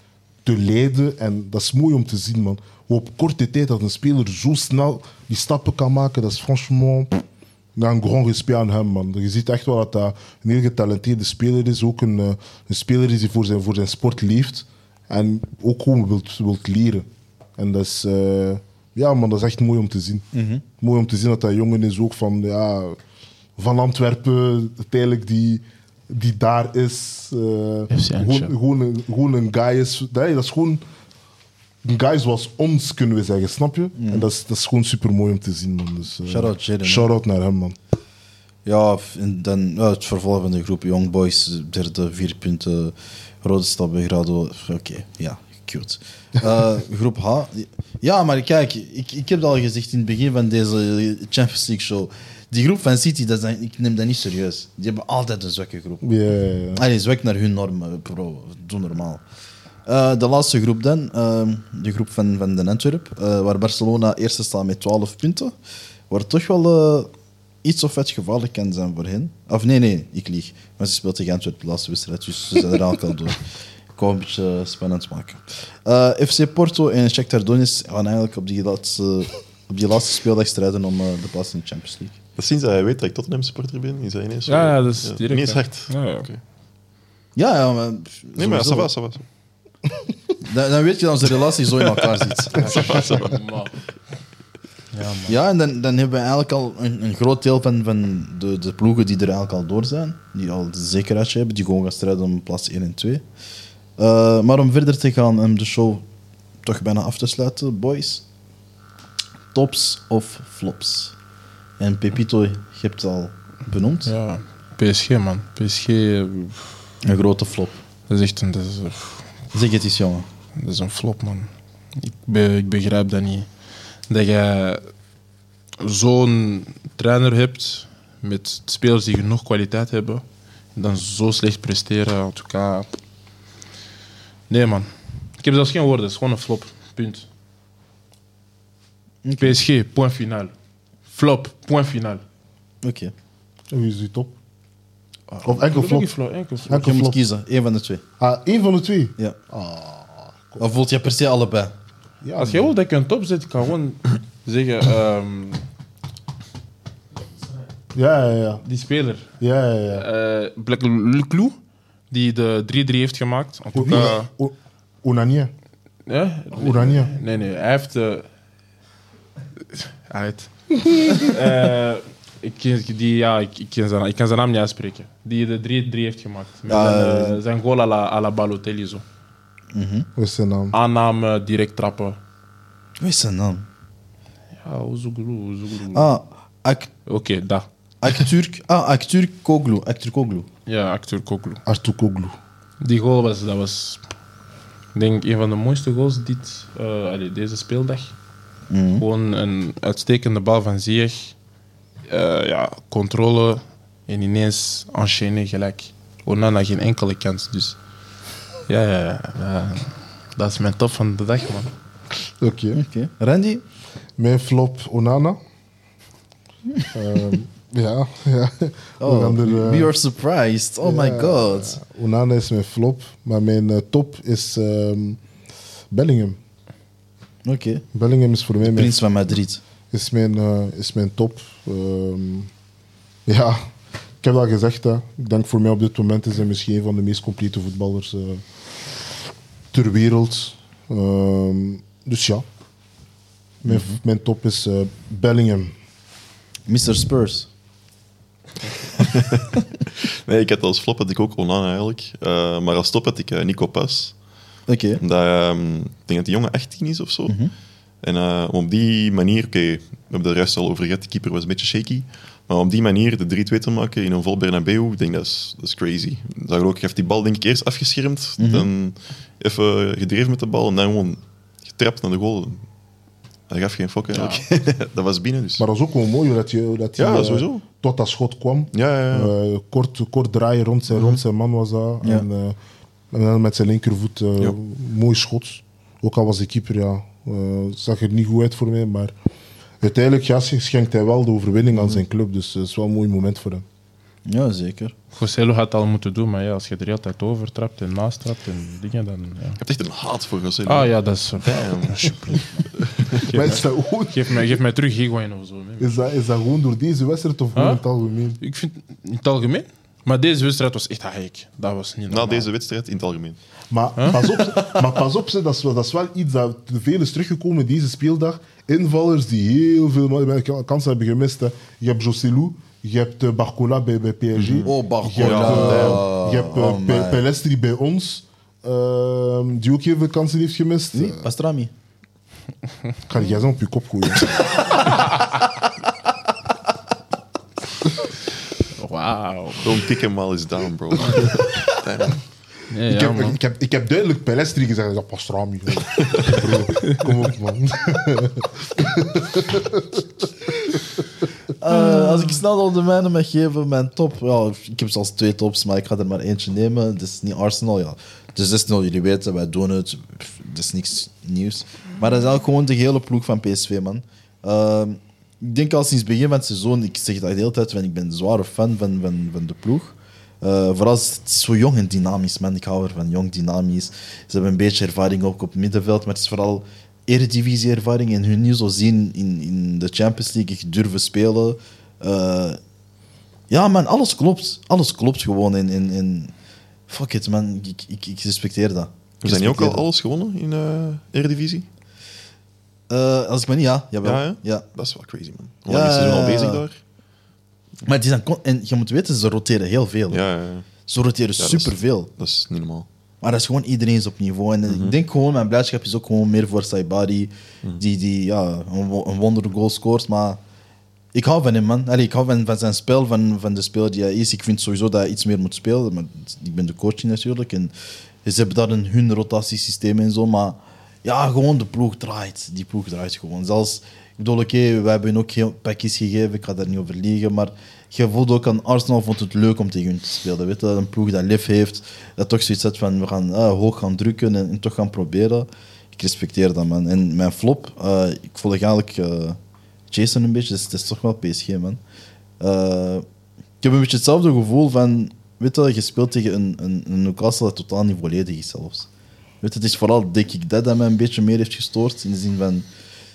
D: te leiden. En dat is mooi om te zien, man. Hoe op korte tijd dat een speler zo snel die stappen kan maken, dat is franchement pff, een grand respect aan hem, man. Je ziet echt wel dat hij een heel getalenteerde speler is. Ook een, eh, een speler is die voor zijn, voor zijn sport leeft. En ook gewoon wilt, wilt leren. En dat is, eh, ja, man, dat is echt mooi om te zien. Mooi om te zien dat dat jongen is ook van, ja, van Antwerpen, uiteindelijk die, die daar is. eh, gewoon,
E: Antwerpen.
D: gewoon, een, gewoon een guy is. Nee, dat is gewoon een guy zoals ons, kunnen we zeggen, snap je? En dat is, dat is gewoon super mooi om te zien, man. Dus, eh,
A: Mm. Shout-out Jaden,
D: Shout-out naar hem, man.
A: Ja, en dan ja, het vervolg van de groep Young Boys, derde, vier punten, Rode Stad Belgrado. Oké, ja, cute. Eh, groep H. Ja, maar kijk, ik, ik heb dat al gezegd in het begin van deze Champions League show. Die groep van City, dat zijn, ik neem dat niet serieus. Die hebben altijd een zwakke groep.
D: Ja, ja, ja.
A: Allee, zwak naar hun normen, bro. Doe normaal. Eh, de laatste groep dan, ehm, de groep van, van de Antwerp, eh, waar Barcelona eerste staat met 12 punten. Waar toch wel eh, iets of wat gevaarlijk kan zijn voor hen. Of nee, nee, ik lieg. Maar ze speelt tegen Antwerp de laatste wedstrijd, dus ze zijn er aan kan doen. Ik wou een beetje spannend maken. Eh, FC Porto en Shakhtar Donetsk gaan eigenlijk op die laatste, op die laatste speeldag strijden om eh, de plaats in de Champions League.
C: Dat sinds dat hij weet dat ik Tottenham supporter ben, is hij ineens...
B: Ja, ja, dat is direct,
C: Ineens
B: hè.
C: hard.
B: Ja, ja.
C: Oké.
A: Ja, ja, maar...
C: Nee, maar ça
A: sowieso.
C: va, ça va.
A: Dan, dan weet je dat onze relatie zo in elkaar zit.
B: Maar-
A: Ja, en dan, dan hebben we eigenlijk al een, een groot deel van, van de, de ploegen die er eigenlijk al door zijn. Die al de zekerheidje hebben, die gewoon gaan strijden om plaats 1 en 2. Eh, maar om verder te gaan en de show toch bijna af te sluiten, boys. Tops of flops? En Pepito, je hebt het al benoemd.
B: Ja, PSG, man. PSG, eh, pff,
A: Een grote flop.
B: dat is echt een, dat is, eh, pff,
A: Zeg het eens, jongen.
B: dat is een flop, man. Ik, be- ik begrijp dat niet. Dat je zo'n trainer hebt met spelers die genoeg kwaliteit hebben, en dan zo slecht presteren. aan elkaar. Nee, man. Ik heb zelfs geen woorden, het is gewoon een flop. Punt. PSG, point final. Flop, point final.
A: Oké.
D: En wie is die top? Ah, Of enkel
B: Ik wil ook
D: flop?
B: niet flop, enkel flop.
A: Je
D: Enkel
A: moet
D: flop.
A: kiezen, één van de twee.
D: Ah, één van de twee?
A: Ja. Of Ah, voelt je per se allebei?
D: Ja,
B: Als jij wil dat ik een top zet, kan gewoon zeggen: ehm,
D: ja, ja, ja.
B: die speler,
D: ja, ja, ja.
B: eh Black Luclou, die de 3-3 heeft gemaakt. En toen, eh,
D: O- O- Onania.
B: ja?
D: Oranje.
B: Nee, nee, hij heeft. eh, Uit. Eh, ik, ken- die, ja, ik, ik, ken zijn, ik kan zijn naam niet uitspreken. Die de 3-3 heeft gemaakt. Met
A: Ah,
B: zijn, eh,
A: ja.
B: zijn goal à la, à la Balotelli. Zo.
D: Wat is zijn naam?
B: Aanname, direct trappen.
A: Wat is zijn naam?
B: Ja, Oezuglu, Oezuglu.
A: Ah, Ak
B: Oké, daar.
A: Acteur, ah, acteur Koglu. Acteur Koglu.
B: Ja, acteur Koklu.
D: Artur Koglu.
B: Die goal was, dat was ik denk een van de mooiste goals dit, eh, allee, deze speeldag. Gewoon een uitstekende bal van Ziyech. Eh, ja, controle en ineens enchaîner gelijk. Onana geen enkele kans, dus... Ja, ja, ja. ja. dat is mijn top van de dag, man.
D: Oké.
A: Oké. Randy?
D: Mijn flop Onana. Ehm, ja, ja. We
A: Hm. Oh,
D: gaan er, eh,
A: we are surprised. Oh my
D: ja,
A: god.
D: Onana is mijn flop, maar mijn eh, top is ehm, Bellingham.
A: Oké.
D: Bellingham is voor mij mijn,
A: Prins van Madrid.
D: is mijn, eh, is mijn top. Ehm, ja, ik heb dat gezegd. Hè. Ik denk voor mij op dit moment is hij misschien een van de meest complete voetballers eh, ter wereld. Ehm, dus ja, mijn, mijn top is eh, Bellingham.
A: Mr. Spurs.
C: Nee, ik had als flop had ik ook Onana eigenlijk. Eh, maar als top had ik eh, Nico Pas.
A: Oké.
B: Mhm.
C: Omdat, ehm, ik denk dat die jongen 18 is of zo. En eh, om op die manier, oké, we hebben de rest al over gehad, de keeper was een beetje shaky. Maar om die manier de 3-2 te maken in een vol Bernabeu, ik denk dat is, dat is crazy. Zag je ook, je hebt die bal denk ik eerst afgeschermd,
B: Mhm.
C: dan even gedreven met de bal en dan gewoon getrapt naar de goal. Hij gaf geen fok eigenlijk. dat was binnen dus.
D: Maar dat is ook wel mooi hoe dat je, hoe dat
C: Ja,
D: hij, eh,
C: sowieso.
D: tot dat schot kwam.
C: ja, ja, Mhm. ja.
D: Eh, kort, kort draaien rond zijn, rond zijn man was dat.
A: Ja.
D: En, eh, en dan met zijn linkervoet eh,
C: Ja.
D: mooi schot. Ook al was de keeper, ja, eh, zag er niet goed uit voor mij. Maar uiteindelijk ja, schenkt hij wel de overwinning
C: Mhm.
D: aan zijn club. Dus het is wel een mooi moment voor hem.
A: Ja, zeker.
B: Joselo had het al moeten doen, maar ja, als je er altijd overtrapt en naastrapt en dingen, dan... Ja.
C: Ik heb echt een haat voor José.
B: Ah ja, dat is...
C: Damn.
B: Alsjeblieft.
D: Maar
B: Geef,
D: is
B: mij-
D: dat, gewoon,
B: geef, mij, geef mij terug Higuain of zo. man.
D: is, dat, is dat gewoon door deze wedstrijd of gewoon
B: Huh?
D: in het algemeen?
B: Ik vind in het algemeen... Maar deze wedstrijd was echt haik. Dat was niet
C: Na
B: normaal.
C: deze wedstrijd in het algemeen.
D: Maar, pas op, maar pas op, ze, dat, is wel, dat is wel iets dat veel is teruggekomen deze speeldag. Invallers die heel veel ma- ka- kansen hebben gemist. hè. Je hebt Josselou, je hebt eh, Barcola bij, bij PSG.
A: Oh,
D: Je hebt,
A: Barcola.
D: eh, je hebt eh,
A: Oh,
D: Pe-
A: man.
D: Pelestri bij ons, ehm, die ook heel veel kansen heeft gemist.
A: Nee, Pastrami.
D: Ik ga jij zo op je kop gooien.
B: Wauw.
C: Don't kick him while he's down, bro. Damn.
B: Nee,
D: ik,
B: ja,
D: heb,
B: man.
D: ik, heb, ik heb duidelijk Pelestri gezegd. Ik dacht, Pastrami. Bro, kom op, man.
A: Eh, als ik snel op de mijne mag geven, mijn top. Ja, ik heb zelfs twee tops, maar ik ga er maar eentje nemen. Het is niet Arsenal, ja. Het is 6-0, jullie weten, wij doen het. Pff, Het is niks nieuws. Maar dat is eigenlijk gewoon de hele ploeg van PSV, man. Ehm, ik denk al sinds het begin van het seizoen, ik zeg dat de hele tijd, want ik ben een zware fan van, van, van de ploeg. Eh, vooral is het zo jong en dynamisch, man. Ik hou ervan, jong, dynamisch. Ze hebben een beetje ervaring ook op het middenveld, maar het is vooral eredivisie-ervaring en hun nu zo zien in, in de Champions League echt durven spelen. Eh, ja, man, alles klopt. Alles klopt gewoon. En, en, en fuck it, man. Ik, ik, ik respecteer dat.
C: We zijn niet ook al
A: Respecteer
C: alles gewonnen in eh Eredivisie?
A: dat. Eh, als ik me niet, ja. Jawel.
C: Ja,
A: Ja,
C: hè?
A: ja.
C: Dat is wel crazy, man.
A: Ja,
C: Hoe lang is het
A: ja,
C: al
A: ja.
C: bezig daar?
A: Maar die zijn con- en je moet weten, ze roteren heel veel.
C: Ja, ja, ja.
A: Ze roteren
C: dat is-
A: superveel.
C: Dat is niet normaal.
A: Maar dat is gewoon iedereen is op niveau. En eh, ik denk gewoon, mijn blijdschap is ook gewoon meer voor Saibari, die, die ja, een, wo- een wondergoal scoort. Maar ik hou van hem, man. Allee, ik hou van, van zijn spel, van, van de speler die hij is. Ik vind sowieso dat hij iets meer moet spelen. Maar ik ben de coach niet natuurlijk. En ze hebben daar een, hun rotatiesysteem en zo. Maar ja, gewoon de ploeg draait. Die ploeg draait gewoon. Zelfs, ik bedoel, oké, we hebben hun ook heel pakjes gegeven. Ik ga daar niet over liegen. Maar je voelde ook aan Arsenal vond het leuk om tegen hun te spelen. Weet je? Een ploeg dat lef heeft. Dat toch zoiets had van, we gaan eh, hoog gaan drukken en, en toch gaan proberen. Ik respecteer dat, man. En mijn flop, eh, ik volg eigenlijk... eh, Jason een beetje, dus het is toch wel PSG, man. Eh, ik heb een beetje hetzelfde gevoel van, weet je, je speelt tegen een, een, een Newcastle dat totaal niet volledig is zelfs. Weet je, het is vooral, denk ik, dat dat mij een beetje meer heeft gestoord, in de zin van,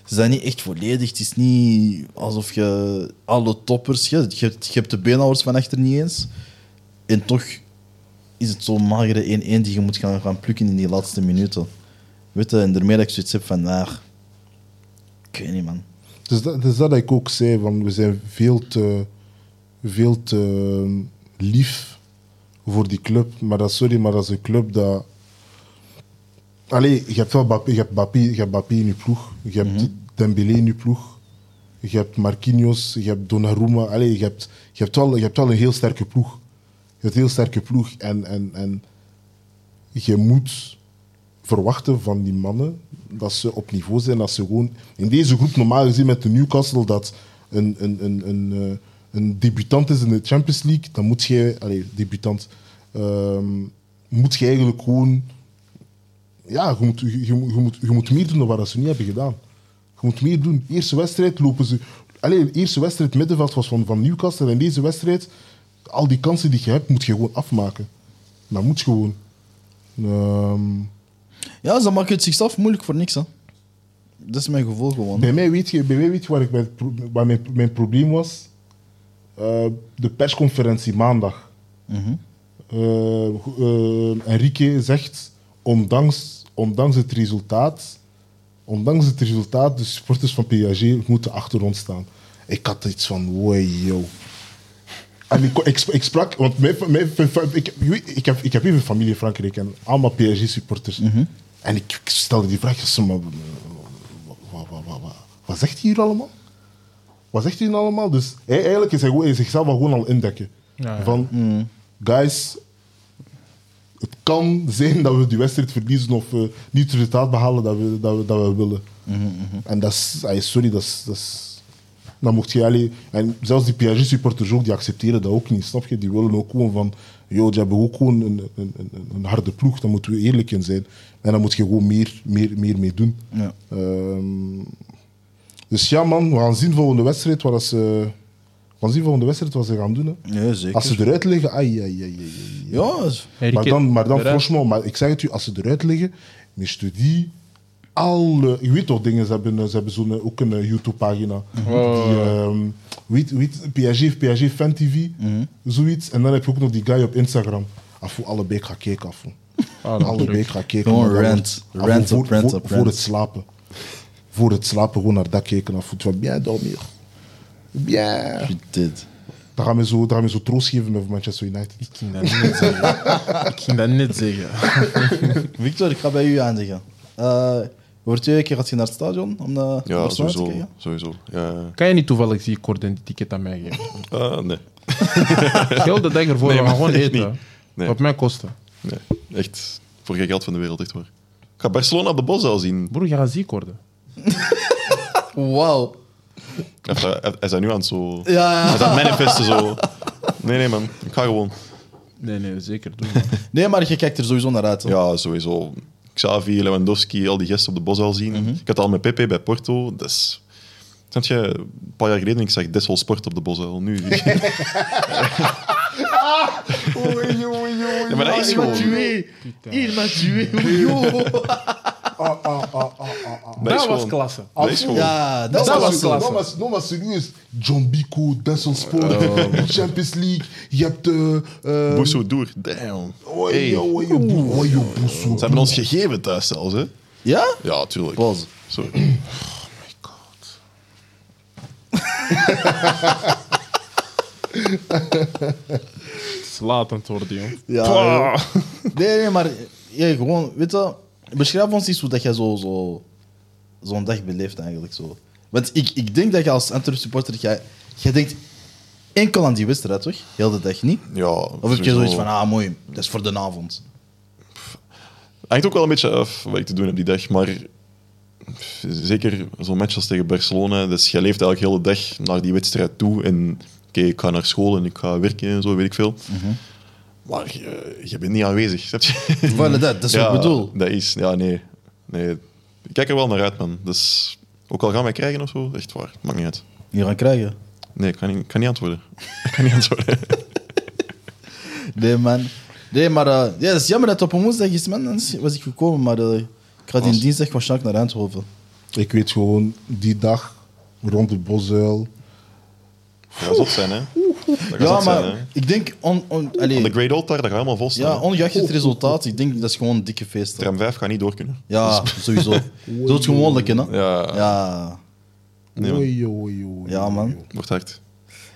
A: ze zijn niet echt volledig, het is niet alsof je alle toppers, je, je, hebt- je hebt de beenhouwers van achter niet eens, en toch is het zo'n magere 1-1 die je moet gaan, gaan plukken in die laatste minuten. Weet je, en daarmee dat ik zoiets heb van, ah, ik weet niet, man.
D: Dus dat, dus dat ik ook zei, van we zijn veel te, veel te ehm, lief voor die club. Maar dat, sorry, maar dat is een club dat... Allee, je hebt wel Bappé, je hebt Bappé, je hebt Bappé in je ploeg. Je hebt Dembélé in je ploeg. Je hebt Marquinhos, je hebt Donnarumma. Allee, je, hebt, je, hebt wel, je hebt wel een heel sterke ploeg. Je hebt een heel sterke ploeg. En, en, en je moet verwachten van die mannen dat ze op niveau zijn. Dat ze gewoon in deze groep, normaal gezien met de Newcastle, dat een, een, een, een, eh, een debutant is in de Champions League, dan moet je, allez, debutant, ehm, moet je eigenlijk gewoon, ja, je moet, je, je moet- je moet, je moet meer doen dan wat ze niet hebben gedaan. Je moet meer doen. Eerste wedstrijd lopen ze. Alleen de eerste wedstrijd middenveld was van, van Newcastle. En deze wedstrijd, al die kansen die je hebt, moet je gewoon afmaken. Dat moet gewoon. Ehm,
A: Ja, ze maken het zichzelf moeilijk voor niks. Hè. Dat is mijn gevoel gewoon.
D: Bij mij weet je, bij mij weet je waar, ik mijn, pro- waar mijn, mijn probleem was? Eh, de persconferentie maandag. Eh, eh, Enrique zegt, ondanks, ondanks het resultaat, ondanks het resultaat, de supporters van PSG moeten achter ons staan. Ik had iets van, woi yo. En ik, ik, ik sprak, want mijn, mijn, ik, ik, heb, ik heb even familie in Frankrijk en allemaal PSG-supporters. En ik, ik stelde die vraag, ik zei, maar, wa- wa- wa- wat, wat zegt hij hier allemaal? Wat zegt hij hier allemaal? Dus hij, eigenlijk is hij gewoon in zichzelf al gewoon al indekken.
B: Ja, ja.
D: Van, guys, het kan zijn dat we die wedstrijd verliezen of eh, niet het resultaat behalen dat we, dat we, dat we willen. En dat is, ay, sorry, dat is... Dat is dan mocht je alleen. En zelfs die PSG-supporters ook, die accepteren dat ook niet, snap je? Die willen ook gewoon van. Joh, die hebben ook gewoon een, een, een, een harde ploeg, daar moeten we eerlijk in zijn. En daar moet je gewoon meer, meer, meer mee doen.
A: Ja.
D: Ehm, dus ja, man, we gaan zien volgende wedstrijd wat ze. We gaan zien volgende wedstrijd wat ze gaan doen. Hè.
A: Ja, zeker.
D: Als ze eruit liggen, ai, ai, ai, ai, ai.
A: Ja, is-
B: Hey,
D: Maar
B: Rieke,
D: dan, maar dan
B: eruit.
D: franchement, maar ik zeg het u, als ze eruit liggen, Mr. D, alle... Je weet toch dingen, ze hebben, eh, ze hebben zo'n, eh, ook een eh, YouTube-pagina.
A: Mhm. Oh,
D: Die, ehm, weet, weet, PSG, PSG Fan TV,
A: Mhm.
D: zoiets. En dan heb je ook nog die guy op Instagram. Afvoer, allebei ik ga kijken, afvoer.
B: Ah,
D: allebei ik
B: natuurlijk.
D: ga kijken.
A: Gewoon
D: maar dan-
A: rant.
D: afvoer,
A: Rant op
D: voor,
A: rant
D: voor,
A: op
D: voor
A: rant.
D: het slapen. Voor het slapen, gewoon naar dat kijken. Afvoer, van, bien, dormir. Bien.
A: dit.
D: Dan gaan we zo, dan gaan we zo troost geven over Manchester United.
B: Ik ging dat net zeggen. Ik ging dat net zeggen.
A: Victor, ik ga bij u eindigen. Eh voor twee keer gaat je naar het stadion om eh, naar
C: Ja,
A: Barcelona te
C: sowieso.
A: kijken?
C: sowieso. Ja.
B: Kan je niet toevallig die korte ticket aan mij geven?
C: Ah, nee.
B: Geld dat ik ervoor,
C: Nee,
B: we gaan
C: maar
B: gewoon
C: echt
B: eten.
C: niet. Nee.
B: Op mijn kosten.
C: nee. Echt, voor geen geld van de wereld, echt waar. Ik ga Barcelona op de bos al zien.
B: Broer, je gaat ziek worden.
A: Wauw.
C: Hij staat- Hij hij is daar nu aan het zo...
A: Ja,
C: Hij is aan het manifesten zo. Nee, nee, man. Ik ga gewoon.
B: Nee, nee, zeker. Doe
A: Nee, maar je kijkt er sowieso naar uit. hoor.
C: Ja, sowieso. Xavi, Lewandowski, al die gasten op de bos al zien. Ik had al met Pepe bij Porto. Dus... Snap je, een paar jaar geleden ik zag Dessel Sport op de bos al. Nu... Ja, maar dat is gewoon...
A: Il m'a tué, yo.
D: Ah, ah, ah, ah, ah, ah.
C: Dat
B: was
C: is gewoon-
B: klasse.
C: Dat is gewoon...
A: Ja, dat
D: Dat
A: was...
D: Ah, was
B: klasse.
D: Dat was, dat was serieus. John Bico, Denzel Sport,
C: Oh,
D: Champions League. Je hebt... eh eh
C: Bousso Doer. Damn.
D: Oh,
C: Hey.
D: yo, oh, yo, Bo- oh, yo, Boesso.
C: Ze hebben ons gegeven thuis zelfs, hè?
A: Ja?
C: Ja, tuurlijk.
A: Pauze.
C: Sorry. Oh my god.
B: Slatend worden, jong.
A: Ja.
B: Pah.
A: Nee, nee, maar ja, gewoon, weet je, beschrijf ons eens hoe dat jij zo'n zo, zo zo'n dag beleeft eigenlijk. Zo. Want ik, ik denk dat je als Antwerp supporter, jij, jij denkt enkel aan die wedstrijd, toch? Heel de dag niet?
C: Ja,
A: Of heb je
C: sowieso.
A: zoiets van, ah mooi, dat is voor de avond.
C: Hangt ook wel een beetje af wat ik te doen heb die dag, maar pff, zeker zo'n match als tegen Barcelona, dus je leeft eigenlijk heel de hele dag naar die wedstrijd toe en oké, ik ga naar school en ik ga werken en zo, weet ik veel.
A: Mhm.
C: Maar eh, je, je bent niet aanwezig, snap je?
A: Voilà, dat, dat is wat ik bedoel.
C: Dat is, ja, nee. nee. Ik kijk er wel naar uit, man. Dus ook al gaan wij krijgen of zo, echt waar, maakt niet uit.
A: Je gaat krijgen.
C: Nee, ik kan niet, ik kan niet antwoorden. Ik kan niet antwoorden.
A: Nee, man. Nee, maar eh, ja, het is jammer dat het op een woensdag is, man. Anders was ik gekomen, maar eh, ik ga die
C: Was-
A: dinsdag waarschijnlijk naar Eindhoven.
D: Ik weet gewoon, die dag rond de bosuil.
C: Dat gaat zot zijn, hè? Dat gaat
A: Ja,
C: zot
A: maar
C: zijn, hè?
A: ik denk, on, on, allee,
C: Op de Great Old Tar, dat gaat helemaal vol staan.
A: ja,
C: hè.
A: ongeacht het resultaat, ik denk dat is gewoon een dikke feest. hè.
C: Tram 5 gaat niet door kunnen.
A: Ja, sowieso. Dat is gewoon lukken, hè?
C: Ja.
A: Ja.
C: Nee, man.
D: Oei, yo, oei, yo, oei,
A: Ja,
D: yo,
A: man.
D: yo.
C: Wordt hard.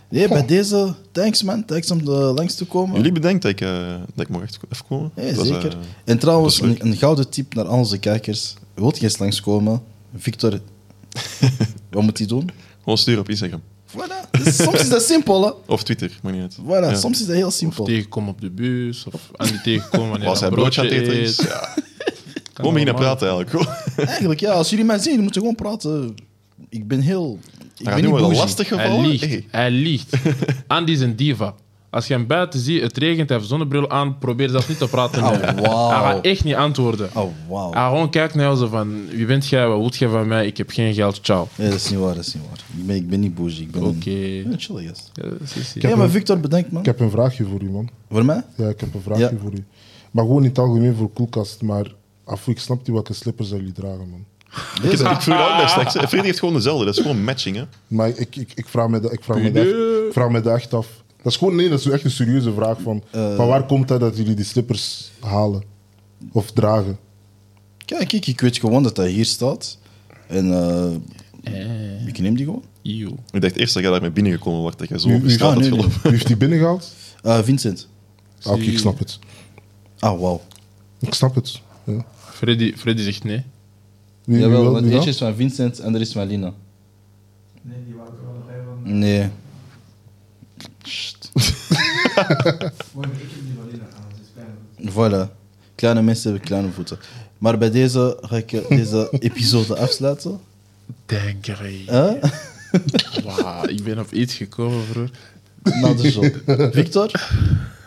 A: Nee, bij deze, thanks man, thanks om er langs te komen.
C: Jullie bedenkt dat ik, eh, dat ik mag echt even komen?
A: Nee,
C: Dat is,
A: zeker.
C: eh,
A: en trouwens,
C: dat is leuk.
A: een, een gouden tip naar al onze kijkers. Wilt je eens langskomen? Victor, wat moet hij doen?
C: gewoon sturen op Instagram.
A: Voilà. Dus Soms is dat simpel, hè?
C: Of Twitter, maakt niet uit.
A: Voilà,
C: Ja.
A: soms is dat heel
B: Of
A: simpel.
B: tegenkomen op de bus, of aan die tegenkomen wanneer
C: Was
B: hij
C: hij
B: een
C: broodje aan het eten is?
B: eet.
C: Ja. Gewoon beginnen praten eigenlijk. Gewoon.
A: Eigenlijk, ja, als jullie mij zien, moeten gewoon praten. Ik ben heel. Ik
C: Hij
A: ben
C: gaat nu
A: niet
C: wel
A: bougie.
C: lastig
B: Hij
C: gevallen.
B: liegt,
C: Hey.
B: hij liegt. Andy is een diva. Als je hem buiten ziet, het regent, hij heeft zonnebril aan, probeer zelfs niet te praten.
A: Oh,
B: met hem.
A: wauw.
B: Hij gaat echt niet antwoorden.
A: Oh, wauw.
C: Ah.
B: Hij gaat gewoon kijkt naar jou zo van, wie bent jij, wat moet jij van mij, ik heb geen geld, ciao.
A: Nee, dat is niet waar, dat is niet waar. Ik ben, ik ben niet bougie. Ik ben
B: Oké.
A: een, ik ben een chill gast.
B: Ja, zie, zie.
A: Hmm. Ja, maar Victor, bedankt man.
D: Ik heb een vraagje voor u, man.
A: Voor mij?
D: Ja, ik heb een vraagje
A: Ja.
D: voor u. Maar gewoon in het algemeen voor koelkast. Maar af, ik snap niet welke slippers dat jullie dragen, man.
C: Ik, ik vroeg dat ook daar straks. hè. Freddy heeft gewoon dezelfde. Dat is gewoon matching, hè?
D: Maar ik, ik, ik vraag me dat ik vraag me dat ik vraag me dat echt af. Dat is gewoon nee, dat is echt een serieuze vraag van, van waar komt dat dat jullie die slippers halen of dragen?
A: Kijk, ik, ik weet gewoon dat hij hier staat. En eh, ik neem die gewoon.
B: Eeuw.
C: Ik dacht eerst dat jij daarmee binnengekomen wordt. Dat jij zo
D: Nu-
C: op
D: nu-
C: de
A: ah,
C: straat
A: nu-
C: hebt
A: nu.
C: gelopen.
D: Wie heeft die binnengehaald?
A: Eh, Vincent.
D: Ah, Oké, ik snap het.
A: Ah, wauw.
D: Ik snap het. Ja.
B: Freddy, Freddy zegt nee.
D: Wie, wie wil- wie dan?
A: is van Vincent en er is van Lina.
F: Nee, Ne, die waren er wel bij van.
A: Nee. Sst.
F: Gewoon, ik heb die wel in aan, dus klein.
A: Voilà. Kleine mensen hebben kleine voeten. Maar bij deze ga ik eh, deze episode afsluiten.
B: Denk er
A: Huh?
B: Wauw, ik ben op iets gekomen, broer.
A: Na de show. Victor,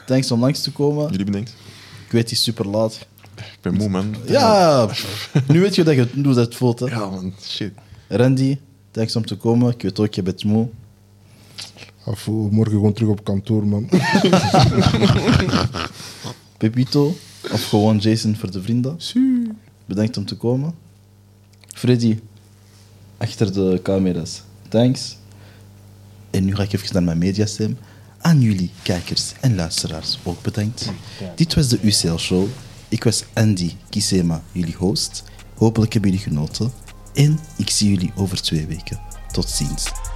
A: thanks om langs te komen.
C: Jullie bedenkt.
A: Ik weet, het is super laat.
C: Ik ben moe, man.
A: Ja, pff, nu weet je dat je hoe dat voelt. Hè.
C: Ja, man. Shit.
A: Randy, thanks om te komen. Ik weet ook, je bent moe.
D: Afo, Ah, morgen gewoon terug op kantoor, man.
A: Pepito, of gewoon Jason voor de vrienden. Bedankt om te komen. Freddy, achter de camera's. Thanks. En nu ga ik even naar mijn mediastem. Aan jullie, kijkers en luisteraars, ook bedankt. Dit was de UCL Show. Ik was Andy Kisema, jullie host. Hopelijk hebben jullie genoten. En ik zie jullie over twee weken. Tot ziens.